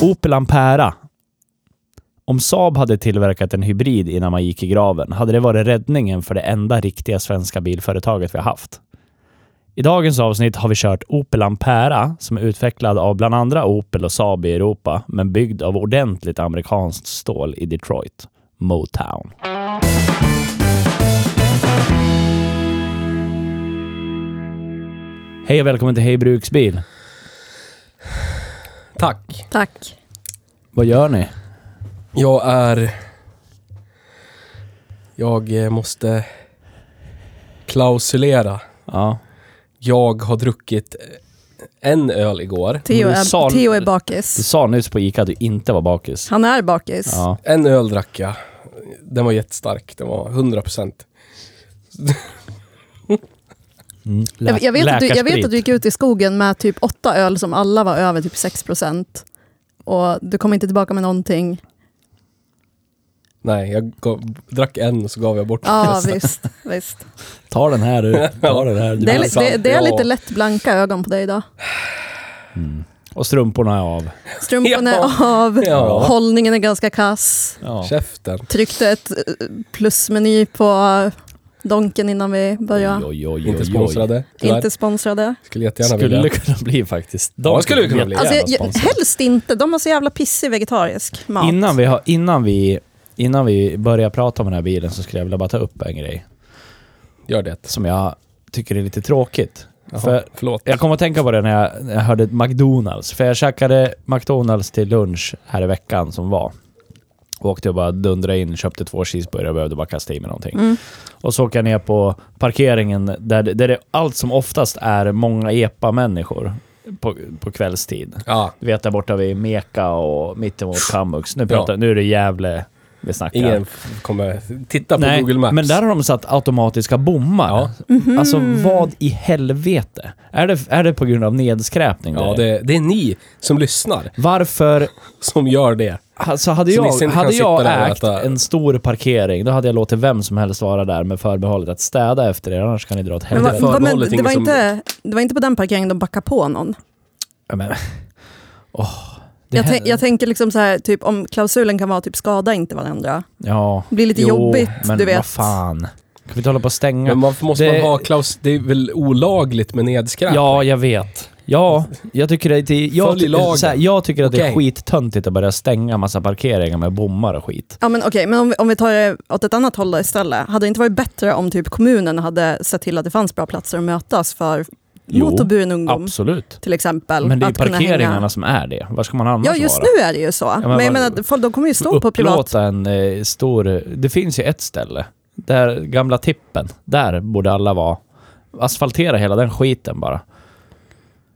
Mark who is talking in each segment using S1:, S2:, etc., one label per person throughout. S1: Opel Ampera. Om Saab hade tillverkat en hybrid innan man gick i graven hade det varit räddningen för det enda riktiga svenska bilföretaget vi har haft. I dagens avsnitt har vi kört Opel Ampera som är utvecklad av bland andra Opel och Saab i Europa men byggd av ordentligt amerikanskt stål i Detroit, Motown. Hej och välkommen till Hej Bruksbil.
S2: Tack.
S3: Tack.
S1: Vad gör ni?
S2: Jag är... Jag eh, måste klausulera.
S1: Ja,
S2: Jag har druckit eh, en öl igår.
S3: Theo
S1: Men du
S3: är,
S1: sa-
S3: Theo är
S1: Du
S3: bakis.
S1: sa nyss på Ica att du inte var bakis.
S3: Han är bakis.
S1: Ja.
S2: En öl drack jag. Den var jättestark. Den var 100%.
S1: Mm.
S3: Jag, jag, vet att du, jag vet
S1: Läkarsprit.
S3: att du gick ut i skogen med typ åtta öl som alla var över typ 6 procent. Och du kom inte tillbaka med någonting.
S2: Nej, jag gav, drack en och så gav jag bort
S3: Ja,
S2: resten.
S3: visst. visst.
S1: Ta den här du. Ta den här. Du.
S3: Det, är, li-
S2: sant,
S3: det, det är
S2: ja.
S3: lite lätt blanka ögon på dig idag.
S1: Och strumporna är av.
S3: Strumporna
S2: Ja.
S3: är av,
S2: Ja.
S3: hållningen är ganska kass.
S1: Ja.
S2: Käften.
S3: Tryckte ett eh, plusmeny på Donken innan vi började.
S1: Oj, oj, oj,
S2: Inte
S1: oj.
S2: sponsrade. Tyvärr.
S3: Inte sponsrade.
S2: Skulle jättegärna
S1: Skulle
S2: vilja.
S1: kunna bli faktiskt.
S2: Ja, skulle det kunna bli.
S3: Alltså, jag,
S1: jättegärna
S3: jag,
S1: sponsrade.
S3: helst inte. De har så jävla pissig vegetarisk mat.
S1: Innan vi, har, innan, vi, innan vi börjar prata om den här bilen så skulle jag vilja bara ta upp en grej
S2: Gör det.
S1: som jag tycker är lite tråkigt.
S2: Jaha,
S1: För-
S2: förlåt.
S1: Jag kom att tänka på det när jag, när jag hörde McDonalds. För jag käkade McDonalds till lunch här i veckan som var. Och åkte och bara dundrade in, köpte två cheeseburgare och behövde bara kasta i mig någonting.
S3: Mm.
S1: Och så åker jag ner på parkeringen där, det- där det allt som oftast är många epa-människor på, på kvällstid.
S2: Ja,
S1: Du vet där borta vid Meka och mittemot Kamux. Nu, pratar,
S2: Ja.
S1: nu är det Gävle vi snackar.
S2: ingen f- kommer titta på
S1: Nej,
S2: Google Maps.
S1: Men där har de satt automatiska bommar.
S2: Ja.
S3: Mhm.
S1: Alltså vad i helvete? Är det, är det på grund av nedskräpning?
S2: Ja,
S1: eller?
S2: det, det är ni som lyssnar
S1: Varför?
S2: som gör det.
S1: Alltså hade
S2: Så ni
S1: jag,
S2: sen kan
S1: hade
S2: sitta där
S1: jag
S2: och
S1: ägt
S2: äta-
S1: en stor parkering, då hade jag låtit vem som helst vara där med förbehållet att städa efter er, annars kan ni dra åt
S3: Men
S1: helvete.
S3: va,
S2: det
S3: va, men
S2: förbehållet
S3: det,
S2: ingen
S3: var
S2: som-
S3: inte, det var inte på den parkeringen de backade på någon.
S1: Ja, men, åh, det
S3: Jag,
S1: här-
S3: tän- jag tänker liksom så här, typ om klausulen kan vara typ skada inte varandra.
S1: ja,
S3: Det blir lite
S1: jo,
S3: jobbigt,
S1: men
S3: du vet.
S1: vad fan. Kan vi inte hålla på och stänga?
S2: Men varför måste
S1: Det-
S2: man ha klaus... Det är väl olagligt med nedskräp?
S1: Ja, jag vet. Ja, jag tycker, att det, jag,
S2: Följ lagen.
S1: så här, jag tycker att det är
S2: Okej.
S1: skittöntigt att börja stänga massa parkeringar med bommar och skit.
S3: Ja men okej, men om vi, om vi tar det åt ett annat håll då istället. Hade det inte varit bättre om typ kommunen hade sett till att det fanns bra platser att mötas för
S1: Jo,
S3: motorburen ungdom
S1: Absolut.
S3: till exempel?
S1: Men det är ju
S3: att kunna
S1: parkeringarna
S3: hänga.
S1: som är det. Var ska man annars
S3: Ja just
S1: vara?
S3: nu är det ju så. men,
S1: men
S3: jag
S1: vad-
S3: menar, folk, de kommer ju stå på privat...
S1: upplåta en eh, stor... Det finns ju ett ställe, där gamla tippen. Där borde alla vara. Asfaltera hela den skiten bara.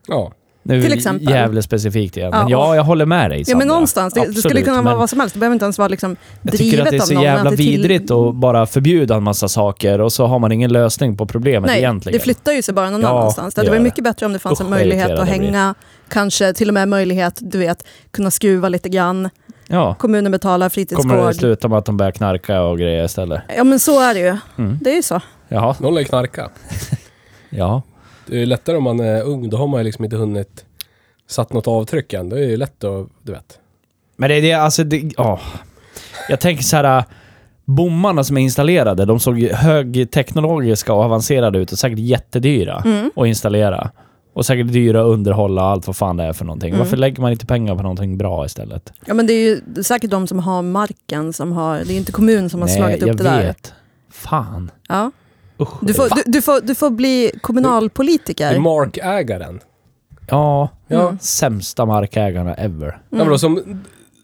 S2: Ja.
S1: Nu är
S3: Till
S1: vi
S3: exempel.
S1: Gävle specifikt igen.
S3: Ja,
S1: Ja,
S3: och-
S1: ja, jag håller med dig
S3: Ja
S1: Sandra.
S3: men någonstans, det, det skulle
S1: Absolut,
S3: kunna vara
S1: men
S3: vad som helst. Det behöver inte ens vara liksom
S1: Jag tycker
S3: drivet
S1: att det är
S3: av
S1: så
S3: någon, men
S1: jävla
S3: att det till-
S1: vidrigt att bara förbjuda en massa saker och så har man ingen lösning på problemet
S3: Nej,
S1: egentligen.
S3: det flyttar ju sig bara någon
S1: Ja,
S3: annanstans. Det hade
S1: det gör
S3: varit mycket bättre om det fanns
S1: Usch,
S3: en
S1: vad
S3: möjlighet
S1: irriterad
S3: att
S1: jag blir.
S3: hänga, kanske till och med möjlighet, du vet, kunna skruva lite grann.
S1: ja.
S3: Kommunen betalar
S1: Kommer det
S3: fritidsgård.
S1: sluta med att de börjar knarka och grejer istället?
S3: Ja men så är det ju.
S1: Mm.
S3: Det är ju så.
S1: Jaha.
S2: Någon lär ju knarka.
S1: Ja.
S2: Det är lättare om man är ung. Då har man ju liksom inte hunnit satt något avtryck än. Då är det ju lätt att... Du vet.
S1: Men det är det, alltså det, ja. Jag tänker så här. äh, Bommarna som är installerade, de såg ju högteknologiska och avancerade ut och säkert jättedyra
S3: Mm.
S1: att installera. Och säkert dyra att underhålla och allt vad fan det är för någonting.
S3: Mm.
S1: Varför lägger man inte pengar på någonting bra istället?
S3: Ja men det är ju det är säkert de som har marken som har, det är ju inte kommunen som har slagit upp
S1: jag
S3: det där.
S1: vet. Fan.
S3: Ja.
S1: Usch.
S3: Du, får,
S1: Fan.
S3: du, du, får, du får bli
S2: Det är
S3: kommunalpolitiker.
S2: markägaren.
S1: Ja,
S2: Ja.
S1: sämsta markägarna ever.
S2: Ja, men då, som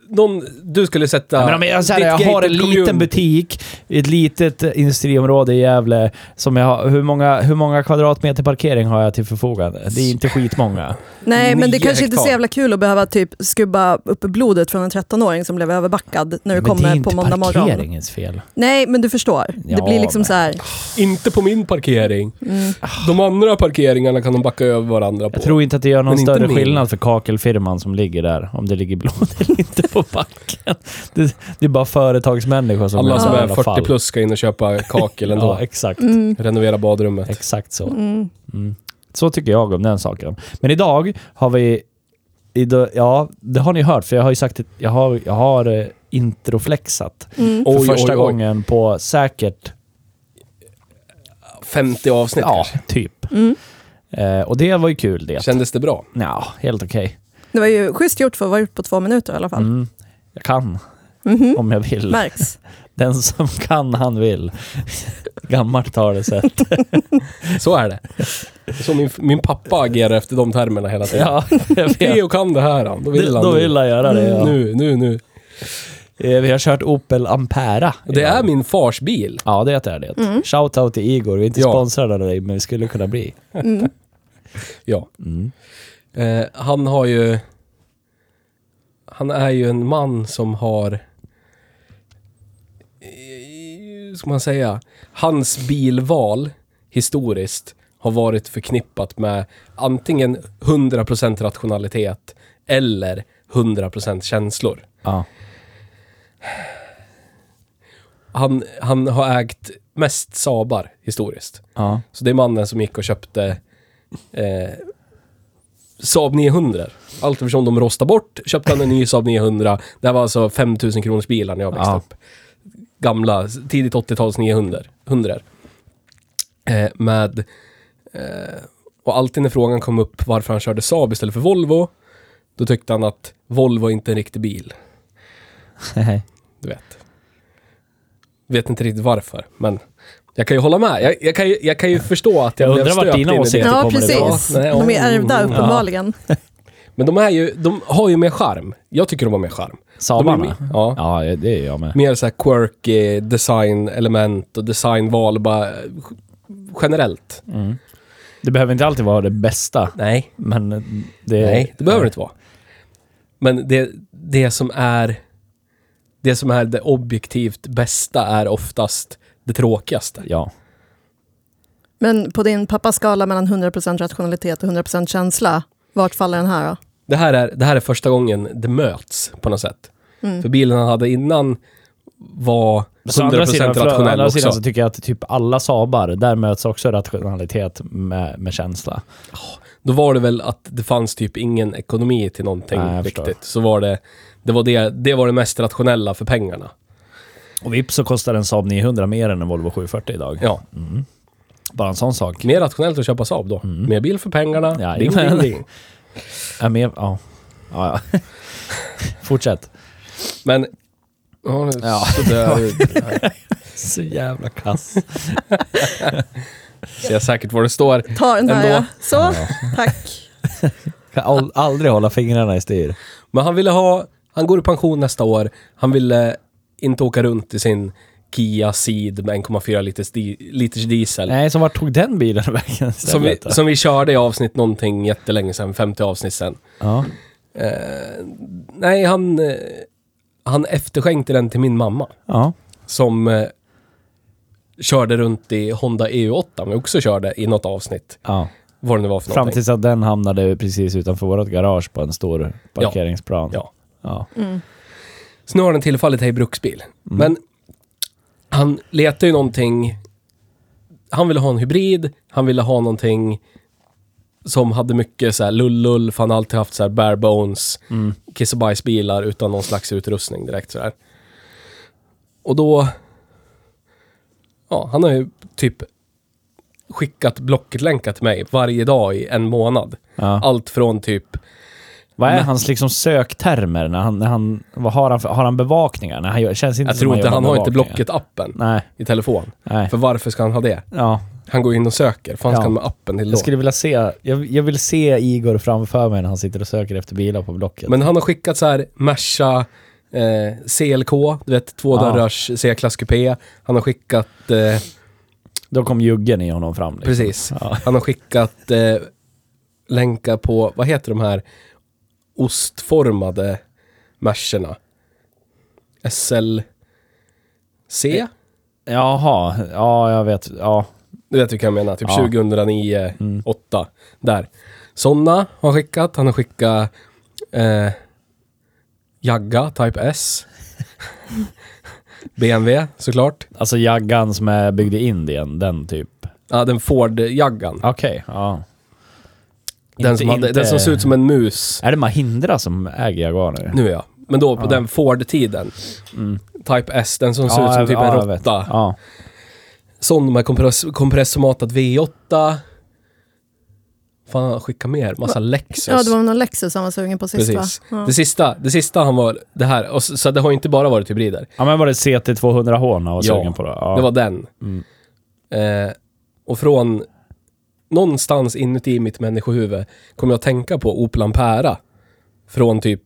S2: någon, du skulle sätta...
S1: Mm. Ja, men om jag, så här,
S2: ditt
S1: jag har en
S2: gated
S1: liten
S2: kommun-
S1: butik i ett litet industriområde i Gävle. Som jag har, hur, många, hur många kvadratmeter parkering har jag till förfogande? Det är inte skitmånga.
S3: Nej, men det
S2: Nio
S3: kanske inte är så
S2: hektar.
S3: jävla kul att behöva typ skubba upp blodet från en 13-åring som blev överbackad när du
S1: Men det är
S3: kommer
S1: inte
S3: på måndag morgon.
S1: parkeringens fel.
S3: Nej, men du förstår. det
S1: Ja,
S3: blir liksom
S1: men-
S3: så här...
S2: Inte på min parkering.
S3: Mm.
S2: De andra parkeringarna kan de backa över varandra på.
S1: Jag tror inte att det gör någon
S2: Men inte
S1: större
S2: min.
S1: skillnad för kakelfirman som ligger där, om det ligger blod eller inte på backen. Det, det är bara företagsmänniskor som
S2: Alla
S1: gör
S2: som
S1: sådana
S2: är
S1: jävla
S2: 40
S1: fall.
S2: plus ska in och köpa kakel ändå.
S1: Ja, exakt.
S3: Mm.
S2: Renovera badrummet.
S1: Exakt så.
S3: Mm.
S1: Mm. Så tycker jag om den saken. Men idag har vi... Idag, ja, det har ni hört, för jag har ju sagt att jag har, jag har eh, introflexat.
S3: Mm.
S1: För
S2: Oj,
S1: första
S2: oj, Typ. oj.
S1: gången på säkert...
S2: 50 avsnitt
S1: Ja,
S2: kanske.
S1: typ.
S3: Mm.
S1: Eh, och det var ju kul det.
S2: Kändes det bra?
S1: Ja, helt okej.
S3: Det var ju schysst gjort för att vara gjort på två minuter i alla fall.
S1: Mm. Jag kan,
S3: Mhm.
S1: om jag vill.
S3: Märks.
S1: Den som kan, han vill. Gammalt talesätt.
S2: Så är det. Det är Så min, min pappa agerar efter de termerna hela tiden.
S1: Ja, jag vet.
S2: Theo kan det här, han. då vill han
S1: Då
S2: nu.
S1: vill jag göra det.
S3: Mm.
S1: Ja.
S2: Nu, nu, nu.
S1: Eh, Vi har kört Opel Ampera. Eh,
S2: Det
S1: idag.
S2: är min fars bil.
S1: Ja, det är det. Shoutout till Igor. Vi är inte
S2: Ja.
S1: sponsrade av dig, men vi skulle kunna bli.
S3: Mm.
S2: Ja.
S1: Mm.
S2: Eh, han har ju... Han är ju en man som har... eh, Hur ska man säga? Hans bilval historiskt har varit förknippat med antingen 100% rationalitet eller 100% känslor.
S1: Ja.
S2: Han, han har ägt mest Sabar historiskt.
S1: ja.
S2: Så det är mannen som gick och köpte eh, Saab 900. Allt eftersom de rostade bort köpte han en ny Saab 900. Det här var alltså 5000 kronors bilar när jag växte
S1: Ja.
S2: upp. Gamla, tidigt 80-tals 900. 100. Eh, med... Eh, och alltid när frågan kom upp varför han körde Saab istället för Volvo, då tyckte han att Volvo är inte är en riktig bil. Du vet. Vet inte riktigt varför, men jag kan ju hålla med. Jag, jag, kan, ju, jag kan ju förstå att jag,
S1: Jag
S2: blev
S1: undrar vart
S2: stöpt
S1: dina
S2: in i det.
S1: åsikter
S3: Ja,
S1: kommer det
S3: precis.
S2: bra? Nej,
S3: De är ärvda
S2: mm,
S1: ja.
S3: uppenbarligen.
S2: Men de, är ju, de har ju mer charm. Jag tycker de har mer charm. De är,
S1: Sabarna?
S2: mer- ja,
S1: Ja, det är jag med.
S2: Mer så här quirky design-element och designval bara eh, generellt.
S1: Mm. Det behöver inte alltid vara det bästa,
S2: Nej.
S1: men det...
S2: Nej, det behöver det inte vara. Men det, det som är det som är det objektivt bästa är oftast det tråkigaste.
S1: Ja.
S3: Men på din pappas skala mellan 100% rationalitet och 100% känsla, vart faller den här då?
S2: Det här, är, det här är första gången det möts på något sätt.
S3: Mm.
S2: För bilen han hade innan var
S1: Så å andra
S2: 100%
S1: sidan, för, å
S2: rationell
S1: andra sidan
S2: också.
S1: så tycker jag att typ alla Sabar, där möts också rationalitet med, med känsla.
S2: Då var det väl att det fanns typ ingen ekonomi till någonting
S1: Nej, jag förstår.
S2: riktigt. Så var det, det var det, det var det mest rationella för pengarna.
S1: Och vips så kostar en Saab 900 mer än en Volvo 740 idag. Mm.
S2: Ja,
S1: Bara en sån sak.
S2: mer rationellt att köpa Saab då. Mer bil för pengarna.
S1: Mm. Ja,
S2: ding, ding,
S1: jajamän.
S2: ding.
S1: Är med, ja. Ja, ja. Fortsätt.
S2: Men... Ja, nu-
S1: Ja.
S2: sådär.
S1: Så jävla kass.
S2: Ser jag säkert var det står.
S3: Ta den här
S2: Ändå.
S3: ja. Så, tack.
S1: Kan al- aldrig hålla fingrarna i styr.
S2: Men han ville ha... Han går i pension nästa år. Han ville inte åka runt i sin Kia Ceed med 1,4 liters, di, liters diesel.
S1: Nej, så vart tog den bilen vägen
S2: Som vi,
S1: istället då?
S2: som vi körde i avsnitt någonting jättelänge sedan, 50 avsnitt sedan.
S1: Ja.
S2: Eh, nej, han, eh, han efterskänkte den till min mamma.
S1: ja.
S2: Som eh, körde runt i Honda E EU8, men också körde i något avsnitt.
S1: ja.
S2: Vad det nu var för
S1: Fram
S2: någonting.
S1: tills att den hamnade precis utanför vårt garage på en stor parkeringsplan.
S2: Ja. Mm.
S1: Ja.
S2: Så nu har den tillfallit här i bruksbil.
S1: Mm.
S2: Men han letar ju någonting... Han ville ha en hybrid, han ville ha någonting som hade mycket så här lullull, för han har alltid haft så här bare bones,
S1: Mm.
S2: kiss och bajsbilar utan någon slags utrustning direkt så här. Och då... Ja, han har ju typ skickat Blocket-länkar till mig varje dag i en månad.
S1: Ja.
S2: Allt från typ
S1: Vad är hans liksom söktermer? När han, när han, vad har, han för, har han bevakningar? Nej, han gör, känns inte
S2: Jag
S1: som
S2: tror inte
S1: jobbar
S2: han
S1: med
S2: har inte
S1: bevakningar.
S2: Blocket-appen
S1: Nej,
S2: i telefon.
S1: nej.
S2: För varför ska han ha det?
S1: Ja.
S2: Han går in och söker. Fan ska
S1: Ja.
S2: han med appen till då?
S1: Jag skulle vilja se, jag, jag vill se Igor framför mig när han sitter och söker efter bilar på Blocket.
S2: Men han har skickat så här Merca Eh, CLK, du vet, två
S1: Ja.
S2: dörrars C-klass kupé. Han har skickat... Eh,
S1: Då kom juggen i honom fram. Liksom.
S2: Precis.
S1: Ja.
S2: Han har skickat eh, länkar på, vad heter de här ostformade Mercerna? SLC?
S1: Eh, Jaha, ja jag vet. Ja.
S2: Du vet vilka jag menar, typ
S1: Ja. Mm.
S2: 2009, 8. Där. Sådana har han skickat. Han har skickat eh, Jagga Type S. BMW såklart.
S1: Alltså jaggan som är byggd i Indien, den typ.
S2: Ja, den Ford-jaggan.
S1: Okej, ja.
S2: Den,
S1: Inte-
S2: som hade-
S1: inte-
S2: den som ser ut som en mus.
S1: Är det Mahindra som äger Jaguar nu?
S2: Nu ja. Men då på den Ford-tiden. Type S, den som ser ut som
S1: Mm. jag-
S2: typ en
S1: jag vet.
S2: råtta.
S1: Ja.
S2: Sån med kompress, kompressmatad V8. Fan, han skickar mer. Massa Lexus.
S3: Ja, det var någon Lexus han var sugen på sist
S2: Precis.
S3: va? Ja.
S2: Det, sista, det sista han var, det här, och så, så det har inte bara varit hybrider.
S1: ja, men var det CT200H han var
S2: Ja,
S1: sugen på då? Ja.
S2: Det var den.
S1: Mm.
S2: Eh, och från någonstans inuti mitt människohuvud kom jag att tänka på Opel Ampera. Från typ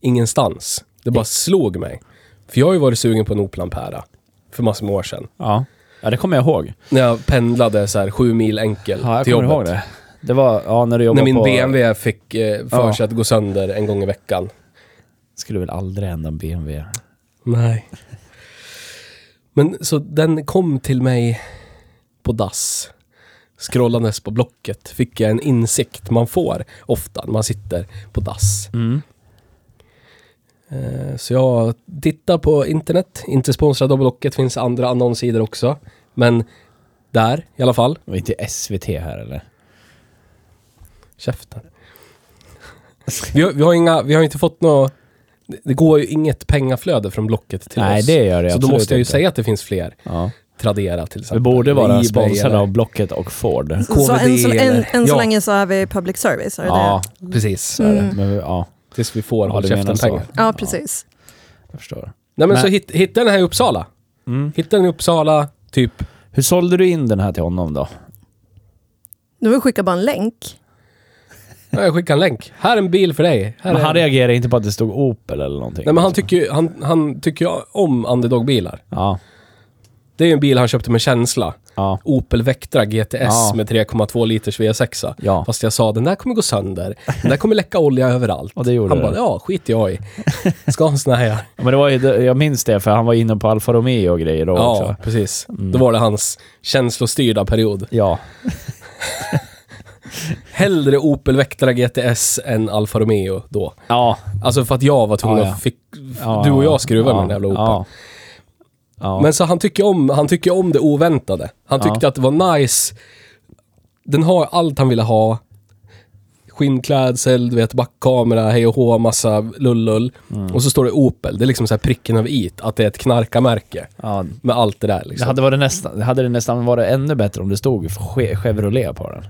S2: ingenstans. Det bara slog mig. För jag har ju varit sugen på en Opel Ampera för massor med år sedan.
S1: ja. ja, det kommer jag ihåg.
S2: När jag pendlade så här sju mil enkel
S1: Ja, jag
S2: till
S1: kommer
S2: jobbet.
S1: ihåg det. Det var, ja, när du jobbade
S2: När min
S1: på...
S2: BMW fick eh, för
S1: Ja.
S2: sig att gå sönder en gång i veckan.
S1: Skulle väl aldrig hända en BMW.
S2: Nej. Men så den kom till mig på dass. Scrollandes på Blocket fick jag en insikt man får ofta när man sitter på dass.
S1: Mm.
S2: Eh, Så jag tittar på internet, inte sponsrad av Blocket, finns andra annonssidor också. Men där i alla fall.
S1: Det var inte SVT här eller?
S2: Käften. Vi har, vi har, inga, vi har inte fått något... Det går ju inget pengaflöde från Blocket till
S1: Nej,
S2: oss.
S1: det gör det
S2: Så då
S1: absolut
S2: måste jag ju
S1: inte.
S2: säga att det finns fler.
S1: Ja.
S2: Tradera till exempel.
S1: Vi borde
S2: Eller
S1: vara
S2: eBay
S1: sponsrade
S2: eller-
S1: av Blocket och Ford.
S3: Så
S2: KVD
S3: än så, än,
S2: eller-
S3: än så
S2: Ja.
S3: länge så är vi public service, är det
S1: Ja,
S3: det?
S2: Precis.
S1: så är det. Men, vi- ja,
S2: Tills vi får
S1: Ja,
S2: håll
S1: du menar så.
S2: käften-pengar.
S3: Ja, precis.
S1: jag förstår.
S2: Nej men
S1: Nej.
S2: så hit, hitta den här i Uppsala.
S1: Mm.
S2: Hitta den i Uppsala, typ.
S1: Hur sålde du in den här till honom då?
S3: Nu vill vi skicka bara en länk.
S2: Ja, Jag skickar en länk. Här är en bil för dig. Här
S1: Men
S2: är
S1: han
S2: en...
S1: reagerade inte på att det stod Opel eller någonting?
S2: Nej men han tycker ju han, han tycker ju om underdog-bilar.
S1: Ja,
S2: Det är ju en bil han köpte med känsla.
S1: ja.
S2: Opel Vectra GTS
S1: Ja.
S2: med 3,2 liters V6.
S1: Ja.
S2: Fast jag sa den där kommer gå sönder. Den där kommer läcka olja överallt.
S1: Och det gjorde
S2: han
S1: det.
S2: bara, ja skit jag i. Ska ha en sån här ja.
S1: Ja, Men det var ju, det- jag minns det, för han var inne på Alfa Romeo och grejer då
S2: Ja,
S1: också. Mm.
S2: precis. Då var det hans känslostyrda period.
S1: Ja.
S2: Hellre Opel Vectra GTS än Alfa Romeo då.
S1: Ja.
S2: Alltså för att jag var tvungen
S1: Ja, ja.
S2: att fick,
S1: ja.
S2: du och jag skruva
S1: ja.
S2: med den jävla Opeln.
S1: Ja. Ja.
S2: Men så han tycker, om, han tycker om det oväntade. Han tyckte
S1: Ja.
S2: att det var nice. Den har allt han ville ha. Skinnklädsel, du vet, backkamera, hej och hå, massa lullull.
S1: Mm.
S2: Och så står det Opel. Det är liksom så här pricken över i att det är ett knarkarmärke.
S1: ja.
S2: Med allt det där
S1: Det
S2: liksom.
S1: hade, varit nästan, det hade det nästan varit ännu bättre om det stod Che- Chevrolet på den.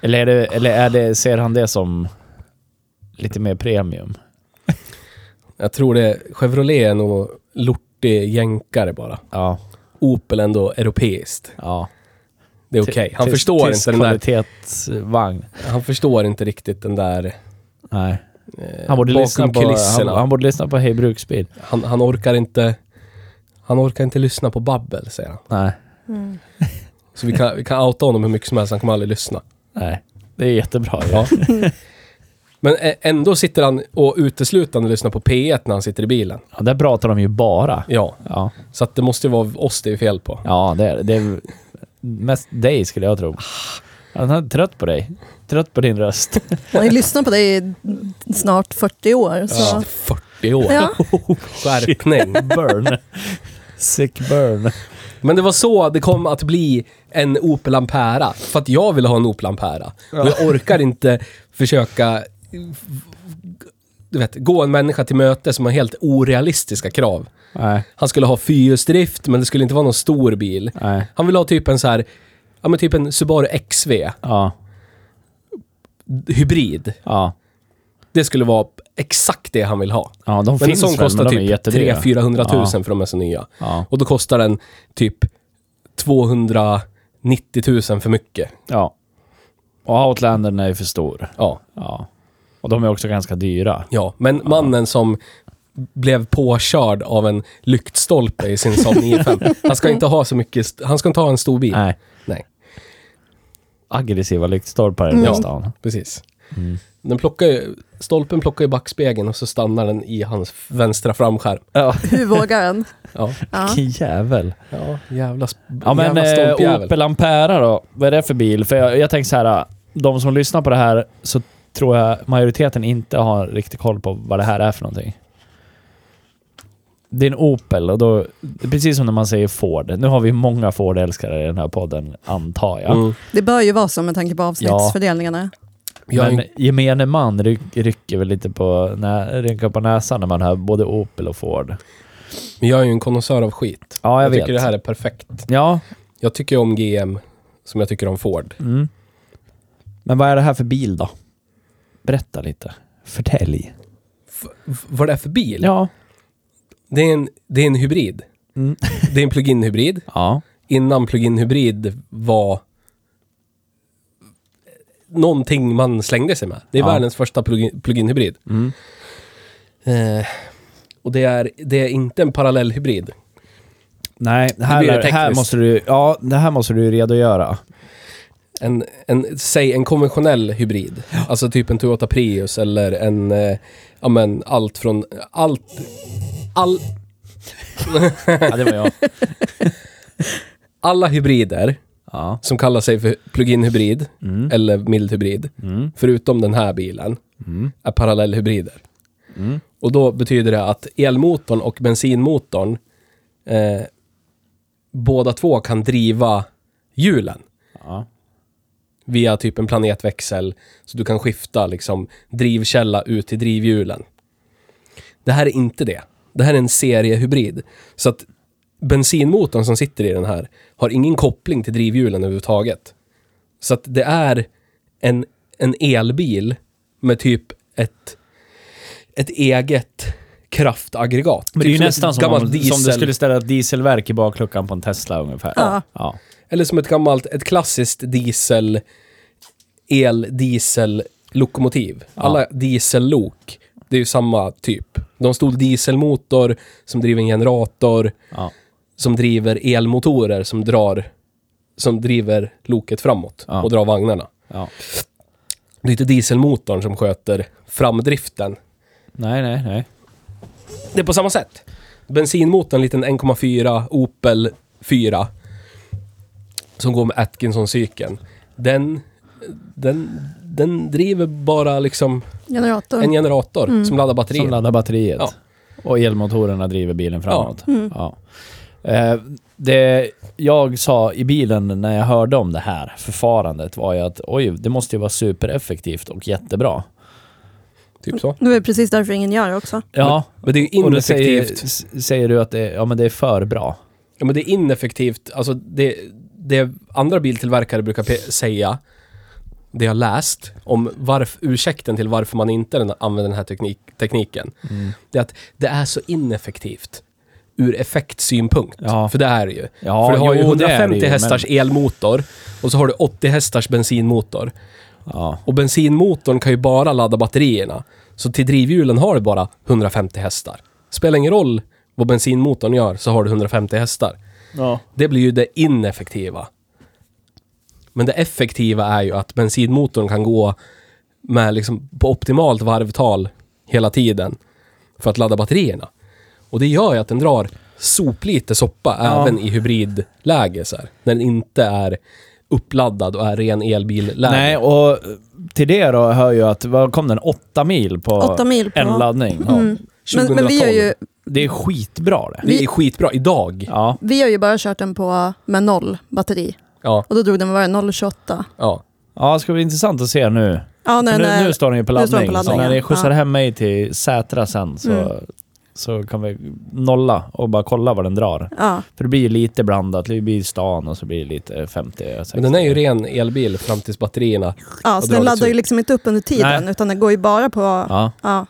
S1: Eller, är det, eller är det, ser han det som lite mer premium?
S2: Jag tror det, Chevrolet är nog lortig jänkare bara.
S1: Ja.
S2: Opel ändå europeiskt.
S1: ja.
S2: Det är okej. Han, förstår inte den där,
S1: kvalitetsvagn.
S2: han förstår inte riktigt den där...
S1: Nej. Han borde,
S2: Eh, bakom
S1: lyssna på, han,
S2: kulisserna.
S1: han borde lyssna på Hej Bruksbil.
S2: Han, han orkar inte... Han orkar inte lyssna på babbel, säger han.
S1: Nej.
S2: Så vi kan, vi kan outa honom hur mycket som helst, han kommer aldrig lyssna.
S1: Nej. Det är jättebra ju.
S2: Ja. Men ä- ändå sitter han och uteslutande lyssnar på P1 när han sitter i bilen.
S1: Ja, där pratar de ju bara.
S2: Ja,
S1: Ja.
S2: så att det måste ju vara oss det är fel på.
S1: Ja, det är det. Är mest dig skulle jag tro. Han är trött på dig. Trött på din röst.
S3: Han har ju lyssnat på dig i snart 40 år. Så.
S2: Ja. 40 år.
S3: Ja.
S2: Skärpning.
S1: Burn. Sick burn.
S2: Men det var så det kom att bli en Opel Ampera. För att jag ville ha en Opel Ampera. Och jag orkar inte försöka du vet, gå en människa till möte som har helt orealistiska krav.
S1: Nej,
S2: Han skulle ha fyrhjulsdrift, men det skulle inte vara någon stor bil.
S1: nej.
S2: Han ville ha typ en så här, ja men typ en Subaru XV,
S1: Ja,
S2: hybrid.
S1: ja.
S2: Det skulle vara exakt det han vill ha.
S1: Ja, de
S2: Men en
S1: finns
S2: sån
S1: väl,
S2: kostar
S1: men de är
S2: typ
S1: jättedyra.
S2: 300 000
S1: Ja.
S2: för de är så nya.
S1: Ja.
S2: Och då kostar den typ 290 000 för mycket.
S1: ja. Och Outlandern är ju för stor.
S2: Ja.
S1: Ja. Och de är också ganska dyra.
S2: Ja, men mannen som blev påkörd av en lyktstolpe i sin Saab 95. Han ska inte ha så mycket, st- han ska inte ha en stor bil.
S1: Nej,
S2: Nej,
S1: aggressiva lyktstolpar i den här stan.
S2: precis.
S1: Mm.
S2: Den plockar ju, stolpen plockar ju backspegeln och så stannar den i hans vänstra framskärm.
S1: Ja,
S3: Hur vågar den?
S2: Ja,
S3: Ja.
S1: vilken jävel.
S2: ja jävla, sp-
S1: Ja men
S2: jävla
S1: eh,
S2: stolpjävel.
S1: Opel Ampera då, vad är det för bil? För jag, jag tänker så här, de som lyssnar på det här så tror jag majoriteten inte har riktigt koll på vad det här är för någonting. Det är en Opel och då, precis som när man säger Ford. Nu har vi många Ford-älskare i den här podden, antar jag.
S2: Mm.
S3: Det bör ju vara så med tanke på avsnittsfördelningarna.
S2: Jag är
S1: men
S2: en-
S1: gemene man ryck, rycker väl lite på, nä, rynkar på näsan när man hör både Opel och Ford.
S2: Men jag är ju en konnässör av skit.
S1: Ja, jag, vet.
S2: tycker det här är perfekt.
S1: Ja,
S2: Jag tycker om GM som jag tycker om Ford.
S1: Mm. Men vad är det här för bil då? Berätta lite. Förtälj.
S2: V- vad det är för bil?
S1: Ja.
S2: Det, är en, det är en hybrid.
S1: Mm.
S2: Det är en plug-in hybrid.
S1: Ja.
S2: Innan plug-in hybrid var någonting man slängde sig med. Det är
S1: Ja.
S2: världens första plug-in plug-in hybrid.
S1: Mm.
S2: Eh, och det är, det är inte en parallell hybrid.
S1: Nej, det här,
S2: blir det
S1: det här
S2: tekniskt.
S1: måste du Ja, det här måste du redogöra.
S2: En, en, säg en konventionell hybrid. Alltså typ en Toyota Prius eller en... Eh, ja men allt från... Allt... All,
S1: Ja, det var jag.
S2: alla hybrider
S1: Ja.
S2: som kallar sig för plug-in hybrid
S1: Mm.
S2: eller mild hybrid,
S1: Mm.
S2: förutom den här bilen,
S1: Mm.
S2: är parallellhybrider.
S1: Mm.
S2: Och då betyder det att elmotorn och bensinmotorn, eh, båda två kan driva hjulen
S1: Ja.
S2: via typ en planetväxel, så du kan skifta liksom drivkälla ut till drivhjulen. Det här är inte det. Det här är en seriehybrid. Så att bensinmotorn som sitter i den här har ingen koppling till drivhjulen överhuvudtaget. Så att det är en, en elbil med typ ett, ett eget kraftaggregat.
S1: Men det
S2: typ
S1: är ju
S2: som ett
S1: nästan som om,
S2: gammalt
S1: som du
S2: diesel-
S1: skulle ställa ett dieselverk i bakluckan på en Tesla ungefär.
S3: Ja.
S1: ja.
S2: Eller som ett gammalt, ett klassiskt diesel, el-diesel-lokomotiv. Alla diesellok, det är ju samma typ. De stod dieselmotor som driver en generator,
S1: Ja.
S2: som driver elmotorer som drar, som driver loket framåt
S1: Ja.
S2: och drar vagnarna.
S1: ja.
S2: Det är inte dieselmotorn som sköter framdriften.
S1: Nej, nej, nej.
S2: Det är på samma sätt. Bensinmotorn, en liten 1,4 Opel 4. Som går med Atkinson-cykeln. Den, den, den driver bara liksom
S3: Generator.
S2: en generator som laddar batterier.
S1: Som laddar batteriet.
S2: Ja.
S1: Och elmotorerna driver bilen framåt. Ja.
S3: Mm.
S1: Eh, det jag sa i bilen när jag hörde om det här förfarandet var ju att oj, det måste ju vara supereffektivt och jättebra.
S2: Typ så.
S3: Nu är det precis därför ingen gör det också.
S1: Ja,
S2: Men det är ju
S1: och då säger,
S2: ineffektivt.
S1: s- säger du att det, ja, men det är för bra.
S2: Ja, men det är ineffektivt. Alltså det, det andra biltillverkare brukar pe- säga, det jag läst, om varf, ursäkten till varför man inte den- använder den här teknik, tekniken.
S1: Mm.
S2: Det är att det är så ineffektivt ur effektsynpunkt.
S1: Ja.
S2: För det är det ju.
S1: Ja,
S2: För du har ju
S1: jo, det är det
S2: 150
S1: ju, men-
S2: hästars elmotor och så har du 80 hästars bensinmotor.
S1: Ja,
S2: Och bensinmotorn kan ju bara ladda batterierna. Så till drivhjulen har du bara 150 hästar. Spelar ingen roll vad bensinmotorn gör så har du 150 hästar.
S1: ja.
S2: Det blir ju det ineffektiva. Men det effektiva är ju att bensinmotorn kan gå med liksom på optimalt varvtal hela tiden för att ladda batterierna. Och det gör ju att den drar soplite soppa
S1: Ja.
S2: även i hybridläge så här. När den inte är uppladdad och är ren elbilläge.
S1: Nej, och till det då hör ju att, vad kom den? Åtta mil på
S3: Åtta mil på- Mm.
S1: en laddning. Ja.
S3: Men, men vi, har
S2: 2012.
S3: ju,
S1: Det är skitbra det.
S2: Det är skitbra idag. Ja.
S1: Ja.
S3: vi har ju bara kört den på med noll batteri.
S2: Ja.
S3: Och då drog den, vad var det, 0,28?
S1: ja, det ska bli intressant att se nu.
S3: Ja, när
S1: För
S3: den
S1: nu,
S3: är,
S1: nu står den ju på
S3: eh, nu står
S1: laddning.
S3: den på
S1: så
S3: laddning,
S1: när ni
S3: ja.
S1: skjutsar
S3: Ja. Mm.
S1: hem mig till Sätra sen så, så kan vi nolla och bara kolla vad den drar.
S3: ja.
S1: För det blir ju lite blandat. Det blir stan och så blir det lite eh, 50 60.
S2: Men den är ju ren elbil fram tills batterierna
S3: ja
S2: Och
S3: så
S2: drar
S3: den
S2: lite
S3: laddar ju
S2: ut.
S3: liksom inte upp under tiden,
S1: Nej.
S3: utan den går ju bara på... Ja.
S1: Ja.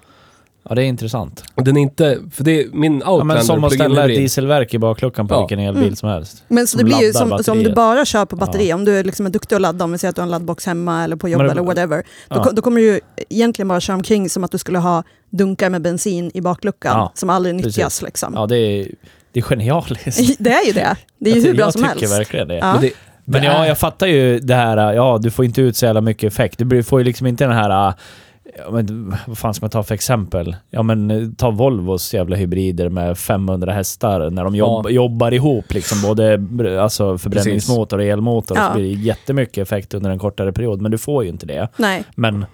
S1: Ja, det är intressant.
S2: Den är inte, för det är min
S1: Ja, men som
S2: Outlander
S1: att ställa ett
S2: plug-in hybrid.
S1: dieselverk i bakluckan på
S2: Ja.
S1: vilken elbil
S3: Mm.
S1: som helst.
S3: Men så
S1: Som
S3: det blir ju
S1: laddar
S3: som, som du
S1: batteriet.
S3: bara kör på batteri, om du liksom är duktig att ladda, om vi säger att du har en laddbox hemma eller på jobbet
S1: Men det-
S3: eller whatever, då,
S1: ja.
S3: ko- då kommer du ju egentligen bara köra omkring som att du skulle ha dunkar med bensin i bakluckan
S1: Ja,
S3: som aldrig
S1: precis.
S3: nyttjas. Liksom.
S1: Ja, det är, det är genialiskt.
S3: Det är ju det. Det är ju
S1: Jag-
S3: hur bra
S1: jag
S3: som
S1: tycker
S3: helst.
S1: verkligen det.
S3: Ja.
S2: Men det,
S1: Men
S2: det
S1: ja,
S2: är-
S1: jag fattar ju det här, ja du får inte ut så jävla mycket effekt. Du blir- får ju liksom inte den här, äh, ja, men, vad fan ska man ta för exempel? Ja men eh, ta Volvos jävla hybrider med 500 hästar när de jobb,
S2: Ja.
S1: jobbar ihop liksom både br- alltså, förbränningsmotor och elmotor.
S3: Ja.
S1: Så blir det jättemycket effekt under en kortare period, men du får ju inte det.
S3: Nej.
S1: Men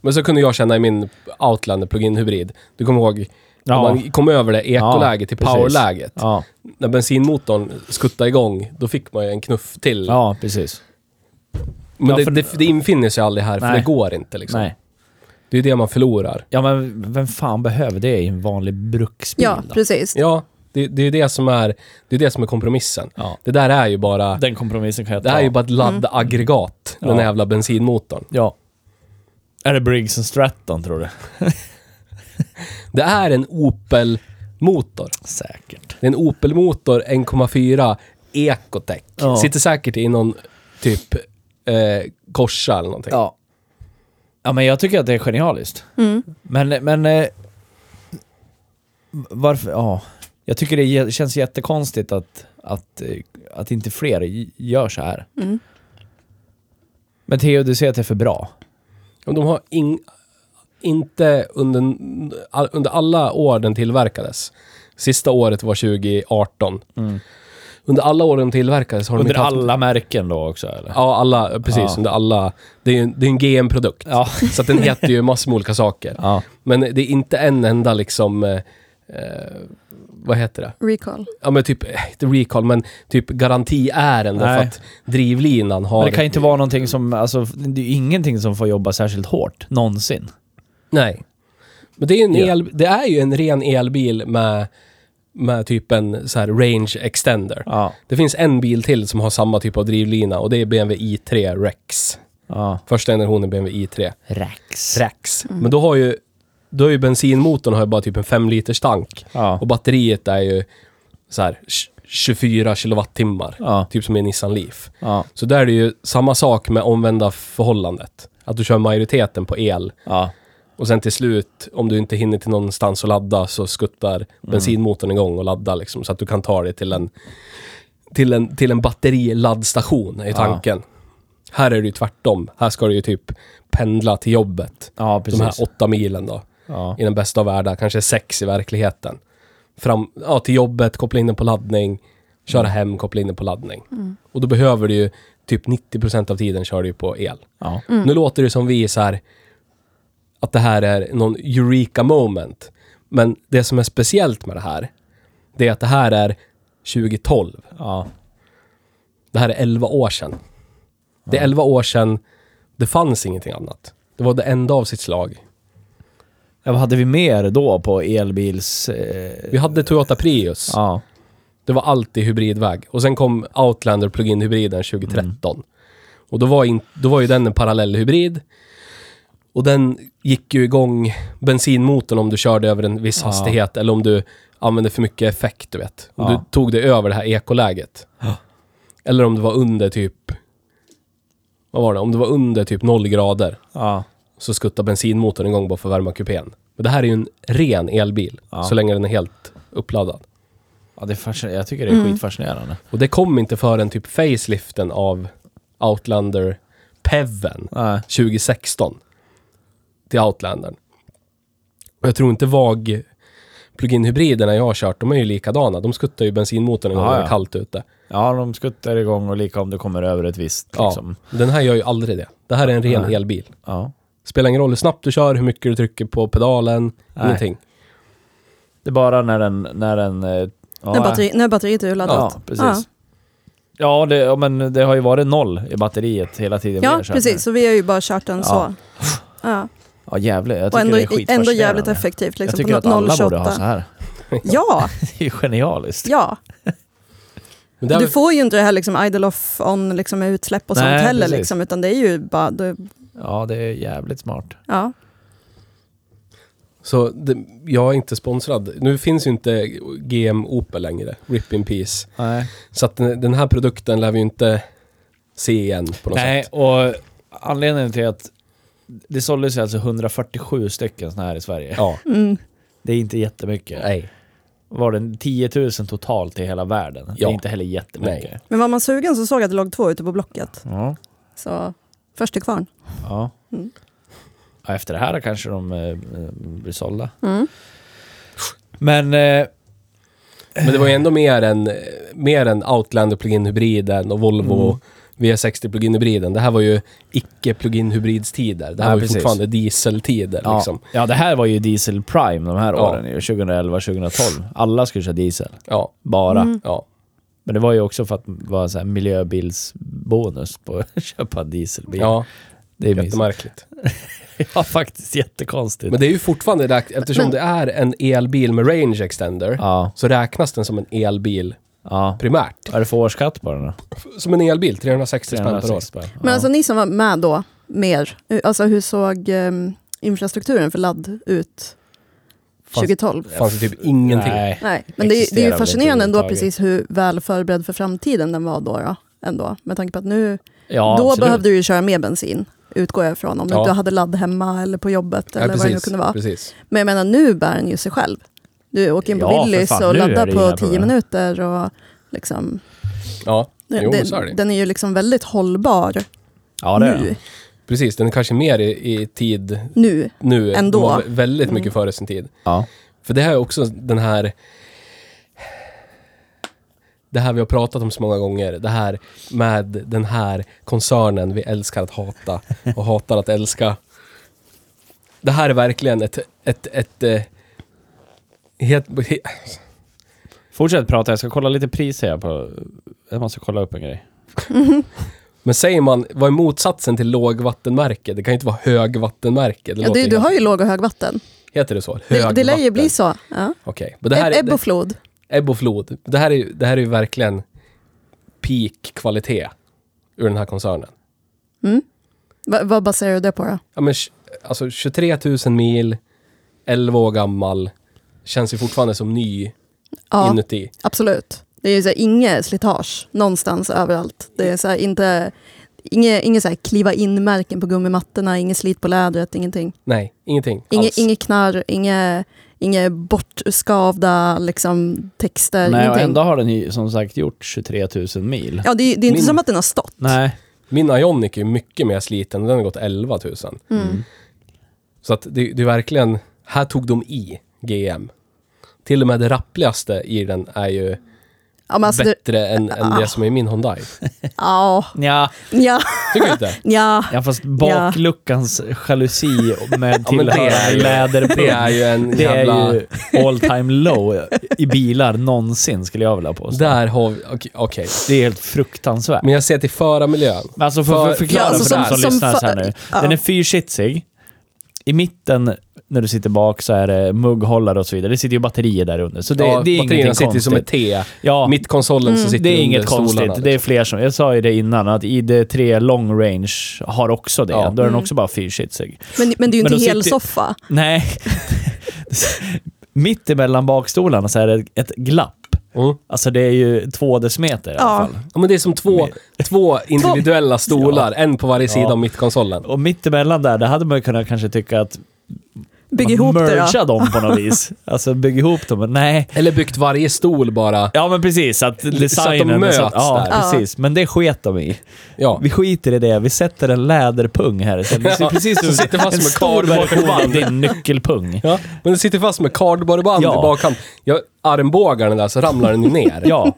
S2: Men så kunde jag känna i min Outlander plug-in hybrid. Du kommer ihåg,
S1: Ja.
S2: om man kom över det ekoläget till
S1: precis.
S2: powerläget.
S1: ja,
S2: När bensinmotorn skuttade igång, då fick man ju en knuff till.
S1: ja precis.
S2: Men
S1: Ja,
S2: det,
S1: för-
S2: det, det infinner sig aldrig här, för
S1: Nej.
S2: det går inte liksom.
S1: Nej.
S2: Det är ju det man förlorar.
S1: Ja men vem fan behöver det i en vanlig bruksbil
S3: Ja,
S1: då?
S3: precis.
S2: Ja, det, det är ju det som är, det är det som är kompromissen.
S1: Ja.
S2: Det där är ju bara,
S1: Den kompromissen kan jag ta.
S2: det är ju bara ett laddaggregat, den
S1: Mm. Ja.
S2: jävla bensinmotorn.
S1: Ja. Är det Briggs and Stratton tror du?
S2: Det är en Opel-motor.
S1: Säkert.
S2: Det är en Opel-motor 1,4 Ecotec.
S1: Ja.
S2: Sitter säkert i någon typ eh, korsa eller någonting.
S1: Ja. Ja, men jag tycker att det är genialiskt. Men, men... eh, Varför... Ja. Jag tycker det ge- känns jättekonstigt att, att, eh, att inte fler i- gör så här.
S3: Mm.
S1: Men Theo, du säger att det är för bra.
S2: Men de har ing- inte under, all, under alla år den tillverkades. Sista året var 2018. Under alla år den tillverkades har de
S1: Mm. Under
S2: inte haft...
S1: alla märken då också, eller?
S2: Ja, alla, precis.
S1: Ja.
S2: Under alla. Det är ju det är en GM-produkt.
S1: Ja.
S2: Så att den heter ju massor med olika saker.
S1: Ja.
S2: Men det är inte en enda liksom... Eh, eh, vad heter det?
S3: Recall.
S2: ja men typ, eh, inte recall, men typ garantiärende
S1: Nej.
S2: för att drivlinan har...
S1: Men det kan ju inte vara någonting som... Alltså, det är ju ingenting som får jobba särskilt hårt. Någonsin.
S2: Nej. Men det är, ju en
S1: Ja.
S2: el, det är ju en ren elbil med, med typ en så här range extender.
S1: Ja.
S2: Det finns en bil till som har samma typ av drivlina och det är BMW i3 Rex.
S1: Ja.
S2: Första generationen BMW i3
S1: Rax.
S2: Rex. Men då har ju, då är ju bensinmotorn har ju bara typ en 5 liters tank.
S1: Ja.
S2: Och batteriet är ju så här tj- 24 kilowattimmar.
S1: Ja.
S2: Typ som i Nissan Leaf.
S1: Ja.
S2: Så där är det ju samma sak med omvända förhållandet. Att du kör majoriteten på el
S1: Ja.
S2: och sen till slut, om du inte hinner till någonstans och ladda, så skuttar bensinmotorn igång och laddar liksom, så att du kan ta dig till en, till en, till en batteriladdstation, är tanken. Här är det ju tvärtom. Här ska du ju typ pendla till jobbet.
S1: Ja,
S2: De här
S1: precis.
S2: åtta milen då.
S1: Ja.
S2: I den bästa av världar, kanske sex i verkligheten. Fram, ja, till jobbet, koppla in den på laddning,
S1: Mm.
S2: köra hem, koppla in den på laddning. Och då behöver du ju, typ 90% av tiden kör du ju på el.
S1: Ja.
S2: Nu låter det som vi är så här att det här är någon eureka moment. Men det som är speciellt med det här, det är att det här är 2012.
S1: Ja.
S2: Det här är 11 år sedan. Det är 11 år sedan det fanns ingenting annat. Det var det enda av sitt slag.
S1: Ja, vad hade vi mer då på elbils... Eh,
S2: Vi hade Toyota Prius.
S1: ja.
S2: Det var alltid hybridväg. Och sen kom Outlander plug-in hybriden 2013.
S1: Mm.
S2: Och då var, in, då var ju den en parallell hybrid. Och den gick ju igång bensinmotorn om du körde över en viss hastighet eller om du använde för mycket effekt, du vet.
S1: Ja.
S2: Om du tog dig över det här ekoläget. Eller om du var under typ... Vad var det? Om du var under typ noll grader
S1: Ja.
S2: så skuttar bensinmotorn igång bara för att värma kupén. Men det här är ju en ren elbil,
S1: Ja.
S2: så länge den är helt uppladdad.
S1: ja det är fasciner- jag tycker det
S3: Mm.
S1: är skitfascinerande.
S2: Och det kom inte förrän typ faceliften av Outlander Peven
S1: Nej.
S2: 2016 till Outlandern. Och jag tror inte VAG plug-in hybriderna jag har kört, de är ju likadana. De skuttar ju bensinmotorn en gång
S1: Ja,
S2: när det
S1: ja.
S2: är kallt ute.
S1: Ja, de skuttar igång och lika om du kommer över ett visst
S2: Ja.
S1: liksom.
S2: Den här gör ju aldrig det. Det här är en ren elbil.
S1: Ja.
S2: Spelar ingen roll hur snabbt du kör, hur mycket du trycker på pedalen,
S1: Nej.
S2: ingenting.
S1: Det är bara när den... När den... eh, Ja,
S3: När, batteri, när batteriet är
S1: Ja,
S3: urladdat.
S1: precis. Ja. det, ja, men det har ju varit noll i batteriet hela tiden. vi
S3: Ja,
S1: har kört
S3: precis.
S1: nu.
S3: Så vi har ju bara kört den så. Ja.
S1: Ja, jävlar. Jag
S3: Och
S1: tycker
S3: ändå,
S1: det är skitfascinerande.
S3: ändå jävligt effektivt.
S1: Jag
S3: Liksom,
S1: tycker att
S3: på no-
S1: alla borde ha så
S3: 0,28.
S1: här.
S3: Ja,
S1: Det är ju genialiskt.
S3: ja.
S2: Men det är
S3: Du
S2: väl-
S3: får ju inte det här liksom, idle off on liksom, med utsläpp och
S1: Nej,
S3: sånt heller.
S1: precis.
S3: Liksom, utan det är ju bara... Det,
S1: Ja, det är jävligt smart.
S3: ja.
S2: Så det, jag är inte sponsrad. Nu finns ju inte GM Opel längre. Rip in peace.
S1: Nej.
S2: Så att den den här produkten lär vi ju inte se igen på något
S1: Nej,
S2: sätt.
S1: och anledningen till att det såldes ju alltså 147 stycken såna här i Sverige.
S2: Ja.
S3: Mm.
S1: Det är inte jättemycket.
S2: Nej.
S1: Var det 10 000 totalt i hela världen? Det
S2: Ja.
S1: är inte heller jättemycket.
S2: Nej.
S3: Men var man sugen så såg jag att det låg två ute på Blocket.
S1: Ja.
S3: Så först till kvarn.
S1: ja.
S3: Mm.
S1: Ja, Efter det här kanske de eh, blir sålda.
S3: Mm.
S1: Men eh,
S2: Men det var ju ändå mer än, mer än Outlander plug-in-hybriden och Volvo
S1: Mm.
S2: V60 plug-in-hybriden. Det här var ju icke plug-in-hybridstider. Det här
S1: Ja,
S2: var ju
S1: precis.
S2: fortfarande dieseltider
S1: ja.
S2: liksom.
S1: ja, det här var ju diesel prime de här
S2: Ja.
S1: åren ju. 2011, 2012. Alla skulle köra diesel.
S2: Ja.
S1: Bara.
S3: Mm.
S2: Ja.
S1: Men det var ju också för att vara så här miljöbilsbonus på att köpa en dieselbil.
S2: ja,
S1: Mm. det är mysigt.
S2: jättemärkligt.
S1: Ja, faktiskt jättekonstigt.
S2: Men det är ju fortfarande, räk- eftersom det är en elbil med range extender,
S1: Ja,
S2: så räknas den som en elbil
S1: ja.
S2: primärt.
S1: Vad är det för årsskatt på den då?
S2: Som en elbil, 360 spänn per år.
S1: 360 spänn.
S3: Men
S1: Ja.
S3: alltså ni som var med då, mer, hur- alltså hur såg ehm, infrastrukturen för ladd ut
S2: Fanns-
S3: 2012?
S2: Fanns det typ ingenting.
S1: Nej.
S3: Nej, men det, är ju- det är
S1: Existerar
S3: ju
S1: väl inte
S3: fascinerande ändå
S1: överhuvudtaget.
S3: precis hur väl förberedd för framtiden den var då. då ändå. Med tanke på att nu,
S1: Ja,
S3: då
S1: absolut.
S3: behövde du ju köra mer bensin, utgår jag ifrån. Om du
S2: Ja.
S3: inte hade ladd hemma eller på jobbet
S2: Ja,
S3: eller vad det nu
S2: precis,
S3: kunde vara.
S2: Precis.
S3: Men jag menar, nu bär den ju sig själv. Du åker in på
S1: Ja, för
S3: Willys
S1: fan,
S3: och
S1: nu är
S3: laddar
S1: det inga
S3: på 10
S1: problem.
S3: minuter. Och liksom,
S2: Ja, jo, men så är det.
S3: den, den är ju liksom väldigt hållbar
S1: Ja, det är
S3: nu,
S1: det.
S2: precis. Den är kanske mer i, i tid
S3: nu.
S2: nu. Den
S3: Ändå. Mm.
S2: var vä- väldigt mycket före sin tid.
S1: Ja.
S2: För det här är också den här... Det här vi har pratat om så många gånger. Det här med den här koncernen vi älskar att hata och hatar att älska. Det här är verkligen ett... ett, ett, eh, helt, he,
S1: Fortsätt prata, jag ska kolla lite priser här på... Jag måste kolla upp en grej.
S2: men säger man, vad är motsatsen till lågvattenmärke? Det kan ju inte vara högvattenmärke. Det
S3: Ja,
S2: låter
S3: du,
S2: ju
S3: du
S2: helt-
S3: har ju låg och högvatten.
S2: Heter det så?
S3: Det, det lär ju
S2: Högvatten.
S3: bli så. Ja.
S2: Okej. Men det här är...
S3: Ebb och flod.
S2: Ebb och flod. Det här är ju, det här är ju verkligen peak-kvalitet ur den här koncernen.
S3: Va, vad baserar du det på då?
S2: Ja, men, tj- alltså 23 000 mil, 11 år gammal, känns ju fortfarande som ny
S3: Ja,
S2: inuti.
S3: absolut. Det är ju så här, inget slitage någonstans överallt. Det är så här, inte, inget, inget så här kliva in-märken på gummimattorna, inget slit på lädret, ingenting.
S2: Nej, ingenting
S3: Inget,
S2: alls.
S3: inget knarr, inget, inget bortskavda liksom, texter,
S1: Nej, och
S3: ingenting.
S1: ändå har den ju som sagt gjort 23 000 mil.
S3: Ja, det, är- det är inte
S2: Min-
S3: som att den har stått.
S1: Nej.
S2: Min Ioniq är ju mycket mer sliten, den har gått 11 000.
S3: Mm.
S2: Så att det, det är verkligen, här tog de i GM. Till och med det rappligaste i den är ju
S3: Ja, men alltså, Ah. det,
S2: bättre än, än det som är i min Hyundai.
S3: ja,
S1: Ja.
S3: ja,
S2: Tycker du inte?
S3: ja.
S1: ja, fast bakluckans jalusi med
S2: Ja, men det är
S1: tillhörande
S2: ju- Det är
S1: läderpung.
S2: ju en
S1: Det
S2: jävla...
S1: är ju all time low i bilar någonsin skulle jag vilja påstå.
S2: Där har vi... Okej. okej.
S1: Det är helt fruktansvärt.
S2: Men jag ser till förarmiljön.
S1: Men alltså för, för att
S2: För-
S1: förklara
S2: Ja, alltså
S1: för
S2: som-
S1: den som,
S3: som
S1: lyssnar
S3: för-
S1: så här nu.
S3: ja.
S1: Den är fyrsitsig. I mitten, när du sitter bak, så är det mugghållare och så vidare. Det sitter ju batterier där under. Så det,
S2: ja,
S1: det är
S2: batterierna
S1: ingenting
S2: sitter ju
S1: konstigt.
S2: som ett T.
S1: ja,
S2: Mittkonsolen så sitter
S1: det är
S2: under
S1: inget
S2: stolarna,
S1: konstigt. Det är
S2: liksom.
S1: fler som... Jag sa ju det innan, att ID3 Long Range har också det.
S2: Ja.
S1: Då är den också bara fyrsitsig.
S3: Men, men det är ju
S1: Men
S3: inte
S1: då sitter-
S3: helsoffa.
S1: Nej. Mitt emellan bakstolarna så är det ett glapp.
S2: Mm.
S1: Alltså det är ju två decimeter i alla
S3: Ja.
S1: fall.
S2: Ja, men det är som två, två individuella stolar, en på varje sida
S1: Mm. Ja.
S2: av mittkonsolen.
S1: Och mitt emellan där, där hade man ju kunnat kanske tycka att
S3: Bygg
S1: man
S3: ihop det då.
S1: mergea dem på något vis. Alltså bygga ihop dem. Men nej.
S2: Eller byggt varje stol bara.
S1: Ja men precis, att designen...
S2: möts
S1: ja,
S2: där.
S1: precis. Men det sket de i.
S2: Ja.
S1: Vi skiter i det. Vi sätter en läderpung här. Så det ser
S2: Ja,
S1: precis
S2: som
S1: ut
S2: sitter fast
S1: en
S2: med
S1: stor version
S2: kardborreband.
S1: av din nyckelpung.
S2: Ja, men den sitter fast med kardborreband
S1: Ja.
S2: i bakhand. Ja, armbågarna där så ramlar den ju ner.
S1: Ja.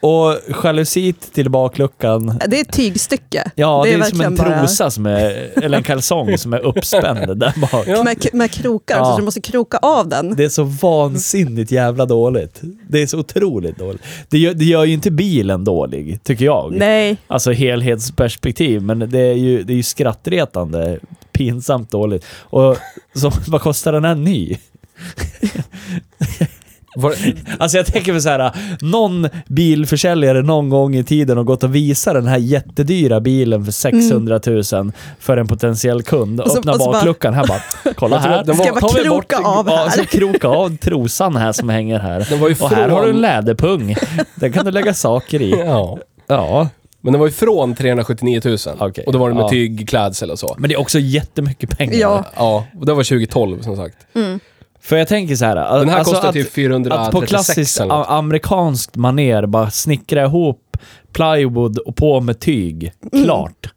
S1: Och jalusit till bakluckan.
S3: Det är ett tygstycke.
S1: Ja, det är, som
S3: verkligen
S1: en
S3: bara-
S1: trosa som är, eller en kalsong som är uppspänd där bak.
S2: Ja.
S3: Med, med krokar,
S1: Ja.
S3: så du måste kroka av den.
S1: Det är så vansinnigt jävla dåligt. Det är så otroligt dåligt. Det gör, det gör ju inte bilen dålig, tycker jag.
S3: Nej.
S1: Alltså helhetsperspektiv, men det är ju, det är ju skrattretande pinsamt dåligt. Och så, vad kostar den här ny?
S2: Var,
S1: Alltså jag tänker mig så här, någon bilförsäljare någon gång i tiden har gått och visat den här jättedyra bilen för 600 000 för en potentiell kund.
S3: Mm. Och så-
S1: Öppna
S3: och så bara-
S1: bakluckan, här bara, kolla
S2: Jag tror
S1: här.
S2: att den var- Ska jag
S3: bara
S1: Tar vi bort-
S3: kroka av
S1: Ja,
S3: här?
S1: så kroka av trosan här som hänger här.
S2: den var ju
S1: Och
S2: från,
S1: här har du en läderpung. Den kan du lägga saker i.
S2: Ja.
S1: Ja.
S2: Men den var ju från 379 000.
S1: Okej,
S2: Och då var det med
S1: ja.
S2: tygklädsel och så.
S1: Men det är också jättemycket pengar.
S3: Ja.
S2: Ja, och det var 2012 som sagt.
S1: För jag tänker så här.
S2: Den här
S1: alltså
S2: kostar
S1: att-
S2: typ 436
S1: Att på klassiskt
S2: eller något.
S1: a- amerikanskt maner bara snickra ihop plywood och på med tyg.
S3: Mm.
S1: Klart.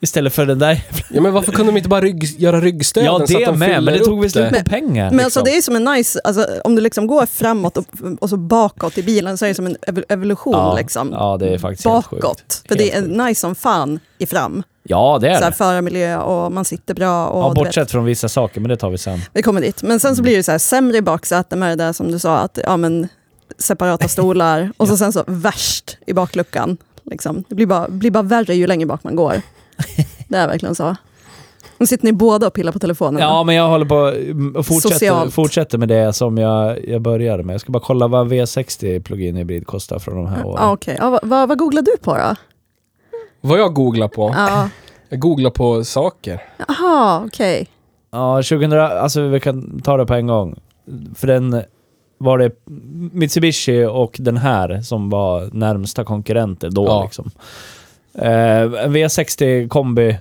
S1: Istället för den där...
S2: Ja, men varför kunde de inte bara rygg, göra ryggstöden
S1: Ja,
S2: så att
S1: det
S2: de fyller
S1: med, men det
S2: upp
S1: tog väl slut
S2: det?
S1: på pengar. liksom.
S3: Men alltså det är som en nice, alltså, om du liksom går framåt och, och så bakåt i bilen så är det som en ev- evolution.
S1: ja,
S3: liksom.
S1: Ja, det är faktiskt helt sjukt.
S3: bakåt. För det är
S1: Helt
S3: nice som fan i fram.
S1: Ja, det är
S3: Så här,
S1: det.
S3: förarmiljö och man sitter bra. Och
S1: Ja,
S3: du vet,
S1: bortsett från vissa saker, men det tar vi sen.
S3: Vi kommer dit. Men sen så blir det så här sämre i baksätet med det där som du sa, att ja, men, separata stolar och så sen så värst i bakluckan. Liksom. Det blir bara, blir bara värre ju längre bak man går. Det är verkligen så. Nu sitter ni båda och pillar på telefonen.
S1: Ja, men jag håller på mm, och fortsätter,
S3: Socialt.
S1: fortsätter med det som jag, jag började med. Jag ska bara kolla vad V60 plug-in hybrid kostar från de här åren.
S3: Ja, Ah, okej. ja, vad, vad, vad googlar du på då?
S2: Vad jag googlar på?
S3: Ja.
S2: Jag googlar på saker.
S3: Jaha, okej.
S1: Ja, 2000, alltså vi kan ta det på en gång. För den var det Mitsubishi och den här som var närmsta konkurrenter då
S2: Ja.
S1: liksom. Eh, en V60 kombi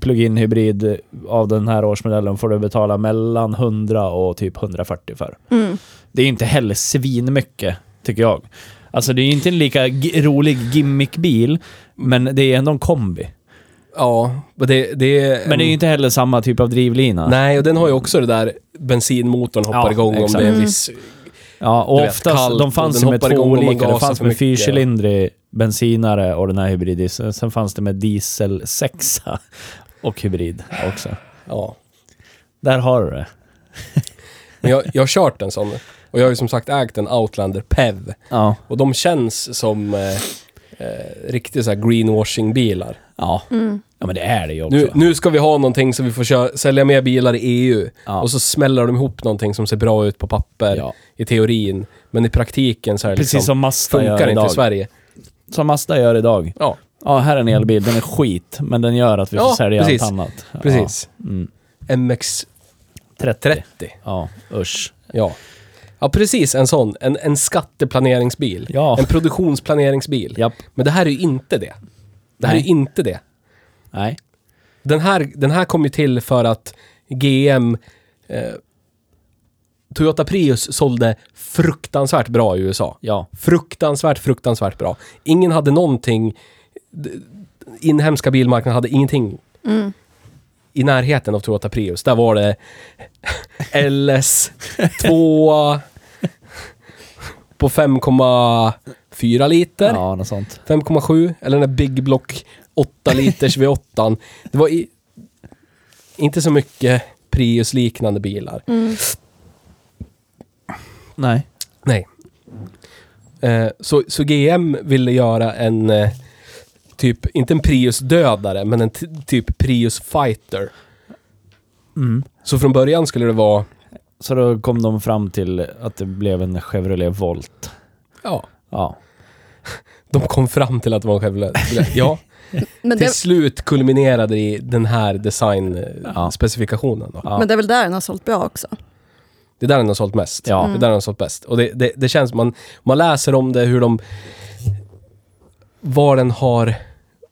S1: plug-in hybrid av den här årsmodellen får du betala mellan 100 och typ 140 för.
S3: Mm.
S1: Det är inte heller svinmycket, tycker jag. Alltså det är inte en lika gi- rolig gimmickbil, men det är ändå en kombi.
S2: Ja, men det, det är...
S1: Men det är ju inte heller samma typ av drivlina.
S2: Nej, och den har ju också det där bensinmotorn hoppar
S1: Ja,
S2: igång om
S1: exakt.
S2: det är en
S3: Mm.
S2: viss...
S1: Ja, och
S2: Du vet,
S1: oftast,
S2: kallt
S1: de
S2: och
S1: fanns
S2: den
S1: ju med
S2: hoppar
S1: två
S2: igång om man
S1: olika. Det
S2: gasar
S1: fanns
S2: för
S1: med
S2: mycket.
S1: fyrcylindrig bensinare och den här hybrid. Sen sen fanns det med diesel sexa och hybrid också.
S2: Ja.
S1: Där har du det.
S2: Men jag, jag har kört en sån. Och jag har ju som sagt ägt en Outlander PEV.
S1: Ja.
S2: Och de känns som eh, eh, riktiga så här greenwashing-bilar.
S1: Ja. ja, men det är det ju också.
S2: Nu, nu ska vi ha någonting så vi får köra, sälja mer bilar i EU.
S1: Ja.
S2: Och så smäller de ihop någonting som ser bra ut på papper,
S1: Ja.
S2: i teorin. Men i praktiken så är det
S1: Precis
S2: liksom,
S1: som Mazda
S2: funkar
S1: gör
S2: inte
S1: idag.
S2: i Sverige.
S1: Som Mazda gör idag.
S2: Ja,
S1: Ja, här är en elbil. Den är skit, men den gör att vi får
S2: Ja,
S1: sälja
S2: precis.
S1: allt annat. Ja.
S2: precis.
S1: Mm.
S2: MX30.
S1: 30. Ja, usch.
S2: Ja. ja, precis en sån. En, en skatteplaneringsbil.
S1: Ja.
S2: En produktionsplaneringsbil.
S1: Japp.
S2: Men det här är ju inte det. Det här är
S1: Nej.
S2: ju inte det.
S1: Nej.
S2: Den här, den här kom ju till för att GM... Eh, Toyota Prius sålde fruktansvärt bra i USA.
S1: Ja.
S2: Fruktansvärt, fruktansvärt bra. Ingen hade någonting... d- Inhemska bilmarknaden hade ingenting
S3: Mm.
S2: i närheten av Toyota Prius. Där var det LS 2 på 5,4 liter.
S1: Ja, något sånt.
S2: 5,7 eller den där Big Block 8 liters V8. Det var i, inte så mycket Prius-liknande bilar.
S1: Nej.
S2: Nej. Eh, så, så GM ville göra en, eh, typ, inte en Prius-dödare, men en t- typ Prius-fighter.
S1: Mm.
S2: Så från början skulle det vara,
S1: Så då kom de fram till att det blev en Chevrolet Volt.
S2: ja,
S1: Ja.
S2: de kom fram till att det var en Chevrolet. Ja,
S3: Men,
S2: till
S3: det,
S2: slut kulminerade det i den här designspecifikationen. Då.
S1: ja.
S3: men det är väl där den har sålt bra också?
S2: Det är där den har sålt mest.
S1: Ja.
S2: Det är där den har sålt bäst. Och det, det, det känns, man, man läser om det, hur de... Var den har...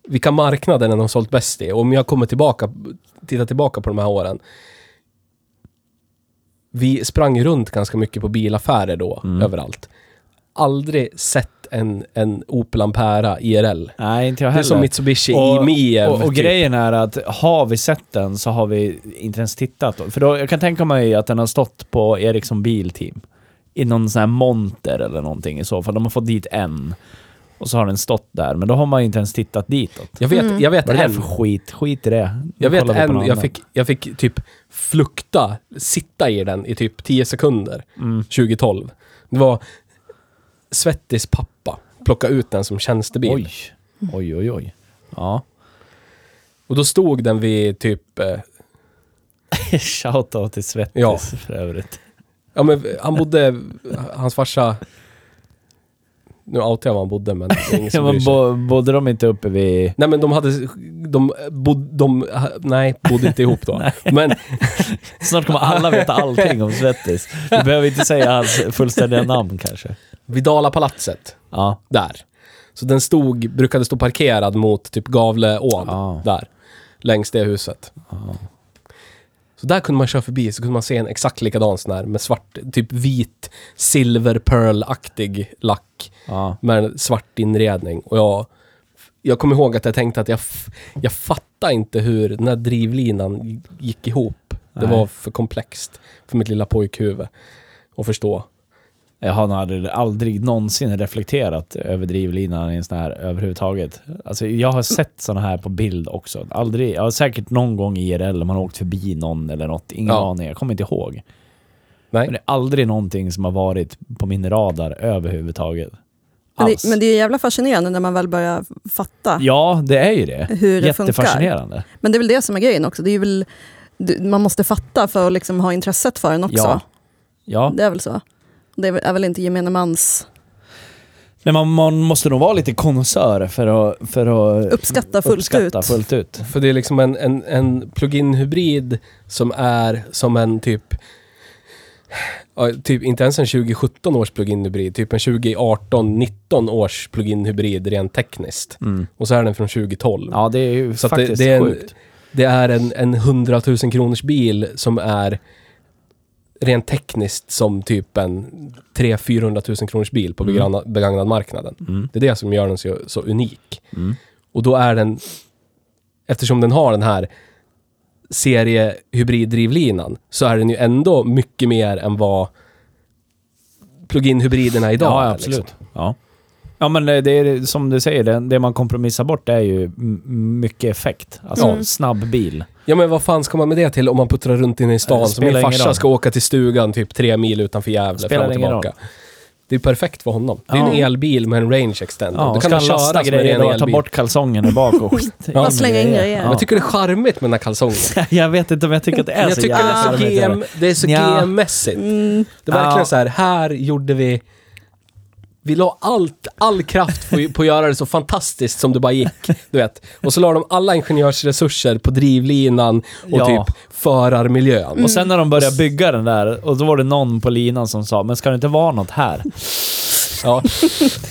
S2: Vilka marknader den har sålt bäst i. Och om jag kommer tillbaka, tittar tillbaka på de här åren. Vi sprang ju runt ganska mycket på bilaffärer då,
S1: Mm.
S2: överallt. Aldrig sett en, en Opel Ampera IRL.
S1: Nej, inte jag
S2: Det är
S1: heller.
S2: som Mitsubishi
S1: Och-
S2: IMIEV.
S1: och, och
S2: typ.
S1: grejen är att har vi sett den så har vi inte ens tittat. För då, jag kan tänka mig att den har stått på Ericsson Bilteam. I någon sån här monter eller någonting i så fall. De har fått dit en. Och så har den stått där, men då har man ju inte ens tittat ditåt.
S2: Jag vet, jag vet
S1: Vad är Mm. det där
S2: en.
S1: för skit? Skit i det. Nu
S2: Jag vet
S1: kollar vi på någon
S2: en, jag
S1: annan.
S2: fick, jag fick typ flukta, sitta i den i typ 10 sekunder,
S1: Mm.
S2: 2012. Det var Svettis pappa plocka ut den som tjänstebil.
S1: Oj. Oj, oj, oj. Ja.
S2: Och då stod den vid typ, eh,
S1: Shoutout till Svettis
S2: Ja.
S1: för övrigt.
S2: Ja, men han bodde, hans farsa... Nu outar jag var han bodde, men det är ingen
S1: Ja,
S2: som bryr
S1: men
S2: sig.
S1: bo, bodde de inte uppe vid...
S2: Nej men de hade, de bodde, de, nej, bodde inte ihop då. Men
S1: Snart kommer alla veta allting om Svettis. Du behöver inte säga hans fullständiga namn kanske.
S2: Vidala palatset,
S1: Ja.
S2: där. Så den stod, brukade stå parkerad mot typ Gavleån,
S1: Ah.
S2: där. Längs det huset. Så där kunde man köra förbi, så kunde man se en exakt likadan sån här med svart, typ vit, silver pearl-aktig lack.
S1: ja.
S2: med en svart inredning. Och jag, jag kommer ihåg att jag tänkte att jag, f- jag fattade inte hur den här drivlinan gick ihop. Det
S1: Nej.
S2: var för komplext för mitt lilla pojkhuvud att förstå.
S1: Jag har nog aldrig, aldrig någonsin reflekterat över drivlinan i en sån här överhuvudtaget. Alltså, jag har sett såna här på bild också. Aldrig, jag har säkert någon gång i IRL, om man har åkt förbi någon eller något. Ingen
S2: Ja.
S1: aning, jag kommer inte ihåg. Men
S2: Nej,
S1: det är aldrig någonting som har varit på min radar överhuvudtaget.
S3: Men
S1: Alls.
S3: det, men det är ju jävla fascinerande när man väl börjar fatta.
S1: Ja, det är ju det.
S3: Hur det funkar.
S1: Jättefascinerande.
S3: Men det är väl det som är grejen också. Det är väl, du- man måste fatta för att liksom ha intresset för den också.
S1: Ja. Ja.
S3: Det är väl så. Det är väl- är väl inte gemene mans...
S1: Nej, man, man måste nog vara lite konnässör för att, för att
S3: Uppskatta fullt
S1: uppskatta
S3: ut.
S1: fullt ut.
S2: för det är liksom en, en, en plug-in hybrid som är som en typ ja, Typ inte ens en 2017 års plug-in hybrid, typ en 2018-19 års plug-in hybrid rent tekniskt.
S1: Mm.
S2: Och så är den från 2012.
S1: Ja, det är ju
S2: Så att det-
S1: faktiskt
S2: det är en-
S1: sjukt.
S2: Det är en, en 100 000 kronors bil som är rent tekniskt som typ en 300-400 000 kronors bil på begranna- begagnad marknaden.
S1: Mm.
S2: Det är det som gör den så, så unik.
S1: Mm.
S2: Och då är den, eftersom den har den här seriehybriddrivlinan, så är den ju ändå mycket mer än vad plug-in hybriderna idag
S1: Ja,
S2: är,
S1: absolut.
S2: liksom.
S1: Ja. ja, men det är som du säger, det, det man kompromissar bort är ju m- mycket effekt. Alltså
S3: Mm.
S1: snabb bil.
S2: Ja men vad fan ska man med det till om man puttrar runt inne i
S1: Det
S2: stan? Så
S1: spelar
S2: min
S1: ingen roll.
S2: farsa ska åka till stugan typ tre mil utanför Gävle
S1: Spelar
S2: fram och
S1: ingen
S2: tillbaka. Det är perfekt för honom. Det är
S1: Ja.
S2: en elbil med en range extender.
S1: Ja,
S2: Då
S1: och
S2: kan
S1: ska
S2: han
S1: han lasta
S2: köra som en
S1: grejer
S2: ren
S1: och ta
S2: elbil.
S1: bort kalsongen där bak och skit.
S3: Bara slänga in grejer.
S2: Jag tycker det är charmigt med den här kalsongen.
S1: Jag vet inte om jag tycker att det är
S2: Jag
S1: så
S2: tycker det
S1: alltså, jävla
S2: är så,
S1: charmigt.
S2: GM, det är så
S1: Nja.
S2: GM-mässigt.
S3: Mm,
S2: Det är verkligen
S1: Ja.
S2: så här, här gjorde vi... Vi la allt, all kraft på, på att göra det så fantastiskt som det bara gick. Du vet. Och så la de alla ingenjörsresurser på drivlinan och
S1: Ja.
S2: typ förarmiljön.
S1: Och sen när de började bygga den där, och då var det någon på linan som sa “Men ska det inte vara något här?”
S2: Ja,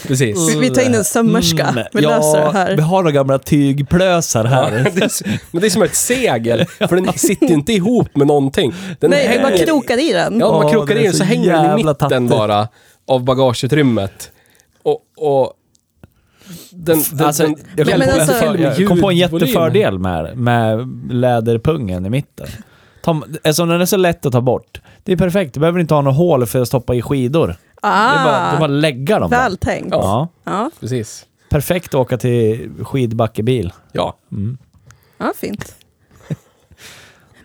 S2: precis.
S3: vi, vi tar in en sömmerska.
S1: Mm,
S3: vi löser det
S1: Vi
S3: här.
S1: har några gamla tygplösar
S2: Ja,
S1: här.
S2: det är, så- men det är som ett segel, för den sitter ju inte ihop med någonting. Den
S3: Nej, vi bara
S2: hänger-
S3: krokar i den.
S2: Ja, man
S1: Åh,
S2: krokar
S1: det är
S2: i den
S1: så
S2: så hänger den i
S1: jävla
S2: mitten
S1: tattigt.
S2: bara av bagageutrymmet. Och, och den, den,
S1: Alltså,
S2: den,
S1: jag, kom
S3: Men
S1: på
S3: alltså-
S1: en, jag kom på en
S2: ljudvolym.
S1: jättefördel med, med läderpungen i mitten. Ta, eftersom den är så lätt att ta bort. Det är perfekt, du behöver inte ha några hål för att stoppa i skidor. Det är bara, det är bara
S3: Ah,
S1: att lägga dem där.
S3: väl tänkt. Ja.
S1: Ja.
S3: Ja.
S2: Precis.
S1: Perfekt att åka till skidbackebil.
S2: Ja.
S3: fint.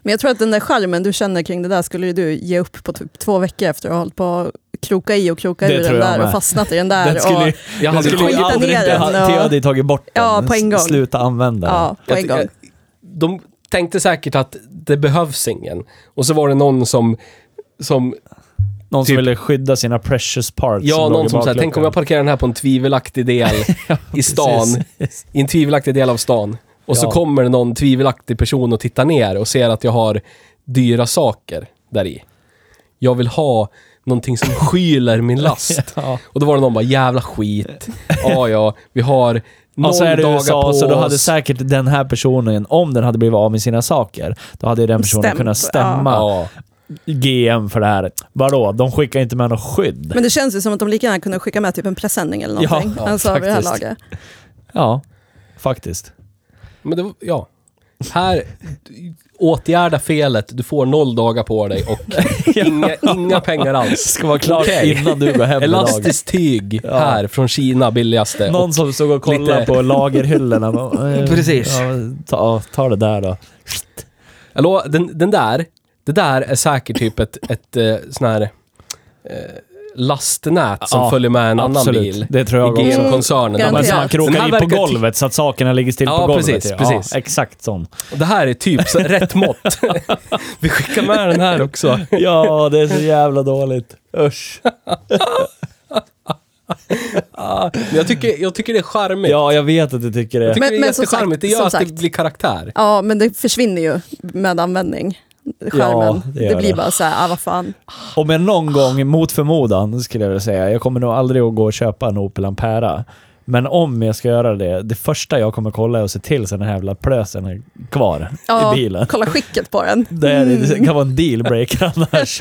S3: Men jag tror att den där charmen du känner kring det där skulle ju du ge upp på typ två veckor efter att ha hållit på och kroka i och kroka
S1: Det
S3: ur
S1: tror
S3: den
S1: jag
S3: där
S1: med.
S3: och fastnat i den där.
S1: Den skulle, ju-
S3: och,
S2: Jag
S1: den
S2: hade
S1: skulle ju
S3: skita
S1: aldrig...
S3: ner den
S1: Jag hade
S3: och-
S1: jag hade ju tagit bort den.
S3: Ja, på en gång.
S1: Sluta använda den.
S3: ja, på en gång.
S2: Jag- De tänkte säkert att det behövs ingen. Och så var det någon som, som
S1: Någon som
S2: Typ-
S1: ville skydda sina precious parts.
S2: Ja,
S1: låg i
S2: någon som säger, tänk om jag
S1: bakluckan."
S2: parkerar den här på en tvivelaktig del i stan. I en tvivelaktig del av stan. Och så
S1: Ja.
S2: kommer det någon tvivelaktig person och tittar ner och ser att jag har dyra saker där i. Jag vill ha någonting som skyler min last.
S1: Ja.
S2: Och då var det någon bara, jävla skit. Ja, ja, vi har noll
S1: Och så är det
S2: dagar på
S1: USA, så då hade
S2: oss.
S1: säkert den här personen, om den hade blivit av med sina saker, då hade ju den personen
S3: Stämt,
S1: kunnat stämma
S2: Ja.
S1: GM för det här. Vadå? De skickar inte med något skydd.
S3: Men det känns ju som att de lika gärna kunde skicka med typ en presenning eller
S1: Ja,
S3: någonting.
S1: ja,
S3: alltså, vid det här
S1: faktiskt.
S3: laget.
S1: Ja, faktiskt.
S2: Men det var, ja. Här, du- åtgärda felet, du får noll dagar på dig och inga, inga pengar alls.
S1: Ska vara klart
S2: Okej.
S1: innan du går hem idag.
S2: Elastiskt tyg
S1: Ja.
S2: här från Kina, billigaste.
S1: Någon som stod och kollade
S2: lite-
S1: på lagerhyllorna. Bara, eh,
S2: Precis.
S1: Ja, ta, ta det där då.
S2: Jag lovar, den, den där, det där är säkert typ ett, ett eh, sån här eh, lastnät som
S1: Ja,
S2: följer med en annan
S1: absolut.
S2: bil.
S1: Det tror jag
S2: I
S1: också.
S2: GM-koncernen.
S3: Mm,
S2: De bara,
S1: Men
S3: garanterat.
S1: så man
S3: Den
S1: krokar
S2: här
S1: i på
S2: verkar ty-
S1: golvet så att sakerna ligger still
S2: Ja,
S1: på golvet.
S2: precis,
S1: ja.
S2: precis.
S1: Ja, exakt sån.
S2: Det här är typ så, rätt mått. Vi skickar med den här också.
S1: Ja, det är så jävla dåligt. Usch.
S2: Men jag, tycker, jag tycker det är charmigt.
S1: Ja, jag vet att du tycker
S2: Jag
S1: det.
S2: tycker
S3: Men-
S2: det är
S3: men som
S2: jättecharmigt. Det
S3: sagt-
S2: gör
S3: som
S2: att det
S3: sagt.
S2: blir karaktär.
S3: Ja, men det försvinner ju med användning. Skärmen.
S1: Ja, det
S3: det,
S1: gör
S3: blir
S1: det.
S3: bara så här, ah, vad fan.
S1: Om jag någon gång, mot förmodan, skulle jag vilja säga, jag kommer nog aldrig att gå och köpa en Opel Ampera. Men om jag ska göra det, det första jag kommer kolla är att se till så att den här jävla plösen är kvar
S3: Ja, Mm.
S1: i bilen.
S3: kolla skicket på den.
S1: Det, är, det kan vara en dealbreaker annars.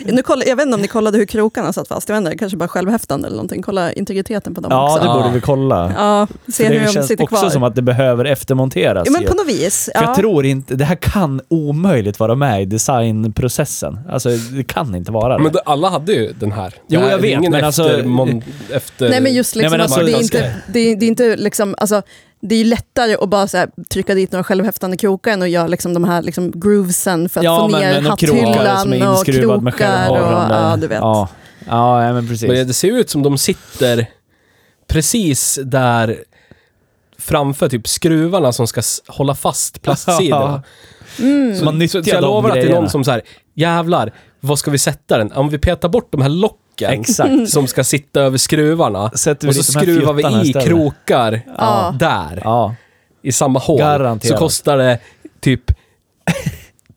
S3: Mm. Nu kolla, jag vet inte om ni kollade hur krokarna satt fast. Jag vet inte, kanske bara självhäftande eller någonting. Kolla integriteten på dem
S1: Ja,
S3: också.
S1: det borde vi kolla.
S3: Ja, se
S1: För
S3: hur
S1: det
S3: de
S1: känns
S3: sitter
S1: också
S3: kvar.
S1: som att det behöver eftermonteras.
S3: ja, men
S1: ju.
S3: på något vis.
S1: För jag
S3: Ja.
S1: tror inte, det här kan omöjligt vara med i designprocessen. Alltså det kan inte vara det.
S2: Men då- alla hade ju den här.
S1: Jo,
S2: Det här
S1: jag
S2: är
S1: vet,
S2: Ingen
S1: men
S2: efter,
S1: alltså-
S2: mon, efter...
S3: Nej men just
S1: Nej,
S3: liksom
S1: men
S3: att
S1: alltså-
S3: det är inte, det är, det är inte liksom, alltså, det är ju lättare att bara så här, trycka dit några självhäftande krokar än att göra liksom de här liksom, groovesen för att
S1: Ja,
S3: få
S1: men-
S3: ner
S1: men de krokar
S3: hatthyllan
S1: som är
S3: och
S1: inskruvad med
S3: krokar. Och,
S1: självhållande.
S3: ja, du vet.
S1: Ja, ja ja, men precis.
S2: Men det ser ju ut som de sitter precis där framför typ skruvarna som ska s- hålla fast plastsidorna.
S1: Så Mm. man
S2: Så,
S1: nyttjar
S2: så jag
S1: de
S2: lovar att det är
S1: grejerna.
S2: någon som så här, jävlar, vad ska vi sätta den? Om vi petar bort de här locken
S1: Exakt.
S2: som ska sitta över skruvarna
S1: Sätter vi
S2: och så
S1: dit de här
S2: skruvar vi
S1: fjuttarna
S2: i
S1: istället.
S2: krokar
S3: Ja.
S2: där
S1: Ja.
S2: i samma hål.
S1: Garanterat.
S2: Så kostar det typ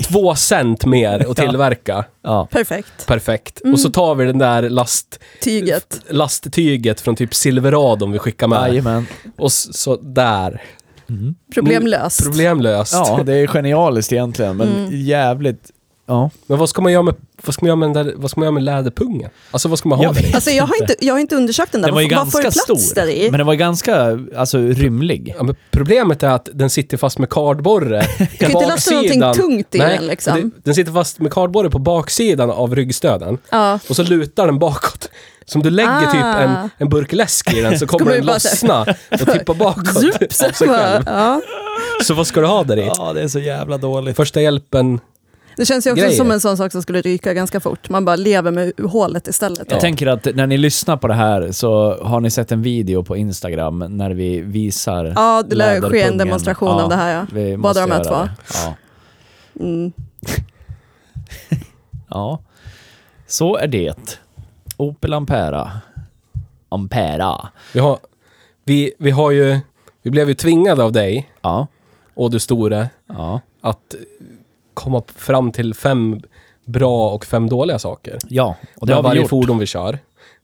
S2: två cent mer att
S1: Ja. Mm.
S2: tillverka.
S1: ja.
S3: Perfekt.
S2: Perfekt. Och så tar vi den där last,
S3: Tyget.
S2: lasttyget från typ Silverado om vi skickar med.
S1: Jajamän.
S2: Och så, så där.
S3: Problemlöst.
S2: Problemlöst.
S1: Ja, det är genialiskt egentligen, men
S3: Mm.
S1: jävligt... Ja.
S2: Men vad ska man göra med, vad ska man göra med, den där, vad ska man göra med läderpungen? Alltså vad ska man ha
S1: Jag
S2: med den?
S3: Alltså jag har, inte, jag har inte undersökt den där.
S1: Den var ju
S3: Vad- vad får
S1: ganska
S3: det plats
S1: stor,
S3: där i?
S1: men den var ju ganska alltså, rymlig.
S2: Ja, men problemet är att den sitter fast med kardborre. Du
S3: kan ju inte lasta någonting tungt i den, liksom.
S2: den sitter fast med kardborre på baksidan av ryggstöden.
S3: Ja.
S2: Och så lutar den bakåt. Så om du lägger typ
S3: Ah.
S2: en, en burk läsk i den så kommer,
S3: Kommer
S2: den
S3: det bara så-
S2: lossna och tippa bakåt.
S1: typ,
S3: Zup, så
S2: av sig
S3: bara,
S2: själv.
S3: ja.
S2: Så vad ska du ha där i?
S1: Ja, det är så jävla dåligt.
S2: Första hjälpen.
S3: Det känns ju också
S2: Grejer.
S3: som en sån sak som skulle ryka ganska fort. Man bara lever med hålet istället.
S1: Jag tänker att när ni lyssnar på det här så har ni sett en video på Instagram när vi visar
S3: Ja, det lär ske
S1: läderpungen.
S3: en demonstration av det här, ja.
S1: vi
S3: Båda
S1: måste
S3: de här
S1: göra
S3: två.
S1: det. Ja.
S3: Mm.
S1: ja, så är det. Opel Ampera. Ampera.
S2: Vi har, vi, vi har ju... Vi blev ju tvingade av dig,
S1: Ja,
S2: och du store,
S1: ja.
S2: att komma fram till fem bra och fem dåliga saker.
S1: Ja, och
S2: Och
S1: det har vi
S2: varje
S1: gjort.
S2: fordon vi kör.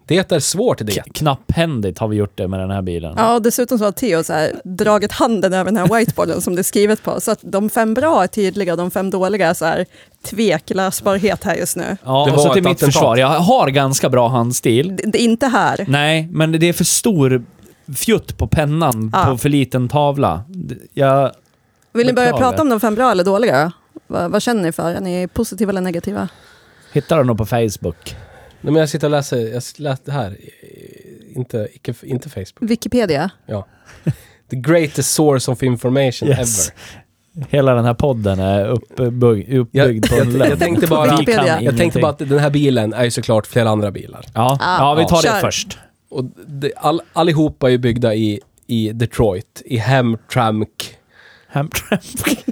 S2: Det är svårt det.
S1: K- knapphändigt har vi gjort det med den här bilen.
S3: Ja, och dessutom så har Theo så här, dragit handen över den här whiteboarden som det är skrivet på. Så att de fem bra är tydliga, de fem dåliga är så här, tvekläsbarhet här just nu.
S1: Ja,
S2: Det
S1: och
S2: var
S1: så till
S2: ett
S1: mitt
S2: attentat.
S1: försvar. Jag har ganska bra handstil.
S3: Det, det är inte här.
S1: Nej, men det är för stor fjutt på pennan
S3: Ja.
S1: på för liten tavla. D- Jag...
S3: Vill ni börja
S1: beklagar.
S3: prata om de fem bra eller dåliga? Va, vad känner ni för? Är ni positiva eller negativa?
S1: Hittar den nog på Facebook.
S2: Nej, men jag sitter och läser, jag läste det här, eh, inte, icke, inte
S1: Mm.
S2: Facebook.
S3: Wikipedia?
S2: Ja. The greatest source of information ever.
S1: Hela den här podden är uppbyggd, uppbyggd på en
S2: jag, jag, tänkte bara,
S1: Vi kan
S2: jag tänkte
S1: ingenting.
S2: bara att den här bilen är ju såklart flera andra bilar.
S1: Ja,
S3: Ah,
S1: ja vi tar
S3: kör.
S1: det först.
S2: Och det, all, allihopa är ju byggda i, i Detroit, i Hamtramck.
S1: Hamtramck.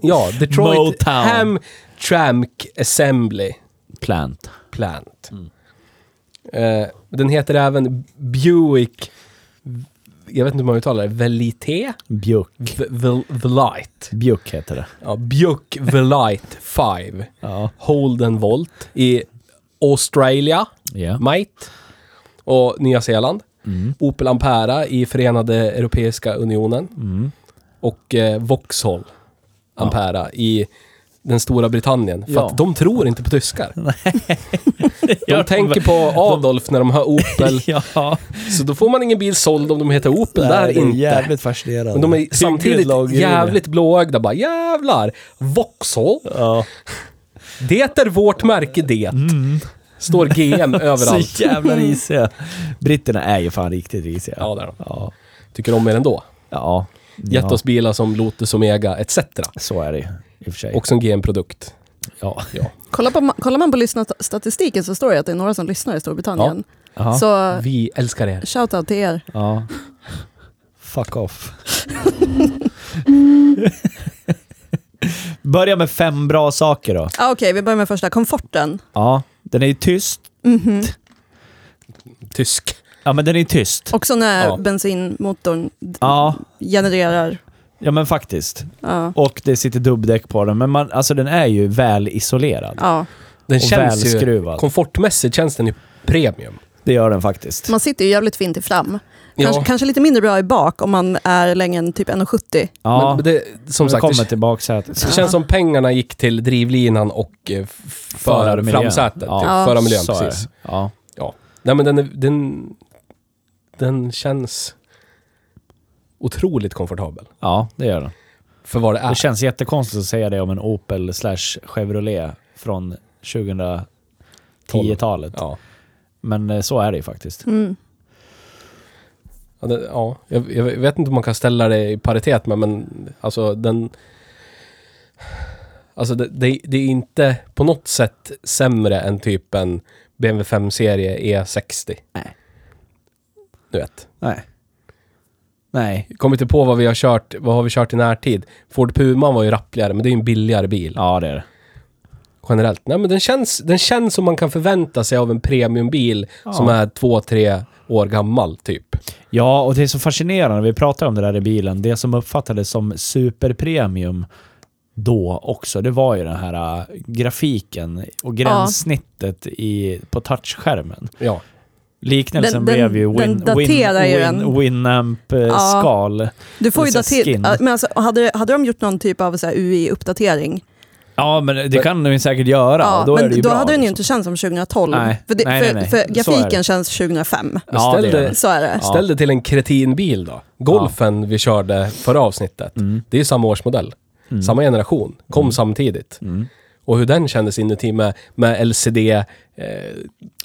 S2: Ja, Detroit
S1: Motown.
S2: Hamtramck Assembly
S1: Plant.
S2: Plant. Eh, den heter även Buick, jag vet inte hur man uttalar det, Velite?
S1: Bjuck.
S2: V- Vel- Velite.
S1: Bjuck heter det.
S2: Ja, Bjuck Velite 5.
S1: Ja.
S2: Holden Volt i Australia,
S1: Ja.
S2: Mate och Nya Zeeland.
S1: Mm.
S2: Opel Ampera i Förenade Europeiska Unionen.
S1: Mm.
S2: Och eh, Vauxhall Ampera i den stora Britannien. För
S1: Ja.
S2: att de tror inte på tyskar.
S1: Gör
S2: De
S1: de
S2: tänker
S1: väl.
S2: på Adolf när de hör Opel.
S1: Ja.
S2: Så då får man ingen bil såld om de heter Opel
S1: Nej,
S2: där
S1: det är
S2: inte.
S1: Jävligt fascinerande.
S2: Men de är
S1: Hyggligt
S2: samtidigt
S1: lagrinne.
S2: jävligt blåögda. Bara jävlar! Vauxhall.
S1: Ja.
S2: Det är vårt märke det. Står GM överallt.
S1: Mm. Så jävla risiga. Britterna är ju fan riktigt risiga.
S2: Ja, där.
S1: Ja.
S2: Tycker om er ändå.
S1: Ja.
S2: Gett oss bilar som Lotus Omega etc.
S1: Så är det ju, i och för sig.
S2: Och som GM-produkt.
S1: Ja.
S3: Kollar, på, kollar man på lyssnarstatistiken så står det att det är några som lyssnar i Storbritannien.
S1: Ja.
S3: Så
S2: Vi älskar er.
S3: shoutout till er.
S1: ja. Fuck off. Börja med fem bra saker då.
S3: Ah, Okej, vi börjar med första. Komforten.
S1: Ja, den är ju tyst.
S3: Mhm.
S2: Tysk.
S1: Ja, men den är ju tyst.
S3: Också när
S1: Ja.
S3: bensinmotorn d-
S1: Ja,
S3: genererar.
S1: ja men faktiskt.
S3: Ja.
S1: Och det sitter dubbdäck på den, men man, alltså den är ju väl isolerad.
S3: Ja.
S2: Den
S1: Och
S2: känns ju...
S1: välskruvad.
S2: Komfortmässigt känns den ju premium.
S1: Det gör den faktiskt.
S3: Man sitter ju jävligt fint i fram. Kanske,
S2: Ja,
S3: kanske lite mindre bra i bak om man är längre än typ 1,70.
S1: Ja,
S2: men det, som
S1: som
S2: sagt,
S1: kommer
S2: det, kän-
S1: till baksätet.
S2: det känns som pengarna gick till drivlinan och eh, f- för
S1: Förarmiljön.
S2: framsätet.
S1: Ja.
S2: Ja. Förarmiljön,
S1: Så är det.
S2: precis.
S1: Ja.
S2: Nej men den, är, den, den känns otroligt komfortabel.
S1: ja, det gör den.
S2: För vad det är.
S1: Det känns jättekonstigt att säga det om en Opel slash Chevrolet från 2010-talet.
S2: ja.
S1: Men eh, så är det ju faktiskt.
S3: Mm.
S2: Ja, det, ja. Jag, jag vet inte om man kan ställa det i paritet med, men alltså den... Alltså det, det, det är inte på något sätt sämre än typ en BMW 5-serie E60.
S1: Nej.
S2: Du E vet.
S1: Nej. Nej.
S2: Kommer inte på vad vi har kört, vad har vi kört i närtid? Ford Puma var ju rappligare, men det är ju en billigare bil.
S1: Ja, det är det.
S2: generellt. Nej, men den känns, den känns som man kan förvänta sig av en premiumbil
S1: Ja.
S2: som är två, tre år gammal, typ.
S1: Ja, och det är så fascinerande. Vi pratade om det där i bilen. Det som uppfattades som superpremium då också, det var ju den här äh, grafiken och gränssnittet i, på touchskärmen.
S2: Ja.
S1: Liknelsen
S3: Den- den-
S1: blev ju win,
S3: den
S1: win,
S3: daterar ju
S1: win, eh,
S3: den. Ja.
S1: Winamp-skal. Ja.
S3: Du får ju
S1: Eller så här
S3: dater-
S1: skin.
S3: ja, men alltså, hade, hade de gjort någon typ av så här UI-uppdatering,
S1: men det kan de ju säkert göra.
S3: ja,
S1: och då
S3: men
S1: är det ju
S3: då
S1: bra,
S3: hade den ju
S1: liksom.
S3: inte känts som 2012.
S1: Nej.
S3: För, det,
S1: Nej, nej,
S3: för,
S1: nej. Så
S3: för
S1: är det.
S3: grafiken känns 2005.
S1: Ja, det
S2: Ställ
S1: gör
S2: dig-
S1: det.
S3: Så är det.
S1: Ja.
S2: Ställ dig till en kretinbil då. Golfen vi körde förra avsnittet,
S1: Mm.
S2: det är ju samma årsmodell.
S1: Mm.
S2: Samma generation, kom samtidigt.
S1: Mm.
S2: Och hur den kändes inuti med, med LCD. Eh, nej,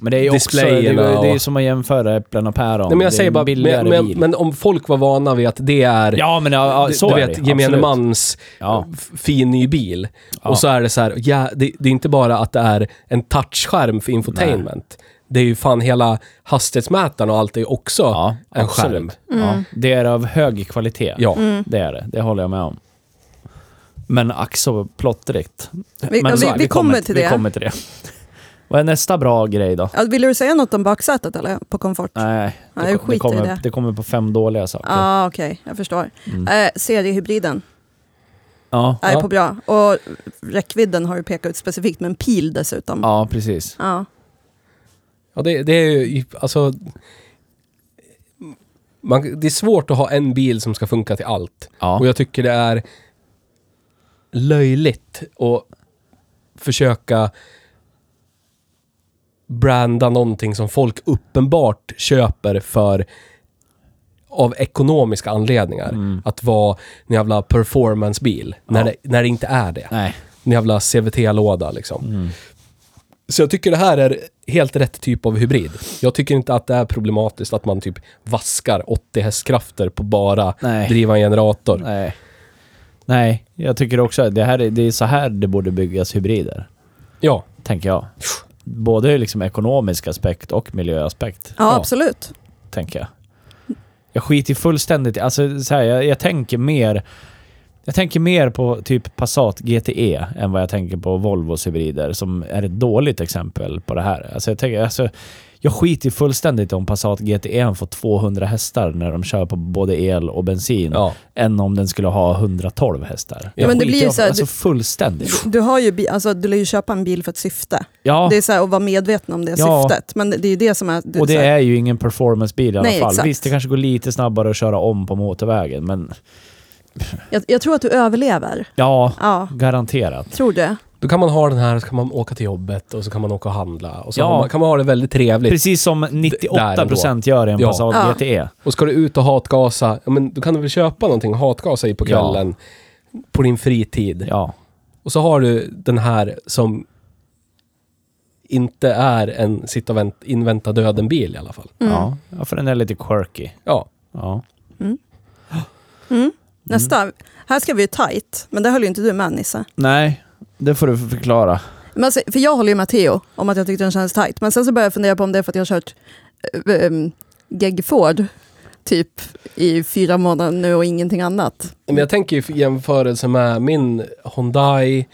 S1: Men det är ju också, det, är ju-
S2: displayerna och-
S1: det är ju som att jämföra äpplen och päron.
S2: men
S1: Det är
S2: jag säger
S1: en
S2: bara,
S1: billigare
S2: men, men,
S1: bil.
S2: men om folk var vana vid att det är
S1: ja, men ja, ja,
S2: Du-
S1: så
S2: du
S1: är
S2: vet,
S1: det ju,
S2: gemene
S1: absolut.
S2: mans
S1: Ja.
S2: f- fin ny bil.
S1: Ja.
S2: Och så är det så här, ja, det, det är inte bara att det är en touchskärm för infotainment. Det är ju fan hela hastighetsmätaren och allt är ju också
S1: Ja,
S2: en
S1: absolut.
S2: skärm.
S3: Mm.
S1: Ja, det är av hög kvalitet.
S2: Ja.
S1: Det är det. Det håller jag med om. Men ack så plottrigt.
S3: Vi,
S1: Men
S3: ja,
S1: så-
S3: vi, vi kommer till
S1: Vi
S3: det.
S1: kommer till det. Vad är nästa bra grej då?
S3: Ja, Vill du säga något om baksätet eller på komfort?
S1: Nej,
S3: Nej,
S1: det,
S3: skit i
S1: kommer,
S3: det.
S1: kommer på fem dåliga saker.
S3: Ja, okej, jag förstår.
S1: Mm.
S3: Eh, seriehybriden
S1: Ja,
S3: är
S2: Ja.
S3: på bra. Och räckvidden har du pekat ut specifikt med en pil dessutom. Ja.
S1: ja, precis.
S2: Ja, det, det är ju, i- alltså... Man, det är svårt att ha en bil som ska funka till allt. Och
S1: Ja.
S2: jag tycker det är löjligt att försöka branda någonting som folk uppenbart köper för av ekonomiska anledningar. Att vara en jävla performancebil, när,
S1: Mm. Ja.
S2: det, när det inte är det.
S1: Nej.
S2: En jävla CVT-låda liksom.
S1: Mm.
S2: Så jag tycker det här är helt rätt typ av hybrid. Jag tycker inte att det är problematiskt att man typ vaskar 80 hästkrafter på bara
S1: Nej.
S2: driva en generator.
S1: Nej. Nej, jag tycker också att det, här är, det är så här det borde byggas hybrider.
S2: Ja.
S1: Tänker jag. Både liksom ekonomisk aspekt och miljöaspekt.
S3: ja, absolut.
S1: tänker jag. Jag skiter ju fullständigt i- alltså, så här, jag, jag tänker mer jag tänker mer på typ Passat GTE än vad jag tänker på Volvos hybrider som är ett dåligt exempel på det här. Alltså, jag, tänker, alltså, jag skiter ju fullständigt om Passat GTE får 200 hästar när de kör på både el och bensin
S2: Ja.
S1: än om den skulle ha 112 hästar.
S2: Ja,
S3: men det
S1: Jag
S3: blir ju
S1: skiter
S3: så här-
S1: alltså, fullständigt.
S3: Du, har ju, bi- alltså, du lär ju köpa en bil för ett syfte.
S1: Ja,
S3: Det är så här att vara medveten om det
S1: Ja.
S3: syftet. Men det är ju det som är... Det,
S1: och det
S3: så här,
S1: är ju ingen performancebil i alla
S3: Nej,
S1: fall.
S3: exakt.
S1: Visst, det kanske går lite snabbare att köra om på motorvägen, men
S3: jag, jag tror att du överlever.
S1: ja,
S3: Ja,
S1: garanterat.
S3: tror det.
S2: Då kan man ha den här, så kan man åka till jobbet och så kan man åka och handla. Och så
S1: Ja.
S2: har man, kan man ha det väldigt trevligt.
S1: Precis som 98% gör i en
S2: Ja.
S1: Passat E.
S3: Ja.
S1: GTE.
S2: Och ska du ut och hatgasa, ja, men då kan du väl köpa någonting och hatgasa i på
S1: Ja.
S2: kvällen. På din fritid.
S1: Ja.
S2: Och så har du den här som inte är en sitta och vänt, invänta döden-bil i alla fall.
S3: Mm.
S1: ja. Ja, för den är lite quirky.
S2: Ja.
S1: Ja.
S3: Mm. Nästa. Här ska vi ju tight, men det höll ju inte du med Nisse.
S1: Nej, det får du förklara.
S3: Men alltså, för jag håller ju med Theo om att jag tyckte den kändes tight. Men sen så började jag fundera på om det är för att jag har kört äh, Geg Ford typ i fyra månader nu och ingenting annat.
S2: Men jag tänker ju i jämförelse med min Hyundai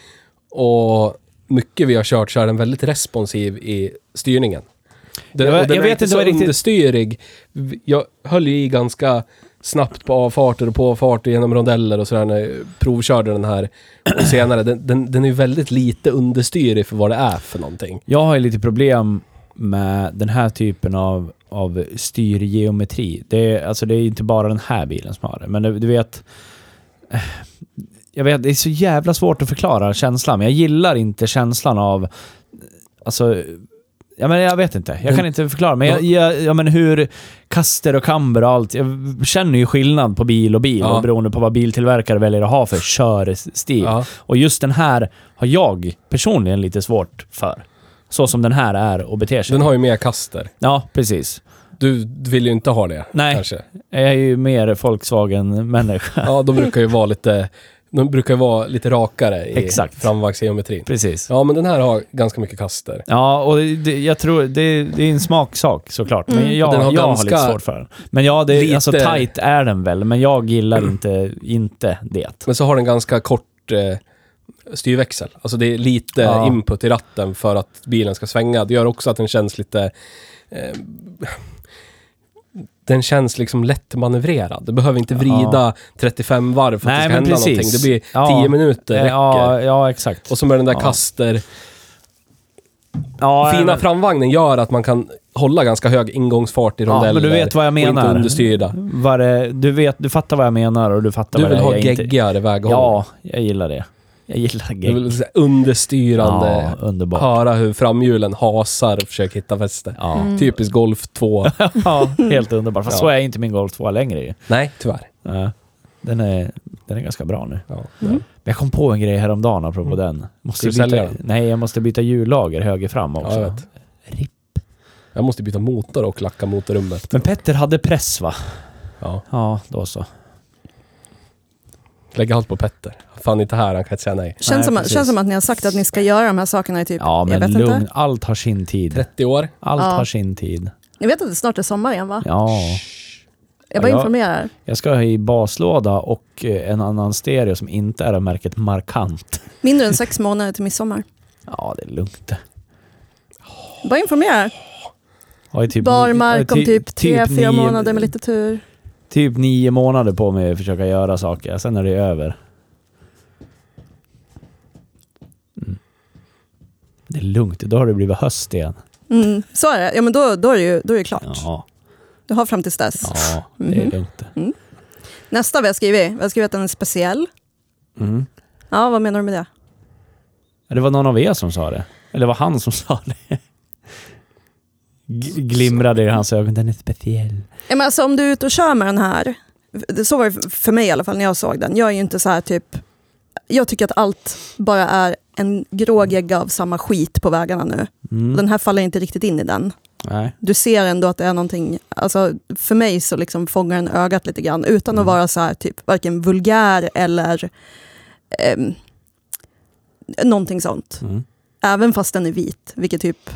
S2: och mycket vi har kört så är den väldigt responsiv i styrningen. Den,
S1: Jag-
S2: och den
S1: jag
S2: är
S1: vet
S2: inte
S1: inte
S2: så
S1: vad riktigt-
S2: understyrig. Jag höll ju i ganska snabbt på avfarter och påfarter genom rondeller och sådär när jag provkörde den här och senare. Den, den, den är ju väldigt lite understyrig för vad det är för någonting.
S1: Jag har ju lite problem med den här typen av, av styrgeometri. Det är, alltså det är inte bara den här bilen som har det, men du, du vet... eh, Jag vet, det är så jävla svårt att förklara känslan, men jag gillar inte känslan av... Alltså... Ja, men jag vet inte. Jag kan inte förklara. Men, jag, jag, ja, men hur kaster och kamber och allt. Jag känner ju skillnad på bil och bil
S2: Ja.
S1: och beroende på vad biltillverkare väljer att ha för körstil.
S2: Ja.
S1: Och just den här har jag personligen lite svårt för. Så som den här är och beter sig.
S2: Den har ju mer kaster.
S1: Ja, precis.
S2: Du vill ju inte ha det
S1: Nej.
S2: kanske.
S1: Jag är ju mer Volkswagen-människa.
S2: Ja, de brukar ju vara lite, de brukar ju vara lite rakare i
S1: Exakt.
S2: framvagnsgeometrin.
S1: Precis.
S2: Ja, men den här har ganska mycket kaster.
S1: Ja, och det, jag tror det, det är en smaksak såklart. Men jag,
S2: Mm. Den har
S1: jag har
S2: ganska-
S1: lite svårt för den. Men ja, det,
S2: Lite-
S1: alltså tight är den väl, men jag gillar inte, inte det.
S2: Men så har den ganska kort eh, styrväxel. Alltså det är lite
S1: Ja.
S2: input i ratten för att bilen ska svänga. Det gör också att den känns lite... Eh, den känns liksom lätt manövrerad. Du behöver inte vrida 35 varv för
S1: Nej,
S2: att det ska
S1: men
S2: hända
S1: precis.
S2: någonting. Det blir 10
S1: Ja.
S2: minuter, räcker.
S1: Ja, ja, exakt.
S2: Och så med den där
S1: Ja.
S2: kaster...
S1: ja,
S2: Fina
S1: men-
S2: framvagnen gör att man kan hålla ganska hög ingångsfart i
S1: Ja,
S2: rondeller.
S1: men du vet vad jag
S2: Och
S1: menar. Mm.
S2: inte understyrda.
S1: vad det, du, vet, du fattar vad jag menar och du fattar
S2: Du
S1: vad
S2: vill
S1: det är
S2: ha
S1: jag inte...
S2: geggigare väghållning.
S1: Ja, jag gillar det. Jag gillar
S2: Det är
S1: gegg.
S2: väl så här understyrande.
S1: Ja, underbart.
S2: Höra hur framhjulen hasar och försöker hitta fäste.
S1: Ja.
S3: Mm.
S2: Typiskt Golf 2.
S1: ja, helt underbart. Fast
S2: Ja.
S1: så är inte min Golf 2 längre ju.
S2: Nej, tyvärr.
S1: Ja. Den är, den är ganska bra nu.
S2: Ja.
S1: Men jag kom på en grej häromdagen apropå den. Måste
S2: Mm. Ska du
S1: byta,
S2: sälja den?
S1: Nej, jag måste byta hjullager höger fram också.
S2: Ja, jag vet.
S1: Ripp.
S2: Jag måste byta motor och lacka motorrummet.
S1: Men Petter hade press va?
S2: Ja.
S1: Ja, då så.
S2: Lägg allt på Petter. Fan inte här, han kan inte säga nej.
S3: Känns,
S1: Nej,
S3: som, att-
S1: precis.
S3: känns som att ni har sagt att ni ska göra de här sakerna i typ,
S1: Ja,
S3: jag
S1: men
S3: vet
S1: lugn.
S3: inte.
S1: Allt har sin tid.
S2: 30 år.
S1: Allt
S3: Ja.
S1: har sin tid.
S3: Ni vet att det snart är sommar igen va?
S1: Ja.
S3: Jag bara
S1: Ja, jag-
S3: informerar.
S1: Jag ska ha i baslåda och eh, en annan stereo som inte är av märket Markant.
S3: Mindre än sex månader till midsommar.
S1: Ja, det är lugnt.
S3: Bara informerar.
S1: Jag har ju typ
S3: Bar
S1: ni-
S3: mark
S1: jag har
S3: om
S1: ju
S3: typ tre,
S1: nio-
S3: fyra månader med lite tur.
S1: Typ nio månader på mig att försöka göra saker, sen är det över. Mm. Det är lugnt, då har det blivit höst igen.
S3: Mm, så är det. Ja, men då, då, är det ju, då är det klart.
S1: Ja,
S3: Du har fram tills dess.
S1: ja det är lugnt.
S3: Nästa vi har skrivit. Vi har skrivit att den är speciell.
S1: Mm.
S3: Ja, vad menar du med det?
S1: Det var någon av er som sa det. Eller det var han som sa det. G- Glimrade i hans ögon. Den är speciell.
S3: Ja, men alltså, om du är ute och kör med den här, det- så var det för mig i alla fall när jag såg den. Jag är ju inte så här typ, jag tycker att allt bara är en grå gegga av samma skit på vägarna nu.
S1: Mm.
S3: Den här faller inte riktigt in i den.
S1: Nej.
S3: Du ser ändå att det är någonting, alltså för mig så liksom fångar den ögat lite grann utan
S1: Mm.
S3: att vara så här typ varken vulgär eller ehm, någonting sånt.
S1: Mm.
S3: Även fast den är vit, vilket typ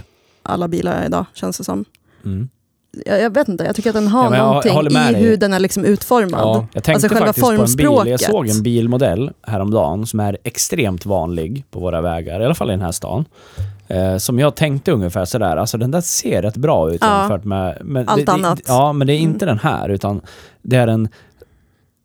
S3: alla bilar är idag känns det som.
S1: Mm.
S3: Jag, jag vet inte, jag tycker att den har
S1: Ja, men jag
S3: någonting
S1: håller med
S3: i
S1: dig.
S3: hur den är liksom utformad.
S2: Ja.
S1: Jag tänkte
S3: Alltså själva
S1: faktiskt på en bil. Jag
S3: formspråket.
S1: såg en bilmodell häromdagen som är extremt vanlig på våra vägar, i alla fall i den här stan. Eh, som jag tänkte ungefär sådär, alltså den där ser rätt bra ut
S3: Ja.
S1: jämfört med... Men
S3: Allt
S1: det, det,
S3: annat. Mm.
S1: Ja, men det är inte den här, utan det är en...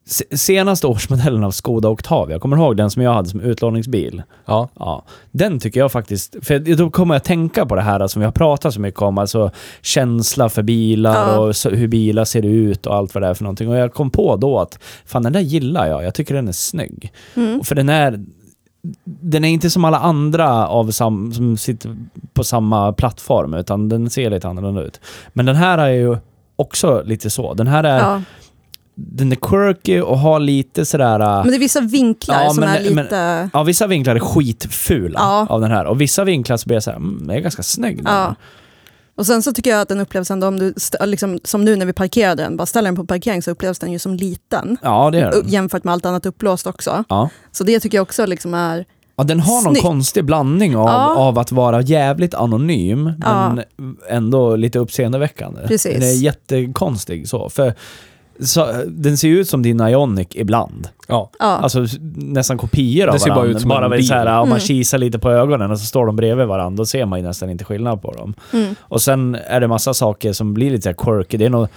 S1: se- Senaste årsmodellen av Skoda Octavia, kommer du ihåg den som jag hade som utlåningsbil?
S2: Ja.
S1: Ja, den tycker jag faktiskt... För då kommer jag tänka på det här som vi har pratat så mycket om, alltså känsla för bilar
S3: Ja.
S1: och så, hur bilar ser ut och allt vad det är för någonting. Och jag kom på då att fan den där gillar jag, jag tycker den är snygg.
S3: Mm.
S1: Och För den är... Den är inte som alla andra av sam, som sitter på samma plattform, utan den ser lite annorlunda ut. Men den här är ju också lite så. Den här är,
S3: Ja.
S1: den är quirky och har lite sådär... äh,
S3: Men det är vissa vinklar
S1: Ja,
S3: som
S1: men-
S3: är
S1: men-
S3: lite...
S1: Ja, vissa vinklar är skitfula
S3: Ja.
S1: av den här. Och vissa vinklar så blir jag såhär, mm, den är ganska snygg. den här."
S3: Ja. Och sen så tycker jag att den upplevs ändå, om du st- liksom, som nu när vi parkerade den, bara ställer den på parkering så upplevs den ju som liten.
S1: ja, det gör
S3: Ö-
S1: den.
S3: Jämfört med allt annat uppblåst också.
S1: Ja.
S3: Så det tycker jag också liksom är
S1: Ja, den har någon
S3: Snyggt.
S1: konstig blandning av,
S3: Ja.
S1: av att vara jävligt anonym, men ändå lite uppseendeväckande.
S3: Precis.
S1: Den är jättekonstig så. För så, den ser ju ut som din Ionic ibland.
S2: Ja.
S3: Ja. Mm.
S1: Alltså s- nästan kopior av
S2: Det ser bara
S1: varandra.
S2: ut som en
S1: väl
S2: bil.
S1: Så här, om man kisar lite på ögonen och så står de bredvid varandra, då ser man ju nästan inte skillnad på dem.
S3: Mm.
S1: Och sen är det massa saker som blir lite så här quirky. Det är, nog,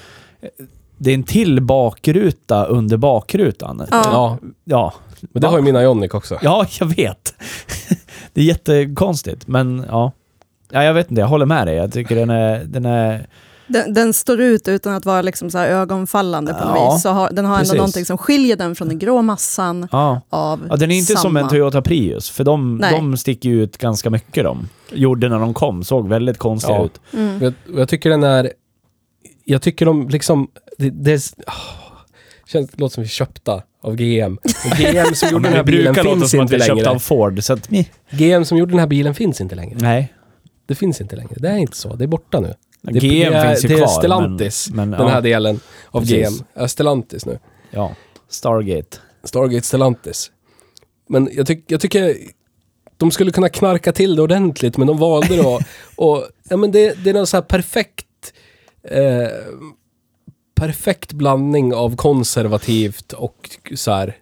S1: det är en till bakruta under bakrutan.
S2: ja.
S1: Ja.
S2: Men det har ju mina Ionic också.
S1: Ja, jag vet. Det är jättekonstigt, men ja. Ja, jag vet inte. Jag håller med dig. Jag tycker den är... Den är
S3: Den, den står ut utan att vara liksom så här ögonfallande på något
S1: Ja,
S3: vis. Så har, den har
S1: precis.
S3: ändå någonting som skiljer den från den grå massan
S1: ja.
S3: av
S1: ja, den är inte
S3: samma.
S1: som en Toyota Prius, för de,
S3: Nej.
S1: de sticker ju ut ganska mycket de. Gjorde när de kom, såg väldigt konstiga
S2: Ja.
S1: ut.
S2: Och Jag, och jag tycker den är... Jag tycker de liksom... Det, det är, s- åh, känns, det låter som vi är köpta av GM. Och GM som gjorde den här bilen finns inte
S1: köpta
S2: längre.
S1: av Ford, så att...
S2: GM som gjorde den här bilen finns inte längre.
S1: Nej.
S2: Det finns inte längre. Det är inte så. Det är borta nu. Det,
S1: GM
S2: det är,
S1: finns ju
S2: det är
S1: kvar.
S2: Stellantis,
S1: men, men,
S2: den
S1: ja,
S2: här delen av
S1: Precis.
S2: GM. Är Stellantis nu.
S1: ja. Stargate.
S2: Stargate Stellantis. Men jag, tyck, jag tycker de skulle kunna knarka till det ordentligt, men de valde då. och, ja, men det, det är någon så här perfekt eh, perfekt blandning av konservativt och så här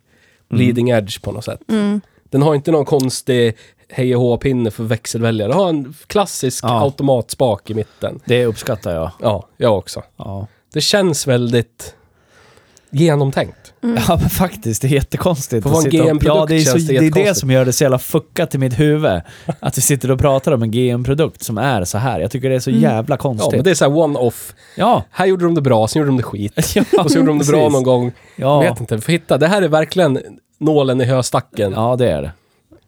S2: leading edge på något sätt. Den har inte någon konstig hej och hå-pinne för växelväljare. Den har en klassisk
S1: Ja.
S2: automatspak i mitten.
S1: Det uppskattar jag.
S2: Ja, jag också.
S1: Ja.
S2: Det känns väldigt genomtänkt.
S1: Ja, men faktiskt. Det är jättekonstigt.
S2: För att vara en
S1: sitta och-
S2: GM-produkt
S1: ja, det är, så,
S2: känns det
S1: det, är det
S2: jättekonstigt.
S1: som gör det så jävla fuckat i mitt huvud. Att vi sitter och pratar om en GM-produkt som är så här. Jag tycker det är så jävla
S2: Ja,
S1: konstigt.
S2: men det är så här one-off.
S1: ja.
S2: Här gjorde de det bra, sen gjorde de det skit.
S1: ja
S2: Och så gjorde de det bra någon gång.
S1: Ja.
S2: Jag vet inte, vi får hitta. Det här är verkligen nålen i höstacken
S1: Ja, det är det.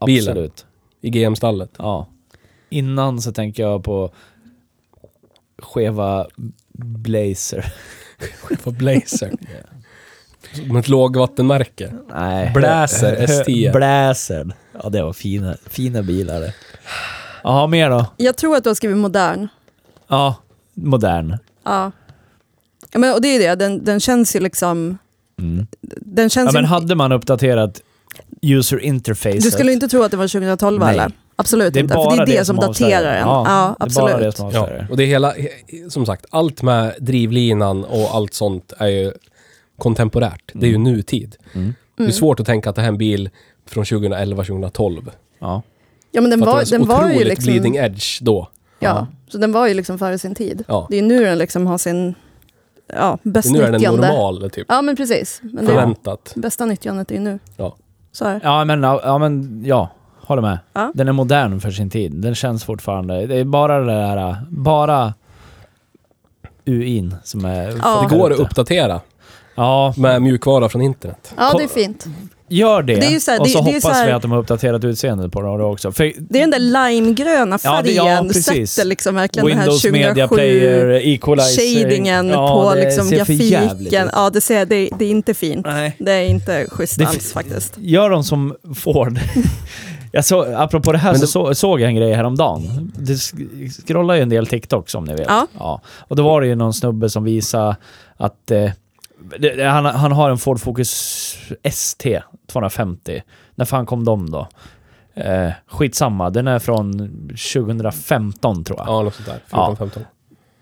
S2: Bilen.
S1: Absolut.
S2: i GM-stallet.
S1: Ja. Innan så tänker jag på skeva blazer.
S2: För blazer. Som ett lågvattenmärke.
S1: Nej.
S2: Blazer ST.
S1: Blazer. Ja, det var fina, fina bilar det. Ja, mer då?
S3: Jag tror att du har skrivit modern.
S1: Ja, modern.
S3: Ja. Ja, Men, och det är det, den, den känns ju liksom...
S1: Mm.
S3: Den känns
S1: Ja, men
S3: ju,
S1: hade man uppdaterat user interface
S3: du skulle inte tro att det var 2012
S1: Nej.
S3: eller? Absolut
S1: Det är
S3: inte, för det
S1: bara
S3: är det,
S1: det
S3: som
S1: som avslöjar.
S3: daterar en.
S1: Ja,
S3: Ja,
S1: det är bara
S3: absolut.
S1: det som
S2: Ja,
S1: avslöjar.
S2: och det är hela, som sagt, allt med drivlinan och allt sånt är ju kontemporärt. Det är ju nutid.
S1: Mm.
S2: Det är svårt att tänka att det här är en bil från 2011, 2012.
S1: Ja.
S3: Ja, men den
S2: För att
S3: var,
S2: den är
S3: den
S2: så
S3: var ju
S2: otroligt
S3: liksom...
S2: bleeding edge då.
S3: Ja, så den var ju liksom före sin tid.
S2: Ja.
S3: Det är ju nu den liksom har sin ja,
S2: Det
S3: bäst
S2: är Nu är den
S3: nyttjande.
S2: normal, typ.
S3: Ja, men precis. Men det är ju
S2: Förväntat.
S3: bästa nyttjandet är ju nu.
S2: Ja.
S3: Så är det.
S1: Ja, men, ja, ja, men ja, håller med.
S3: Ja.
S1: Den är modern för sin tid. Den känns fortfarande. Det är bara det där, bara UIn som är...
S3: Ja.
S2: Det går att uppdatera
S1: Ja,
S2: med mjukvara från internet.
S3: Ja, det är fint.
S1: gör det.
S3: Det är ju så här-
S1: och så
S3: det- det är
S1: hoppas
S3: så här-
S1: vi att de har uppdaterat utseendet på det också. För
S3: Det är den där limegröna
S1: Ja, det-
S3: färgen
S1: ja, precis.
S3: sätter liksom verkligen
S1: Windows
S3: den här
S1: Media
S3: 2007
S1: Player Equalizer...
S3: shadingen
S1: ja,
S3: på
S1: det
S3: liksom
S1: ser för jävligt
S3: grafiken.
S1: ut.
S3: Ja, det, ser, det, det är inte fint.
S1: Nej.
S3: Det är inte schysst
S1: Det är
S3: alls faktiskt.
S1: Gör de som Ford. Jag så, apropå det här
S2: Men
S1: så så,
S2: det-
S1: såg jag en grej häromdagen. Det sk- scrollar ju en del TikTok som ni vet.
S3: Ja.
S1: Och då var det ju någon snubbe som visade att eh, det, det- han, han har en Ford Focus ST 250. När fan kom de då? Eh, skitsamma, den är från 2015 tror jag.
S2: Ja, något sånt där. 14,
S1: Ja.
S2: 15.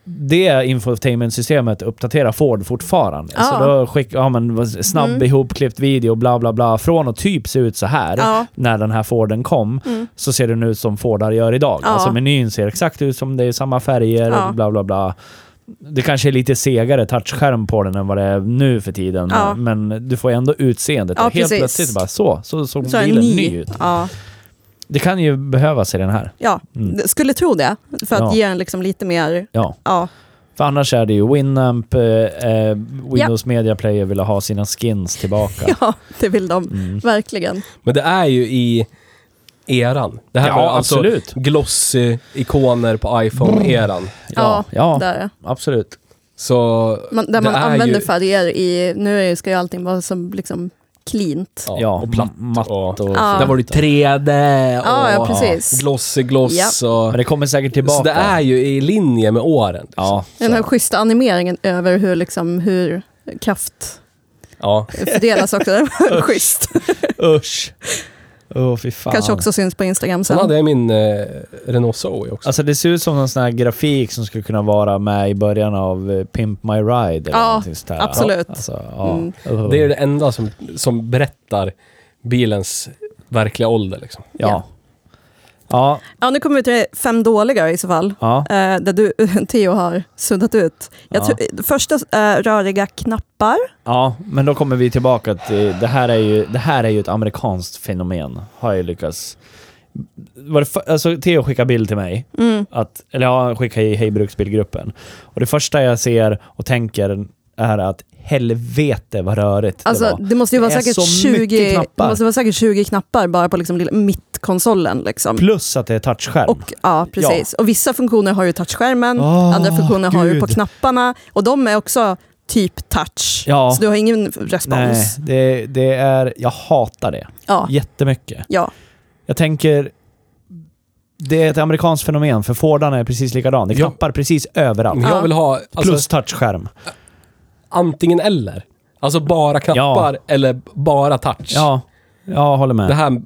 S1: Det infotainmentsystemet uppdaterar Ford fortfarande.
S3: Ja. Mm.
S1: Så då skickar, ja men vad- snabb ihopklippt video, bla bla bla. Från och typ se ut så här
S3: Ja.
S1: när den här Forden kom,
S3: Mm.
S1: så ser den ut som Fordar gör idag.
S3: Ja.
S1: Alltså menyn ser exakt ut som det är samma färger,
S3: Ja.
S1: bla bla bla. Det kanske är lite segare touchskärm på den än vad det är nu för tiden,
S3: Ja.
S1: men du får ändå utseendet.
S3: Ja,
S1: och helt
S3: precis.
S1: plötsligt bara så, så såg
S3: Så är den
S1: bilen ny. ut.
S3: Ja,
S1: Det kan ju behövas i den här.
S3: ja.
S1: Mm.
S3: skulle tro det. För att
S1: Ja.
S3: ge den liksom lite mer...
S1: Ja.
S3: Ja,
S1: För annars är det ju Winamp, eh, eh, Windows Media Player vill ha sina skins tillbaka.
S3: ja det vill de.
S1: Mm.
S3: Verkligen.
S2: Men det är ju i eran. Det här
S1: Ja,
S2: var alltså
S1: absolut.
S2: glossy-ikoner på iPhone-eran.
S3: Ja,
S1: ja,
S3: där är det.
S1: absolut.
S2: Så
S3: Man, där
S2: det
S3: man
S2: är
S3: använder
S2: ju,
S3: färger i... Nu är ju- ska ju allting vara som liksom cleant.
S2: ja,
S1: Ja,
S2: och platt.
S1: matt
S2: och-
S1: och
S3: Ja.
S2: Där var det 3D och
S3: Ja, ja, precis.
S2: glossy gloss.
S1: Men
S2: Och,
S1: det kommer säkert
S2: så
S1: tillbaka.
S2: det är ju i linje med åren. liksom.
S1: Ja,
S3: Den
S1: så.
S3: här schyssta animeringen över hur, liksom, hur kraft
S2: ja.
S3: fördelas också. Det var schysst.
S1: Usch. Åh, fy fan.
S3: Kanske också syns på
S2: Sen
S3: Instagram sen.
S2: hade jag min eh, Renault Zoe också.
S1: Alltså det ser ut som någon sån här grafik som skulle kunna vara med i början av eh, Pimp My Ride. Eller
S3: Ja,
S1: någonting sånt här.
S3: absolut.
S1: Alltså, ja.
S3: Mm.
S1: Uh.
S2: det är det enda som, som berättar bilens verkliga ålder. Liksom.
S1: Ja. Ja,
S3: Ja, nu kommer vi till det fem dåliga i så fall.
S1: ja.
S3: Eh, där du, Theo har suddat ut. Jag
S1: Ja.
S3: tror- första eh, röriga knappar.
S1: Ja, men då kommer vi tillbaka till... Det här är ju, det här är ju ett amerikanskt fenomen, har jag lyckats... Var det för, alltså, Theo skickade bild till mig,
S3: Mm.
S1: att, eller ja, han skickade i Hej Bruksbilgruppen. Och det första jag ser och tänker är att helvete vad rörigt det
S3: Alltså,
S1: var.
S3: det måste ju vara
S1: Det är
S3: säkert
S1: så mycket
S3: 20
S1: knappar.
S3: Det måste vara säkert 20 knappar bara på liksom lilla mittkonsolen. Liksom.
S1: Plus att det är touchskärm.
S3: Och, ja, precis. Och vissa funktioner har ju touchskärmen,
S1: Åh,
S3: andra funktioner har du på
S1: Ah, gud.
S3: knapparna. Och de är också typ touch.
S1: Ja.
S3: Så du har ingen respons.
S1: Nej, det, det är... Jag hatar det
S3: Ja.
S1: jättemycket.
S3: Ja.
S1: Jag tänker... Det är ett amerikanskt fenomen, för Fordarna är precis likadan. Det är
S2: Ja.
S1: knappar precis överallt.
S2: Men jag
S3: Ja.
S2: vill ha alltså,
S1: Plus touchskärm.
S2: antingen eller. Alltså bara knappar eller bara touch.
S1: Ja, jag håller med.
S2: Det här...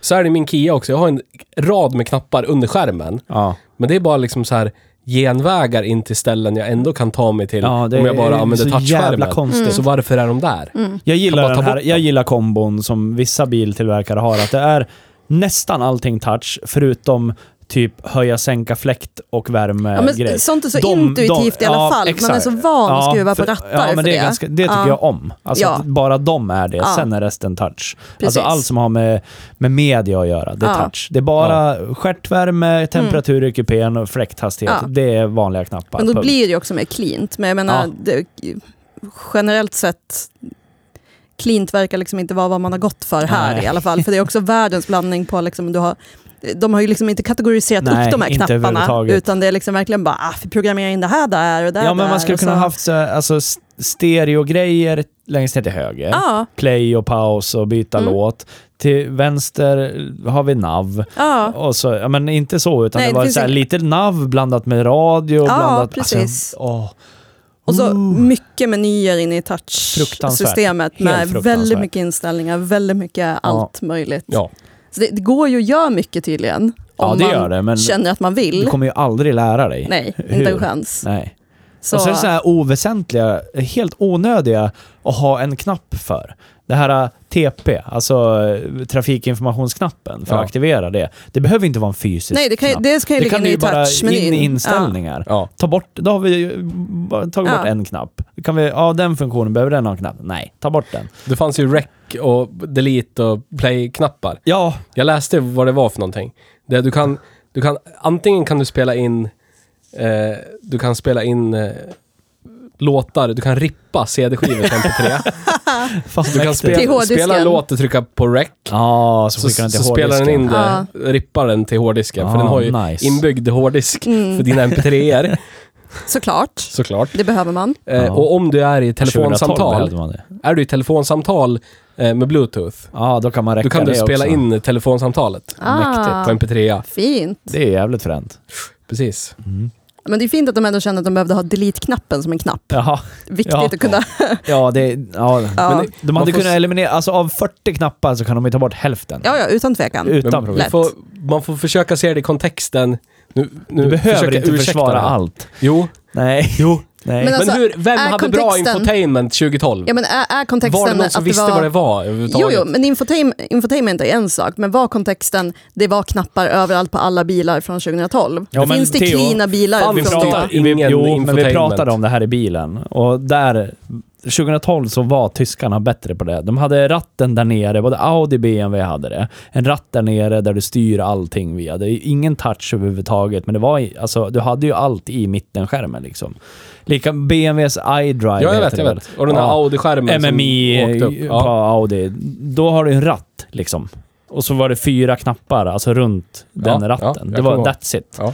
S2: Så är det i min Kia också. Jag har en rad med knappar under skärmen.
S1: ja.
S2: Men det är bara liksom så här genvägar in till ställen jag ändå kan ta mig till
S1: Ja, det
S2: om jag bara
S1: är
S2: använder
S1: så jävla
S2: touchskärmen.
S1: konstigt.
S2: Så varför är de där?
S1: Jag
S2: Kan
S1: gillar,
S2: bara
S1: den
S2: ta
S1: här,
S2: bort dem.
S1: jag gillar kombon som vissa biltillverkare har, att det är nästan allting touch, förutom typ höja, sänka fläkt och värme
S3: Ja, men
S1: grej.
S3: sånt är så
S1: De-
S3: intuitivt
S1: de-
S3: i alla
S1: ja,
S3: fall. Man är
S1: exakt.
S3: så van att
S1: Ja,
S3: skruva
S1: för-
S3: på rattar
S1: ja, men
S3: för
S1: det.
S3: det.
S1: Är ganska, det tycker
S3: Ja.
S1: jag om. Alltså,
S3: Ja.
S1: att bara de är det,
S3: Ja.
S1: sen är resten touch.
S3: Precis.
S1: Alltså allt som har med, med media att göra, det är
S3: Ja. Mm.
S1: touch. Det är bara stjärtvärme, temperatur i kupén och fläkthastighet.
S3: Ja.
S1: Det är vanliga knappar.
S3: Men då
S1: punkt.
S3: blir det ju också mer cleant. Men jag menar,
S1: Ja.
S3: det, generellt sett, cleant verkar liksom inte vara vad man har gått för här
S1: Nej.
S3: i alla fall. För det är också världens blandning på, liksom, du har, de har ju liksom inte kategoriserat
S1: Nej,
S3: upp de här
S1: inte
S3: knapparna.
S1: överhuvudtaget.
S3: Utan det är liksom verkligen bara, ah, vi programmerar in det här där och där.
S1: Ja, men
S3: där,
S1: man skulle
S3: och så-
S1: kunna haft så, här, alltså, s- stereogrejer längst ner till höger.
S3: Ja,
S1: Play och paus och byta
S3: Mm.
S1: låt. Till vänster har vi nav.
S3: ja.
S1: Och så, ja, men inte så, utan
S3: Nej,
S1: det
S3: det
S1: var
S3: finns
S1: så här,
S3: ju-
S1: lite nav blandat med radio.
S3: Ja,
S1: blandat,
S3: precis.
S1: Alltså, åh.
S3: Och så
S1: Ooh.
S3: mycket menyer inne i
S1: Fruktansvärt.
S3: touchsystemet
S1: Helt
S3: med väldigt
S1: fruktansvärt.
S3: mycket inställningar, väldigt mycket allt möjligt.
S2: Ja.
S3: Så det, det går ju att göra mycket tydligen, om
S1: Ja, det
S3: man
S1: gör det, men
S3: känner att man
S1: du
S3: vill.
S1: kommer ju aldrig lära dig.
S3: Nej,
S1: Hur?
S3: inte en chans.
S1: Nej.
S3: Så,
S1: Och så är det så här oväsentliga, helt onödiga att ha en knapp för. Det här eh, TP, alltså eh, trafikinformationsknappen, för
S2: Ja.
S1: att aktivera det. Det behöver inte vara en fysisk
S3: nej, det kan, ju-
S1: knapp.
S3: det kan ju
S1: Det
S3: ligga
S1: kan du
S3: inne
S1: ju
S3: i
S1: bara in
S3: touchmenyn.
S1: i inställningar.
S2: Ja.
S1: Ta bort, då har vi ju bara tagit
S3: Ja.
S1: bort en knapp. Kan vi, ja, den funktionen, behöver den ha en knapp? Nej, ta bort den.
S2: Det fanns ju rec och delete och play-knappar.
S1: Ja,
S2: Jag läste vad det var för någonting. Det du kan, du kan, antingen kan du spela in, eh, du kan spela in eh, låtar, du kan rippa CD-skivor till MP3.
S1: fan
S2: Du kan
S1: mäktigt.
S3: Till
S2: spela,
S3: hårddisken.
S2: spela en låt och trycka på rec.
S1: Ja, så,
S2: Så,
S1: skickar den till
S2: så spelar den
S1: hårddisken.
S2: in det, rippar den till hårddisken. för
S1: Ah,
S2: den har ju
S1: nice.
S2: inbyggd hårddisk
S3: Mm.
S2: för dina MP3-er,
S3: Ja, såklart,
S2: såklart.
S3: det behöver man.
S2: Eh,
S1: Ja.
S2: Och om du är i
S1: 2012
S2: telefonsamtal,
S1: behövde man det.
S2: är du i telefonsamtal eh, med bluetooth,
S1: Ja, då kan man räcka
S2: då kan du
S1: det
S2: spela
S1: också.
S2: in telefonsamtalet på
S3: Ah,
S2: MP3.
S3: fint.
S1: Det är jävligt fränt.
S2: Precis.
S3: Men det är fint att de ändå kände att de behövde ha delete-knappen som en knapp.
S1: Jaha.
S3: Viktigt
S1: Ja.
S3: att kunna...
S1: Ja, det... Ja.
S3: Ja.
S1: Men det, de
S2: man
S1: hade
S2: får
S1: kunnat
S2: s-
S1: eliminera... Alltså av 40 knappar så kan de ju ta bort hälften.
S3: Ja, ja, utan tvekan.
S1: Utan
S2: Men
S1: problem.
S3: lätt.
S2: man, får, man får försöka se det i kontexten. Nu, nu
S1: Du behöver
S2: försöker
S1: inte
S2: ursäkta
S1: försvara
S2: det.
S1: allt.
S2: Jo,
S1: Nej. Jo. Nej.
S3: Men
S2: men
S3: alltså,
S2: hur, vem
S3: är
S2: hade bra
S3: kontexten-
S2: infotainment 2012?
S3: Ja, men är, är kontexten
S2: var det någon som
S3: att
S2: visste
S3: det var...
S2: vad det var
S3: Jo,
S2: överhuvudtaget?
S3: jo, men infotainment, infotainment är en sak, men var kontexten, det var knappar överallt på alla bilar från 2012.
S1: Ja, men
S3: Finns det
S1: Theo,
S3: cleana bilar
S2: fan,
S1: vi
S3: från typ-
S2: förstår
S3: då?
S1: pratar,
S2: jag.
S1: vi,
S2: Ingen
S1: jo, men vi
S2: infotainment.
S1: pratade om det här i bilen. Och där... 2012 så var tyskarna bättre på det. De hade ratten där nere, både Audi och BMW hade det. En ratt där nere där du styr allting via. Det är ju ingen touch överhuvudtaget, men det var i, alltså, du hade ju allt i mittenskärmen liksom. Lika BMWs iDrive
S2: Ja, jag
S1: heter
S2: vet, jag
S1: det
S2: vet.
S1: väl?
S2: Och den här
S1: Ja.
S2: Audi-skärmen
S1: MMI
S2: som åkte upp.
S1: eh, på
S2: Ja.
S1: Audi. Då har du en ratt liksom. Och så var det fyra knappar, alltså runt den
S2: ja,
S1: ratten.
S2: jag
S1: det var
S2: kommer ihåg.
S1: that's it.
S2: Ja.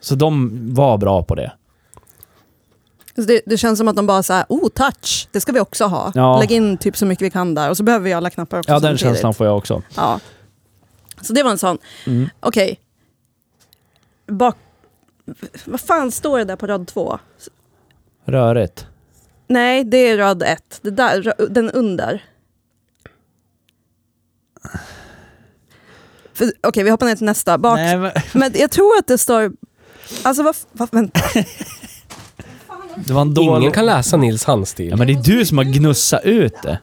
S1: Så de var bra på det.
S3: Så Det, det känns som att de bara så här, oh touch, det ska vi också ha.
S1: Ja.
S3: Lägg in typ så mycket vi kan där och så behöver vi alla knappar också
S1: Ja, den
S3: samtidigt.
S1: känslan får jag också.
S3: Ja. Så det var en sån.
S1: Mm.
S3: Okej. Bak... Vad fan står det där på rad två?
S1: Rörigt.
S3: Nej, det är rad ett. Det där, den under. För- Okej, vi hoppar ner till nästa. Bak.
S1: Nej, men,
S3: Men jag tror att det står... Alltså, vad... vad vänta.
S1: det var en dålig...
S2: Ingen kan läsa Nils handstil.
S1: Ja, men det är du som har gnussat ut det.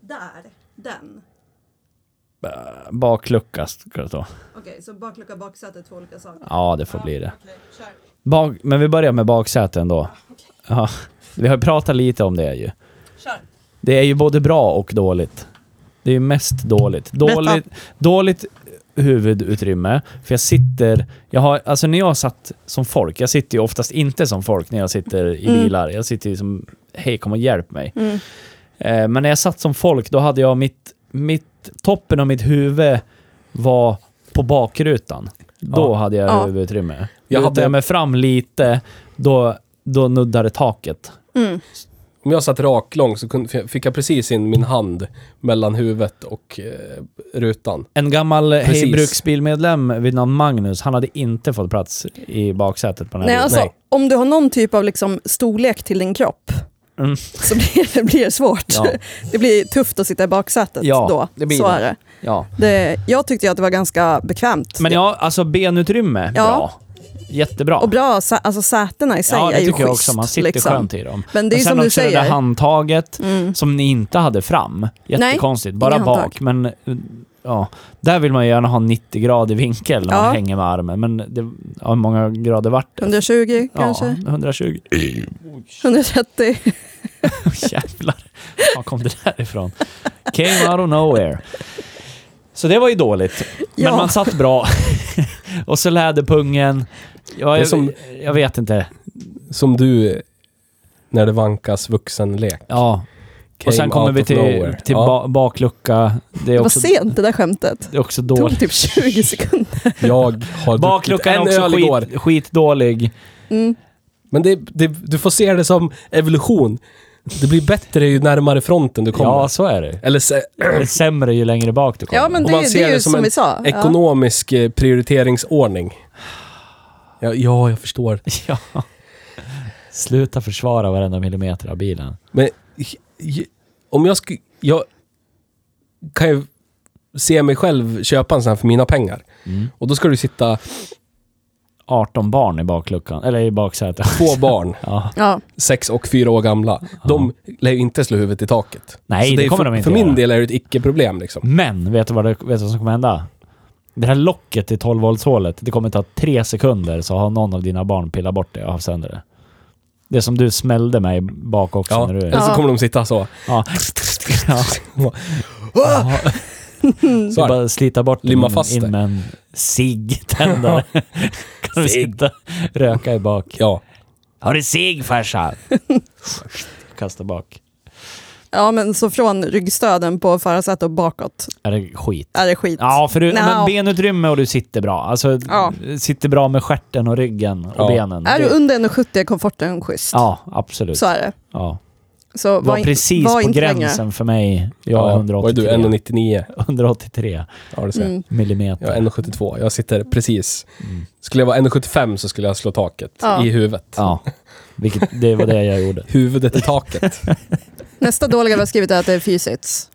S3: Där. Den.
S1: Baklucka ska det stå.
S3: Okej, så baklucka och baksäte är två olika saker.
S1: Ja, det får bli det. Bak, men vi börjar med baksäten då. Ja, vi har ju pratat lite om det ju.
S3: Kör.
S1: Det är ju både bra och dåligt. Det är ju mest dåligt. Dåligt, dåligt huvudutrymme. För jag sitter... Jag har, alltså när jag satt som folk, jag sitter ju oftast inte som folk när jag sitter i
S3: Mm.
S1: bilar. Jag sitter ju som, hej kom och hjälp mig.
S3: Mm.
S1: Eh, men när jag satt som folk, då hade jag mitt, mitt... Toppen av mitt huvud var på bakrutan. Då
S2: Ja.
S1: hade jag
S3: Ja.
S1: huvudutrymme.
S2: Jag
S1: Jag
S2: hade-
S1: hade jag mig fram lite, då, då nuddade taket.
S3: Mm.
S2: Om jag satt rak lång så kunde, fick jag precis in min hand mellan huvudet och eh, rutan.
S1: En gammal
S2: Precis.
S1: Hej Bruksbilmedlem vid namn Magnus, han hade inte fått plats i baksätet på den här
S3: Nej,
S1: bilen.
S3: alltså,
S2: Nej.
S3: om du har någon typ av liksom storlek till din kropp
S1: Mm.
S3: så blir det blir svårt.
S1: Ja.
S3: Det blir tufft att sitta i baksätet
S1: Ja,
S3: då.
S1: det blir
S3: så
S1: det.
S3: är det.
S1: Ja.
S3: det. Jag tyckte ju att det var ganska bekvämt.
S1: Men ja, alltså benutrymme,
S3: Ja.
S1: bra. Jättebra.
S3: Och bra, sä- alltså sätena i sig
S1: ja,
S3: är
S1: det
S3: ju
S1: tycker jag
S3: schysst,
S1: också. Man sitter
S3: liksom.
S1: skönt i dem.
S3: Men det är ju
S1: sen
S3: som du
S1: också det där
S3: säger.
S1: handtaget
S3: Mm.
S1: som ni inte hade fram. Jättekonstigt. Bara
S3: inga
S1: bak,
S3: handtag.
S1: men... eh, Ja, där vill man ju gärna ha 90 grader vinkel när
S3: Ja.
S1: man hänger med armen. Men det, ja, hur många grader vart det?
S3: 120 kanske?
S1: Ja, 120.
S3: 130?
S1: Jävlar. Var kom det där ifrån? Came out of nowhere. Så det var ju dåligt. Men
S3: Ja.
S1: man satt bra. och så läderpungen. Ja,
S2: är
S1: jag,
S2: som-
S1: jag vet inte.
S2: Som du eh, när det vankas vuxenlek.
S1: Ja. och sen
S2: Came
S1: kommer
S2: out
S1: vi
S2: of
S1: till,
S2: nowhere.
S1: till
S2: Ja.
S1: ba- baklucka. Det är
S3: Det var
S1: också,
S3: sent det där skämtet.
S1: det är också
S3: Det tog
S1: dåligt.
S3: typ 20 sekunder.
S2: Jag har druckit
S1: Bakluckan är
S2: en
S1: också
S2: öl igår.
S1: skit, skitdålig.
S3: Mm.
S2: Men det, det, du får se det som evolution. Det blir bättre ju närmare fronten du kommer.
S1: Ja, så är det.
S2: Eller se,
S1: Det är sämre ju längre bak du kommer.
S3: Ja, men
S2: Om
S3: det,
S2: man
S3: är-
S2: ser
S3: det är
S2: det
S3: ju
S2: som
S3: som,
S2: en
S3: vi sa. Ja.
S2: ekonomisk eh, prioriteringsordning. Ja, ja, jag förstår.
S1: Ja. Sluta försvara varenda millimeter av bilen.
S2: Men j- j- om jag skulle... Jag kan ju se mig själv köpa en sån här för mina pengar.
S1: Mm.
S2: Och då ska du sitta
S1: 18 barn i bakluckan, eller i baksätet.
S2: två barn,
S1: Ja.
S3: Ja.
S2: sex och fyra år gamla. De lär ju inte slå huvudet i taket.
S1: Nej,
S2: Så
S1: det
S2: är
S1: kommer
S2: för,
S1: de inte
S2: För min
S1: göra. Mm.
S2: del är det ett icke-problem liksom.
S1: Men, vet du, vad det, vet du vad som kommer hända? Det här locket i 12 voltshålet det kommer ta tre sekunder så har någon av dina barn pillat bort det och haft sönder det. Det som du smällde mig bak också
S2: Ja,
S1: när du...
S2: eller så kommer de sitta så.
S1: Ja. ja. ja. Så
S2: Så här.
S1: bara slita bort
S2: Limma
S1: den in-
S2: fast det.
S1: in med en ciggtändare. kan du
S2: Cigg.
S1: sitta röka i bak.
S2: Ja.
S1: Har du cigg farsan? Kasta bak.
S3: ja, men så från ryggstöden på förarsätet och bakåt
S1: Är det skit?
S3: är det skit.
S1: Ja, för du,
S3: Nej.
S1: men benutrymme och du sitter bra. Alltså,
S3: Ja.
S1: sitter bra med stjärten och ryggen och
S2: Ja.
S1: benen.
S3: Är du
S1: Det-
S3: under 1,70 är komforten schysst.
S1: Ja, absolut.
S3: Så är det.
S1: Ja.
S3: Så
S1: Var,
S3: in-
S1: precis
S3: var
S1: på
S3: inte längre.
S1: gränsen för mig. Jag är
S2: Ja, Vad är
S1: 183,
S2: du? 1,99?
S1: 183
S2: Ja, det ser jag.
S3: Mm.
S1: millimeter.
S2: Jag är 1,72. Jag sitter precis.
S1: Mm.
S2: Skulle jag vara 1,75 så skulle jag slå taket
S3: Ja.
S2: i huvudet.
S1: Ja, vilket, det var det jag gjorde.
S2: Huvudet i taket.
S3: Nästa dåliga vi har skrivit är att det är fysiskt.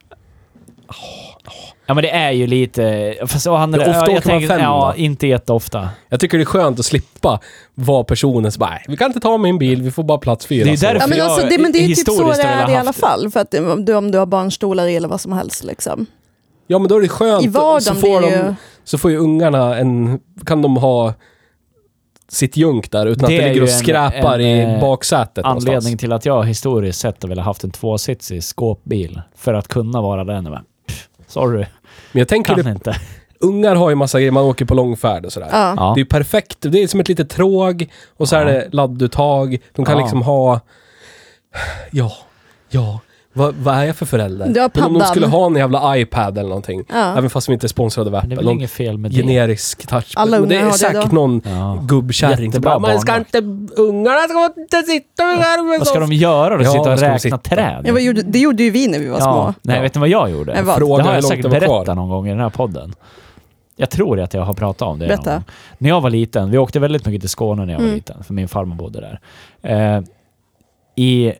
S1: Ja, men det är ju lite... Fast, å andra,
S2: Ja,
S1: ja,
S2: ofta
S1: jag
S2: åker man
S1: tänker-
S2: fem,
S1: Ja,
S2: va?
S1: inte jätteofta.
S2: jag tycker det är skönt att slippa vara personen som bara, "Nej, vi kan inte ta min bil, vi får bara plats fyra.
S1: Det är
S2: Så-
S1: därför-
S3: Ja, men
S1: jag
S3: alltså, det, men det är ju typ
S1: historiskt
S3: så det
S1: har velat
S3: är i alla
S1: haft-
S3: fall. För att det- om du, om du har barnstolar i eller vad som helst. Liksom.
S2: ja, men då är det skönt. så,
S3: I vardagen
S2: får
S3: blir det ju...
S2: de, så får ju ungarna en... Kan de ha sitt junk där utan
S1: Det är
S2: att det ligger
S1: ju
S2: och
S1: en-
S2: skräpar
S1: en, eh,
S2: i baksätet
S1: Anledning
S2: någonstans.
S1: till att jag historiskt sett har velat haft en tvåsitsig skåpbil för att kunna vara den. Men, pff, sorry,
S2: Men jag tänker,
S1: kan
S2: det,
S1: inte.
S2: ungar har ju massa grejer, man åker på långfärd och sådär.
S3: Ja.
S1: Ja.
S2: Det är ju perfekt. Det är som ett litet tråg och så är
S1: Ja.
S2: det ladduttag. De kan
S1: Ja.
S2: liksom ha... Ja, ja. Vad, vad är jag för förälder?
S3: Du har
S2: Men om de
S3: paddan.
S2: skulle ha en jävla iPad eller någonting.
S3: Ja.
S2: Även fast de inte är sponsrade av
S1: Men det
S2: Apple.
S1: är väl
S2: Någon
S1: inget fel med det.
S2: generisk touch.
S3: Alla
S2: men det
S3: ungar
S2: är
S3: har det
S2: säkert
S3: då.
S2: någon
S1: Ja.
S2: gubbkärring som
S1: Jättebra
S2: bara, man ska
S1: barnvakt."
S2: inte... Ungarna ska inte sitta med skärmen
S1: Vad ska de
S2: så."
S1: göra då?
S2: Ja,
S1: sitta
S2: vad
S1: och
S2: ska de
S1: räkna
S2: sitta?
S1: träd?
S3: Ja, vad gjorde, det gjorde ju vi när vi var små.
S1: Nej,
S2: Ja.
S1: vet ni vad jag gjorde?
S3: Men vad-
S1: Det
S2: Fråga
S1: har
S2: hur
S1: jag
S2: långt det
S1: säkert
S2: var
S1: berättat
S2: kvar.
S1: någon gång i den här podden. Jag tror att jag har pratat om det. någon
S3: Berätta. Mm.
S1: gång. När jag var liten, vi åkte väldigt mycket till Skåne när jag var liten, för min farmor bodde där. Eh, I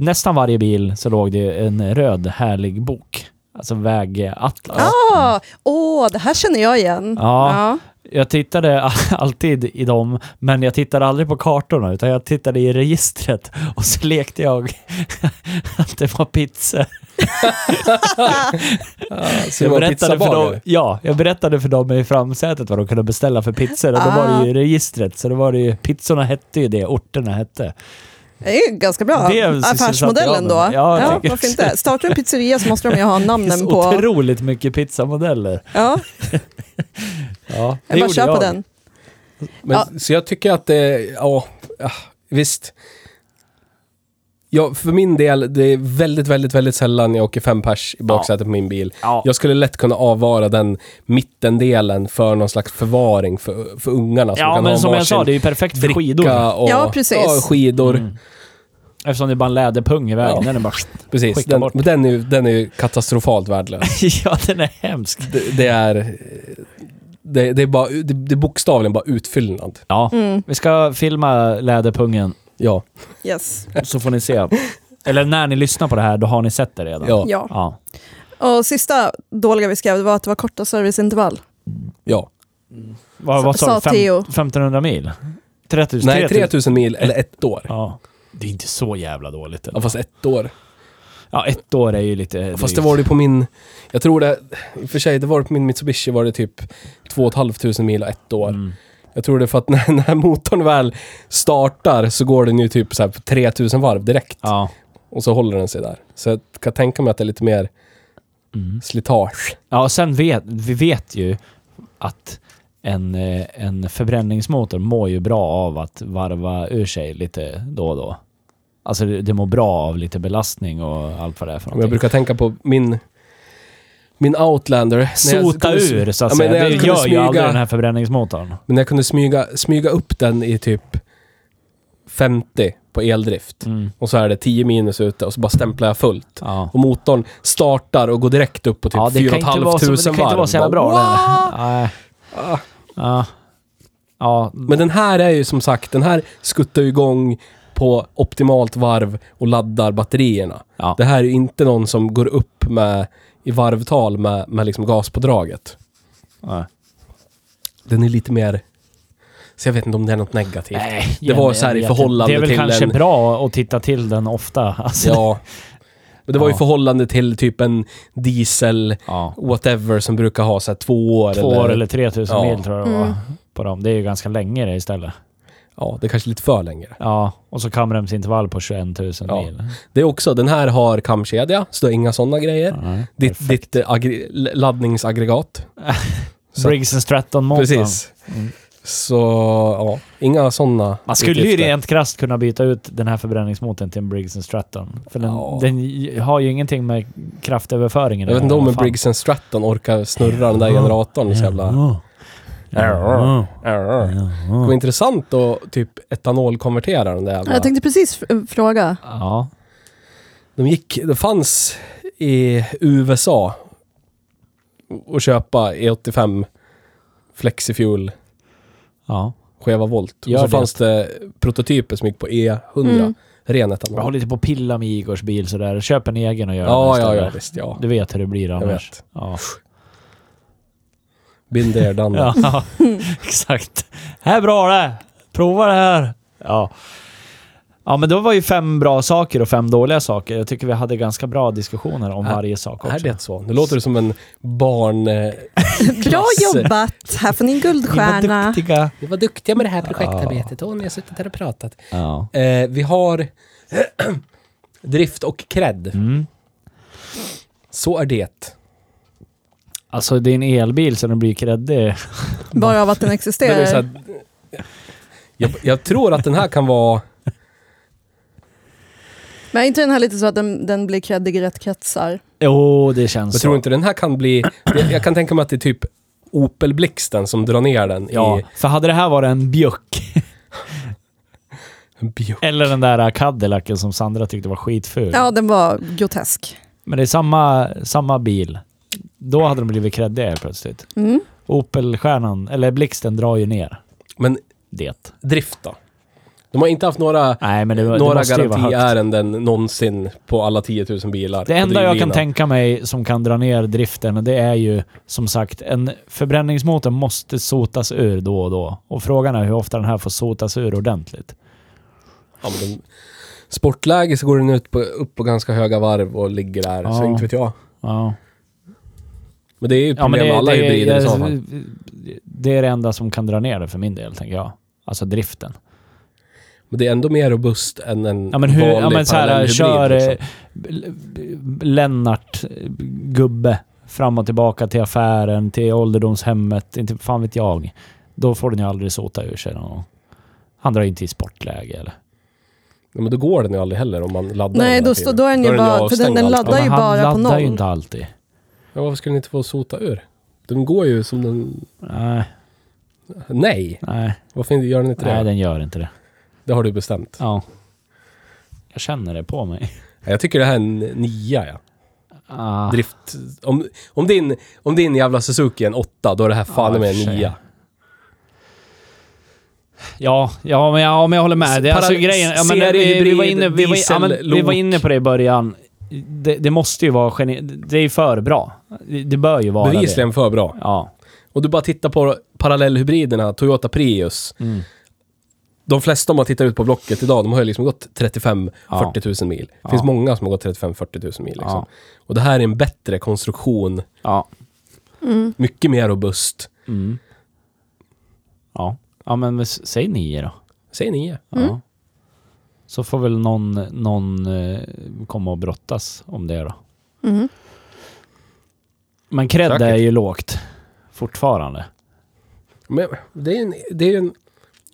S1: nästan varje bil så låg det en röd härlig bok. Alltså vägatlas.
S3: Ah, Åh, det här känner jag igen.
S1: Ja. Jag tittade all- alltid i dem, men jag tittade aldrig på kartorna utan jag tittade i registret och så lekte jag att det var pizza.
S2: Så
S1: Jag
S2: det
S1: berättade,
S2: var
S1: för
S2: pizzabarer.
S1: dem, ja, jag berättade för dem i framsätet vad de kunde beställa för pizzor och då
S3: Ah.
S1: var det ju i registret. Så då var det ju, pizzorna hette ju det orterna hette.
S3: Det är ju ganska bra.
S1: Det är väl
S3: Affärsmodellen
S1: sysselsatt i
S3: då.
S1: ramen. Ja, jag tycker
S3: varför
S1: också.
S3: inte? Startar du en pizzeria så måste de ju
S1: Det
S3: ha
S1: är så
S3: namnen på...
S1: otroligt mycket pizzamodeller.
S3: Ja,
S1: Ja, det
S3: jag bara
S1: gjorde
S3: kör på
S1: jag.
S3: den.
S2: Men,
S3: Ja.
S2: Så jag tycker att det, ja, ja, visst. Ja, för min del, det är väldigt, väldigt, väldigt sällan jag åker fem pers i baksätet på min bil.
S1: Ja.
S2: Jag skulle lätt kunna avvara den mittendelen för någon slags förvaring för, för ungarna.
S1: Ja,
S2: kan
S1: men
S2: ha
S1: som jag
S2: varsin
S1: sa, det är ju perfekt för
S2: dricka
S1: skidor. Mm.
S2: Och,
S3: Ja, precis.
S2: Ja, skidor.
S1: Eftersom det är bara en läderpung i vägen.
S2: Ja.
S1: Den är bara...
S2: Precis.
S1: Skicka
S2: Den,
S1: bort.
S2: men den är ju den är ju katastrofalt värdelös.
S1: ja, den är hemsk.
S2: Det, det är... Det, det, är bara, det, det är bokstavligen bara utfyllnad.
S1: Ja,
S3: Mm.
S1: vi ska filma läderpungen
S2: Ja.
S3: Yes.
S1: så får ni se. Eller när ni lyssnar på det här, då har ni sett det redan.
S2: Ja. Ja.
S3: Ja.
S1: ja.
S3: Och sista dåliga vi skrev det var att det var korta serviceintervall.
S2: ja.
S1: Vad, vad sa
S3: Sa
S1: du? Fem,
S3: Theo.
S1: 1500 mil? 3000?
S2: Nej, 3000 mil eller ett år.
S1: Ja. Det är inte så jävla dåligt.
S2: Ja, fast ett år.
S1: Ja, ett år är ju lite...
S2: Fast det var det på min... Jag tror det... I och för sig, det var det på min Mitsubishi var det typ 2 500 mil och ett år.
S1: Mm.
S2: Jag tror det är för att när, när motorn väl startar så går den ju typ så här på 3000 varv direkt.
S1: Ja.
S2: Och så håller den sig där. Så jag kan tänka mig att det är lite mer
S1: Mm.
S2: slitage.
S1: Ja, och sen vet vi vet ju att en, eh, en förbränningsmotor mår ju bra av att varva ur sig lite då och då. Alltså det, det mår bra av lite belastning och allt vad det är för
S2: Men jag
S1: någonting.
S2: brukar tänka på min... Min Outlander. när jag
S1: Sota
S2: kunde-
S1: ur så att
S2: Ja, men
S1: säga.
S2: när jag
S1: Det
S2: kunde
S1: gör ju aldrig
S2: smyga-
S1: den här förbränningsmotorn.
S2: Men när jag kunde smyga, smyga upp den i typ 50 på eldrift.
S1: Mm.
S2: Och så är det 10 minus ute och så bara stämplar jag fullt.
S1: Ja.
S2: Och motorn startar och går direkt upp på typ
S1: ja, det
S2: 4
S1: kan inte vara
S2: 500
S1: så, det kan inte
S2: varv. Ah.
S1: vara så jävla bra.
S2: Bara,
S1: det
S2: "Wow!"
S1: här. Nej. Ja. Ja.
S2: Men den här är ju som sagt, den här skuttar ju igång på optimalt varv och laddar batterierna.
S1: Ja.
S2: Det här är ju inte någon som går upp med, i varvtal med, med liksom gaspådraget.
S1: Nej.
S2: Den är lite mer... Så jag vet inte om det är något negativt.
S1: Nej,
S2: det var
S1: jag
S2: så här i
S1: vet
S2: förhållande
S1: Det är väl
S2: till
S1: kanske
S2: en-
S1: bra att titta till den ofta. Alltså,
S2: Ja. Men det var ju
S1: Ja.
S2: i förhållande till typ en diesel,
S1: ja.
S2: whatever, som brukar ha så här två år.
S1: två år eller 3000
S2: Ja.
S1: mil tror jag det var på dem. Det är ju ganska länge det istället.
S2: Ja, det är kanske lite för länge.
S1: Ja, och så kamremsintervall på 21 000
S2: Ja.
S1: mil.
S2: Det är också, den här har kamkedja, så det är inga sådana grejer.
S1: Nej.
S2: ditt ditt eh, agri- l- laddningsaggregat. Så-
S1: Briggs and Stratton motorn.
S2: Precis.
S1: Mm.
S2: Så, ja, inga sådana
S1: Man skulle ju
S2: utgifter.
S1: rent krasst kunna byta ut den här förbränningsmotorn till en Briggs and Stratton. För den,
S2: Ja.
S1: den j- har ju ingenting med kraftöverföringen
S2: Jag vet inte
S1: att
S2: om
S1: göra,
S2: en
S1: fan.
S2: Briggs and Stratton orkar snurra den där generatorn så jävla...
S1: Ja. Ja.
S2: Det var intressant att typ etanolkonvertera den där jävla...
S3: Jag tänkte precis f- fråga.
S1: Ja.
S2: De gick, det fanns i USA att köpa E85 Flexifuel
S1: Ja.
S2: skeva volt.
S1: Gör
S2: och så
S1: det.
S2: fanns det prototyper som gick på E100,
S3: Mm.
S2: ren
S1: Jag
S2: etanol.
S1: håller lite på att pilla med Igors bil sådär. Köp en egen och gör
S2: Ja,
S1: den
S2: ja,
S1: istället.
S2: ja, visst, ja.
S1: Du vet hur det blir annars.
S2: vet.
S1: Ja.
S2: Been there, done that.
S1: Ja, exakt. Här är bra det! Prova det här! Ja. Ja, men då var ju fem bra saker och fem dåliga saker. Jag tycker vi hade ganska bra diskussioner om
S2: Är-
S1: varje sak också.
S2: Är det så? Nu låter det som en barn... eh,
S3: Bra
S2: klass.
S3: jobbat! Här får ni en
S1: Ni var
S3: guldstjärna.
S1: duktiga.
S2: Ni var duktiga med det här projektarbetet. Åh, ni har suttit här och pratat.
S1: Ja.
S2: Eh, vi har drift och cred.
S1: Mm.
S2: Så är det.
S1: Alltså, det är en elbil så den blir kreddig.
S3: Bara av att den
S2: Men det är så
S3: existerar.
S2: här, jag, jag tror att den här kan vara...
S3: Men är inte den här lite så att den, den blir creddig i rätt kretsar?
S1: Jo, det känns
S2: Jag
S1: så.
S2: tror inte den här kan bli... Jag, jag kan tänka mig att det är typ Opel-blixten som drar ner den
S1: Ja,
S2: i
S1: för hade det här varit en Bjuck
S2: en bio.
S1: eller den där Cadillacen som Sandra tyckte var skitful.
S3: Ja, den var grotesk.
S1: Men det är samma, samma bil. Då hade de blivit kreddiga helt plötsligt.
S3: Mm.
S1: Opel-stjärnan, eller blixten, drar ju ner
S2: Men
S1: det.
S2: drift då? De har inte haft några,
S1: Nej, men det, det
S2: några
S1: måste ju vara högt.
S2: garantiärenden någonsin på alla 10 000 bilar.
S1: Det
S2: på
S1: enda jag kan
S2: drivlinan.
S1: tänka mig som kan dra ner driften, det är ju som sagt, en förbränningsmotor måste sotas ur då och då. Och frågan är hur ofta den här får sotas ur ordentligt.
S2: Ja, men de, sportläge så går den ut på, upp på ganska höga varv och ligger där, så
S1: Ja.
S2: inte vet jag.
S1: Ja,
S2: Men det är ju ett
S1: ja men
S2: problem
S1: det,
S2: med alla
S1: det,
S2: hybrider i så fall.
S1: det, det är det enda som kan dra ner det för min del, tänker jag. Alltså driften.
S2: Men det är ändå mer robust än en
S1: Ja men hur,
S2: vanlig liksom.
S1: ja, men så här,
S2: parallellhybrid,
S1: kör
S2: liksom.
S1: eh, L- Lennart, eh, gubbe, fram och tillbaka till affären, till ålderdomshemmet, inte fan vet jag. Då får den ju aldrig sota ur sig någon gång. Han drar ju inte i sportläge eller?
S2: Ja, men då går den ju aldrig heller om man laddar
S3: Nej,
S2: hela
S3: då
S2: tiden.
S3: står- då är den ju bara- för den-
S2: avstängd
S3: den
S2: alltid.
S3: laddar
S1: men
S3: ju
S1: han
S3: bara på
S1: laddar ju
S3: noll.
S1: inte alltid.
S2: Ja, varför skulle den inte få sota ur? Den går ju som den...
S1: Nej,
S2: Nej!
S1: nej,
S2: Varför inte- gör den inte
S1: nej
S2: det?
S1: den gör inte det.
S2: Det har du bestämt.
S1: Ja. Jag känner det på mig.
S2: Jag tycker det här är en nia, ja.
S1: Ah,
S2: Drift... Om, om, din, om din jävla Suzuki är en åtta, då är det här fan
S1: Ja,
S2: med
S1: i och för
S2: en
S1: sig.
S2: nia.
S1: Ja, ja men, ja, men jag håller med. Det är alltså
S2: Parallell-
S1: grejen... Ja, men, vi,
S2: seriehybrid,
S1: vi, var inne, vi, var, ja, men, vi
S2: diesellok.
S1: var inne på det i början. Det, det måste ju vara geni... Det är för bra. Det, det bör ju vara
S2: Bevisligen för bra.
S1: det. Ja.
S2: Och du bara tittar på parallellhybriderna, Toyota Prius.
S1: Mm.
S2: De flesta om man tittar ut på Blocket idag, de har ju liksom gått 35-40
S1: Ja.
S2: 000 mil. Det
S1: Ja.
S2: finns många som har gått 35-40 000 mil. Liksom.
S1: Ja.
S2: Och det här är en bättre konstruktion,
S1: Ja.
S2: mycket mer robust.
S1: Mm. Ja. Ja, men s- säg nio då.
S2: Säg nio.
S1: Ja. Så får väl någon, någon eh, komma och brottas om det då.
S3: Mhm.
S1: Men cred
S2: Säkert.
S1: är ju lågt. Fortfarande.
S2: Men det är ju en, det är ju en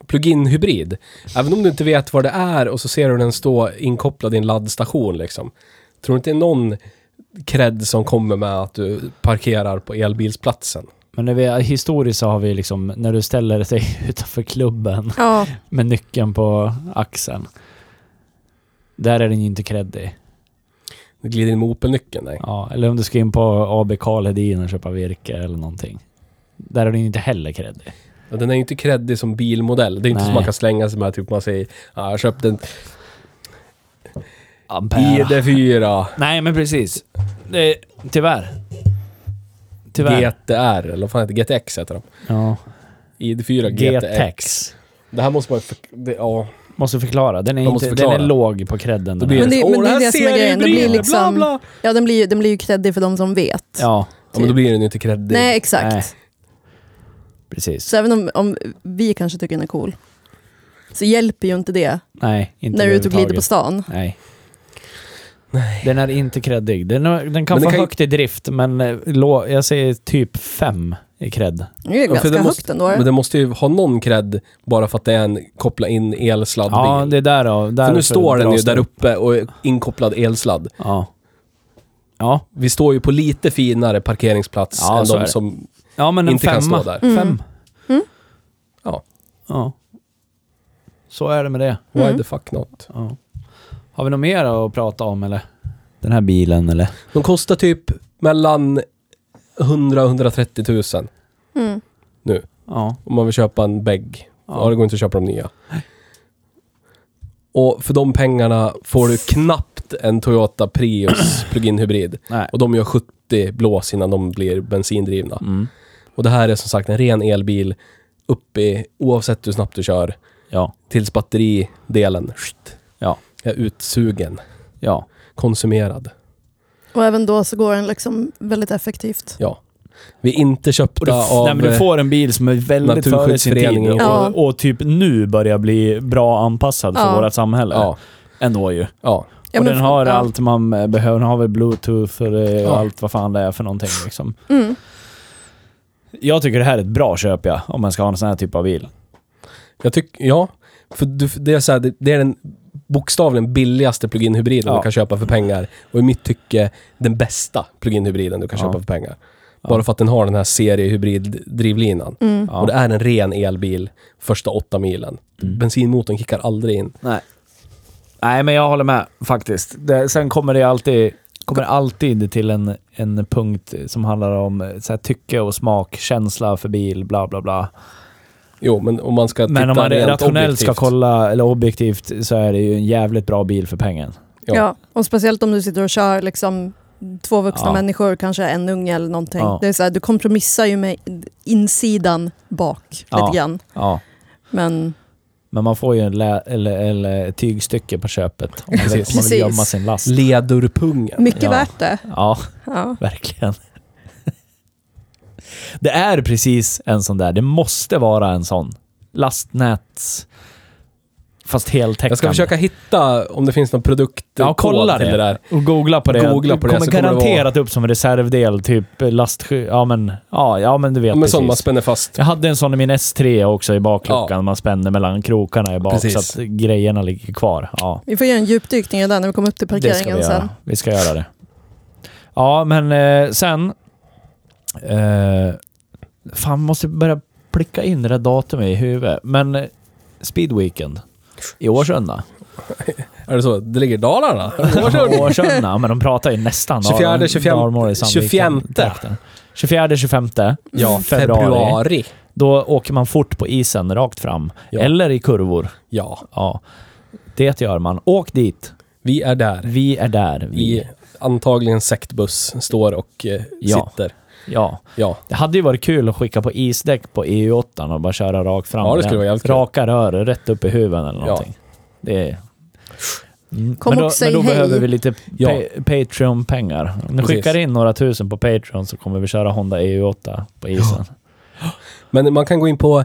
S2: plug-in hybrid. Även om du inte vet vad det är och så ser du den stå inkopplad i en laddstation liksom. Tror du inte det är någon cred som kommer med att du parkerar på elbilsplatsen?
S1: Men när vi, historiskt så har vi liksom, när du ställer dig utanför klubben
S3: Ja,
S1: med nyckeln på axeln. Där är den ju inte creddig.
S2: Du glider in med Opel-nyckeln, nej.
S1: Ja, eller om du ska in på AB Karl Hedin och köpa virke eller någonting. Där är den ju inte heller creddig.
S2: Ja, den är ju inte creddig som bilmodell. Det är inte
S1: Nej.
S2: som man kan slänga sig med typ man säger ja, jag köpte en
S1: Ampera.
S2: ID4
S1: Nej, men precis. Det, tyvärr. Tyvärr.
S2: GTR, eller vad fan heter det? GTX heter de.
S1: ja.
S2: ID4 GTX.
S1: GTX.
S2: Det här måste man ju... förk- det- Ja,
S1: Måste förklara. Den är,
S2: Jag måste
S1: inte, den
S2: förklara.
S1: är låg på credden.
S2: då
S1: Den
S2: blir
S1: här.
S3: Men det-
S2: så,
S3: men
S2: "Åh,
S3: det är
S2: här
S3: det som är
S2: ser
S3: grejen. Det
S2: ju
S3: blir
S2: bra,
S3: liksom-
S2: bla, bla."
S3: ja den, blir ju, den blir ju creddig för de som vet.
S1: Ja,
S2: Ja, men då blir den ju inte creddig.
S3: Nej, exakt.
S1: Nej. precis.
S3: Så även om, om vi kanske tycker den är cool, så hjälper ju inte det
S1: Nej, inte
S3: när du är ute och glider
S1: överhuvudtaget.
S3: på stan.
S1: Nej. Den är inte creddig. Den, har- den kan
S2: Men
S1: få
S2: den kan ju-
S1: högt i drift, men eh, lå- jag säger typ fem i cred.
S3: Det är ju
S2: Ja, för
S3: ganska
S2: det måste-
S3: högt ändå.
S2: Men den måste ju ha någon cred bara för att det är en koppla in elsladdbil.
S1: Ja, det är där då. Där
S2: för nu står den ju
S1: dras
S2: där uppe och är inkopplad elsladd.
S1: Ja. Ja,
S2: Vi står ju på lite finare parkeringsplats
S1: Ja,
S2: än
S1: så är
S2: de
S1: det.
S2: som...
S1: ja men en
S2: Inte
S1: femma.
S2: kan stå där.
S1: Fem.
S2: Ja,
S1: Ja. Så är det med det.
S2: why
S3: Mm.
S2: the fuck not?
S1: Ja. Har vi något mer att prata om eller? Den här bilen eller?
S2: De kostar typ mellan 100 och 130 000
S3: Mm.
S2: nu.
S1: Ja.
S2: Om man vill köpa en bägg. Ja.
S1: Ja.
S2: det går inte att köpa de nya. Och för de pengarna får du knappt en Toyota Prius plug-in hybrid.
S1: Nej.
S2: Och de gör 70 blås innan de blir bensindrivna.
S1: Mm.
S2: Och det här är som sagt en ren elbil. Upp i, oavsett hur snabbt du kör,
S1: Ja.
S2: tills batteridelen skjt,
S1: Ja.
S2: är utsugen,
S1: Ja.
S2: konsumerad.
S3: Och även då så går den liksom väldigt effektivt.
S2: Ja. Vi är inte
S1: Och
S2: köpta
S1: du,
S2: av...
S1: nej, men du får en bil som är väldigt före sin tid.
S2: Naturskyddsföreningen.
S1: Och,
S3: Ja.
S1: och typ nu börjar bli bra anpassad för
S3: Ja.
S1: vårt samhälle.
S2: Ja,
S1: Ändå ju.
S2: ja.
S3: Ja,
S1: och
S3: men
S1: den
S3: för-
S1: har
S3: ja.
S1: allt man eh, behöver. Den har väl bluetooth och, det- och
S2: Ja.
S1: allt vad fan det är för någonting liksom.
S3: Mm.
S1: Jag tycker det här är ett bra köp ja, om man ska ha en sån här typ av bil.
S2: Jag tycker, ja. För du, det är så här, det, det är den bokstavligen billigaste plug-in hybriden
S1: Ja.
S2: du kan köpa för pengar. Och i mitt tycke den bästa plug-in hybriden du kan
S1: Ja.
S2: köpa för pengar.
S1: Ja.
S2: Bara för att den har den här seriehybriddrivlinan.
S3: Mm.
S1: Ja.
S2: Och det är en ren elbil första åtta milen.
S1: Mm.
S2: Bensinmotorn kickar aldrig in.
S1: Nej. Nej, men jag håller med faktiskt. Det, sen kommer det alltid, kommer det alltid till en, en punkt som handlar om eh, så här, tycke och smak, känsla för bil, bla bla bla.
S2: Jo, men om man ska
S1: Men om
S2: titta
S1: man
S2: rent
S1: rationellt ska
S2: objektivt.
S1: kolla, eller objektivt, så är det ju en jävligt bra bil för pengen.
S2: Ja.
S3: Ja. och speciellt om du sitter och kör liksom två vuxna
S1: Ja.
S3: människor, kanske en unge eller någonting.
S1: Ja.
S3: Det är så här, du kompromissar ju med insidan bak
S1: Ja.
S3: lite grann.
S1: Ja.
S3: Men
S1: Men man får ju en lä- eller, eller ett tygstycke på köpet om man, vill, om man vill
S3: Precis.
S1: gömma sin last.
S2: Ledurpungen.
S3: mycket
S1: Ja.
S3: värt det.
S1: Ja,
S3: Ja.
S1: verkligen. Det är precis en sån där. Det måste vara en sån. Lastnäts... Fast heltäckande.
S2: Jag ska försöka hitta om det finns någon produkt
S1: Ja, kolla
S2: till
S1: det.
S2: det där.
S1: Och googla på det.
S2: Googla på det,
S1: kommer
S2: så kommer det
S1: garanterat upp som en reservdel, typ lastsky... Ja, men, ja, ja, men du vet
S2: Med
S1: precis.
S2: sån man spänner fast.
S1: Jag hade en sån i min S3 också i bakluckan.
S2: Ja.
S1: Man spänner mellan krokarna i bak
S2: Precis.
S1: så att grejerna ligger kvar. Ja,
S3: Vi får göra en djupdykning i den när vi kommer upp till
S1: det ska vi
S3: parkeringen
S1: göra.
S3: sen.
S1: Vi ska göra det. Ja, men eh, sen... Eh, fan, måste börja plicka in det där datumet i huvudet. Men eh, Speed Weekend. I Årsunda.
S2: Är det så? Det ligger i Dalarna?
S1: Årsunda. Men de pratar ju nästan
S2: 24, 25,
S1: dalmål i Sandviken.
S2: 25.
S1: 24, 25.
S2: Ja, februari.
S1: Då åker man fort på isen rakt fram.
S2: Ja.
S1: Eller i kurvor.
S2: Ja,
S1: Ja, det gör man. Åk dit.
S2: vi är där.
S1: Vi är där. Vi.
S2: I antagligen sektbuss står och eh,
S1: Ja.
S2: sitter.
S1: Ja.
S2: Ja.
S1: Det hade ju varit kul att skicka på isdäck på EU8 och bara köra rakt fram.
S2: Ja, det
S1: med
S2: skulle
S1: den.
S2: vara jävligt kul.
S1: Raka rör rätt upp i huven eller någonting. Det är... Mm.
S3: Kom
S1: men då,
S3: och säg
S1: men då
S3: hej.
S1: behöver vi lite
S2: Ja.
S1: pa- Patreon-pengar. Om ni
S2: Precis.
S1: skickar in några tusen på Patreon så kommer vi köra Honda EU8 på isen.
S2: Men man kan gå in på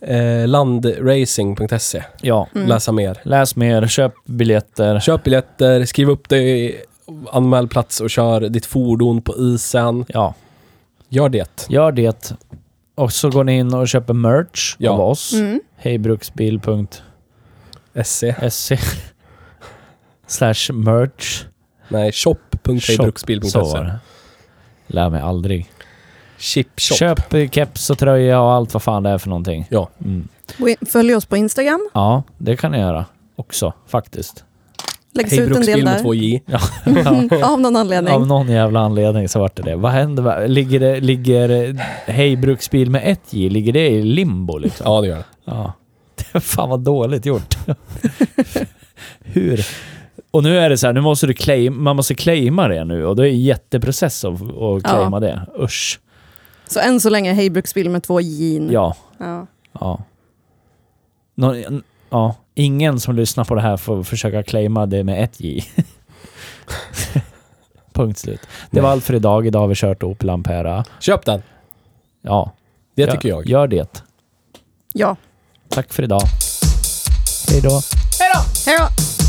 S2: eh, landracing.se
S1: Ja.
S3: Mm.
S2: läsa mer.
S1: Läs mer, köp biljetter.
S2: Köp biljetter, skriv upp dig, anmäl plats och kör ditt fordon på isen.
S1: Ja,
S2: Gör det.
S1: gör det. Och så går ni in och köper merch
S2: Ja.
S1: av oss.
S3: Mm.
S1: Hejbruksbil.se
S2: SC.
S1: SC slash merch.
S2: Nej,
S1: Så var
S2: shop.hejbruksbil.se.
S1: det. Lär mig aldrig.
S2: Chip shop.
S1: Köp eh, keps och tröja och allt vad fan det är för någonting.
S2: Ja.
S1: Mm.
S3: Gå in- Följ oss på Instagram,
S1: Ja, det kan jag göra också faktiskt.
S3: läggs ut en del
S2: Hejbruksbil med
S3: där.
S2: två J.
S3: Av någon anledning.
S1: Av någon jävla anledning så vart det det. Vad händer? va- Ligger det, ligger eh, Hej Bruksbil med ett J, ligger det i limbo liksom?
S2: Ja, det gör det.
S1: Ja. Fan vad dåligt gjort. Hur? Och nu är det så här, nu måste du claim, man måste claima det nu och det är en jätteprocess att, att claima det. Usch.
S3: Så än så länge Hejbruksbil med två J.
S1: Ja.
S3: Ja.
S1: ja. Någon, ja. Ingen som lyssnar på det här får försöka claima det med ett J. Punkt slut. Det var allt för idag. Idag har vi kört Opel Ampera.
S2: Köp den.
S1: Ja.
S2: Det
S1: gör-
S2: tycker jag.
S1: Gör det.
S3: ja.
S1: Tack för idag. Hej då.
S3: Hej då!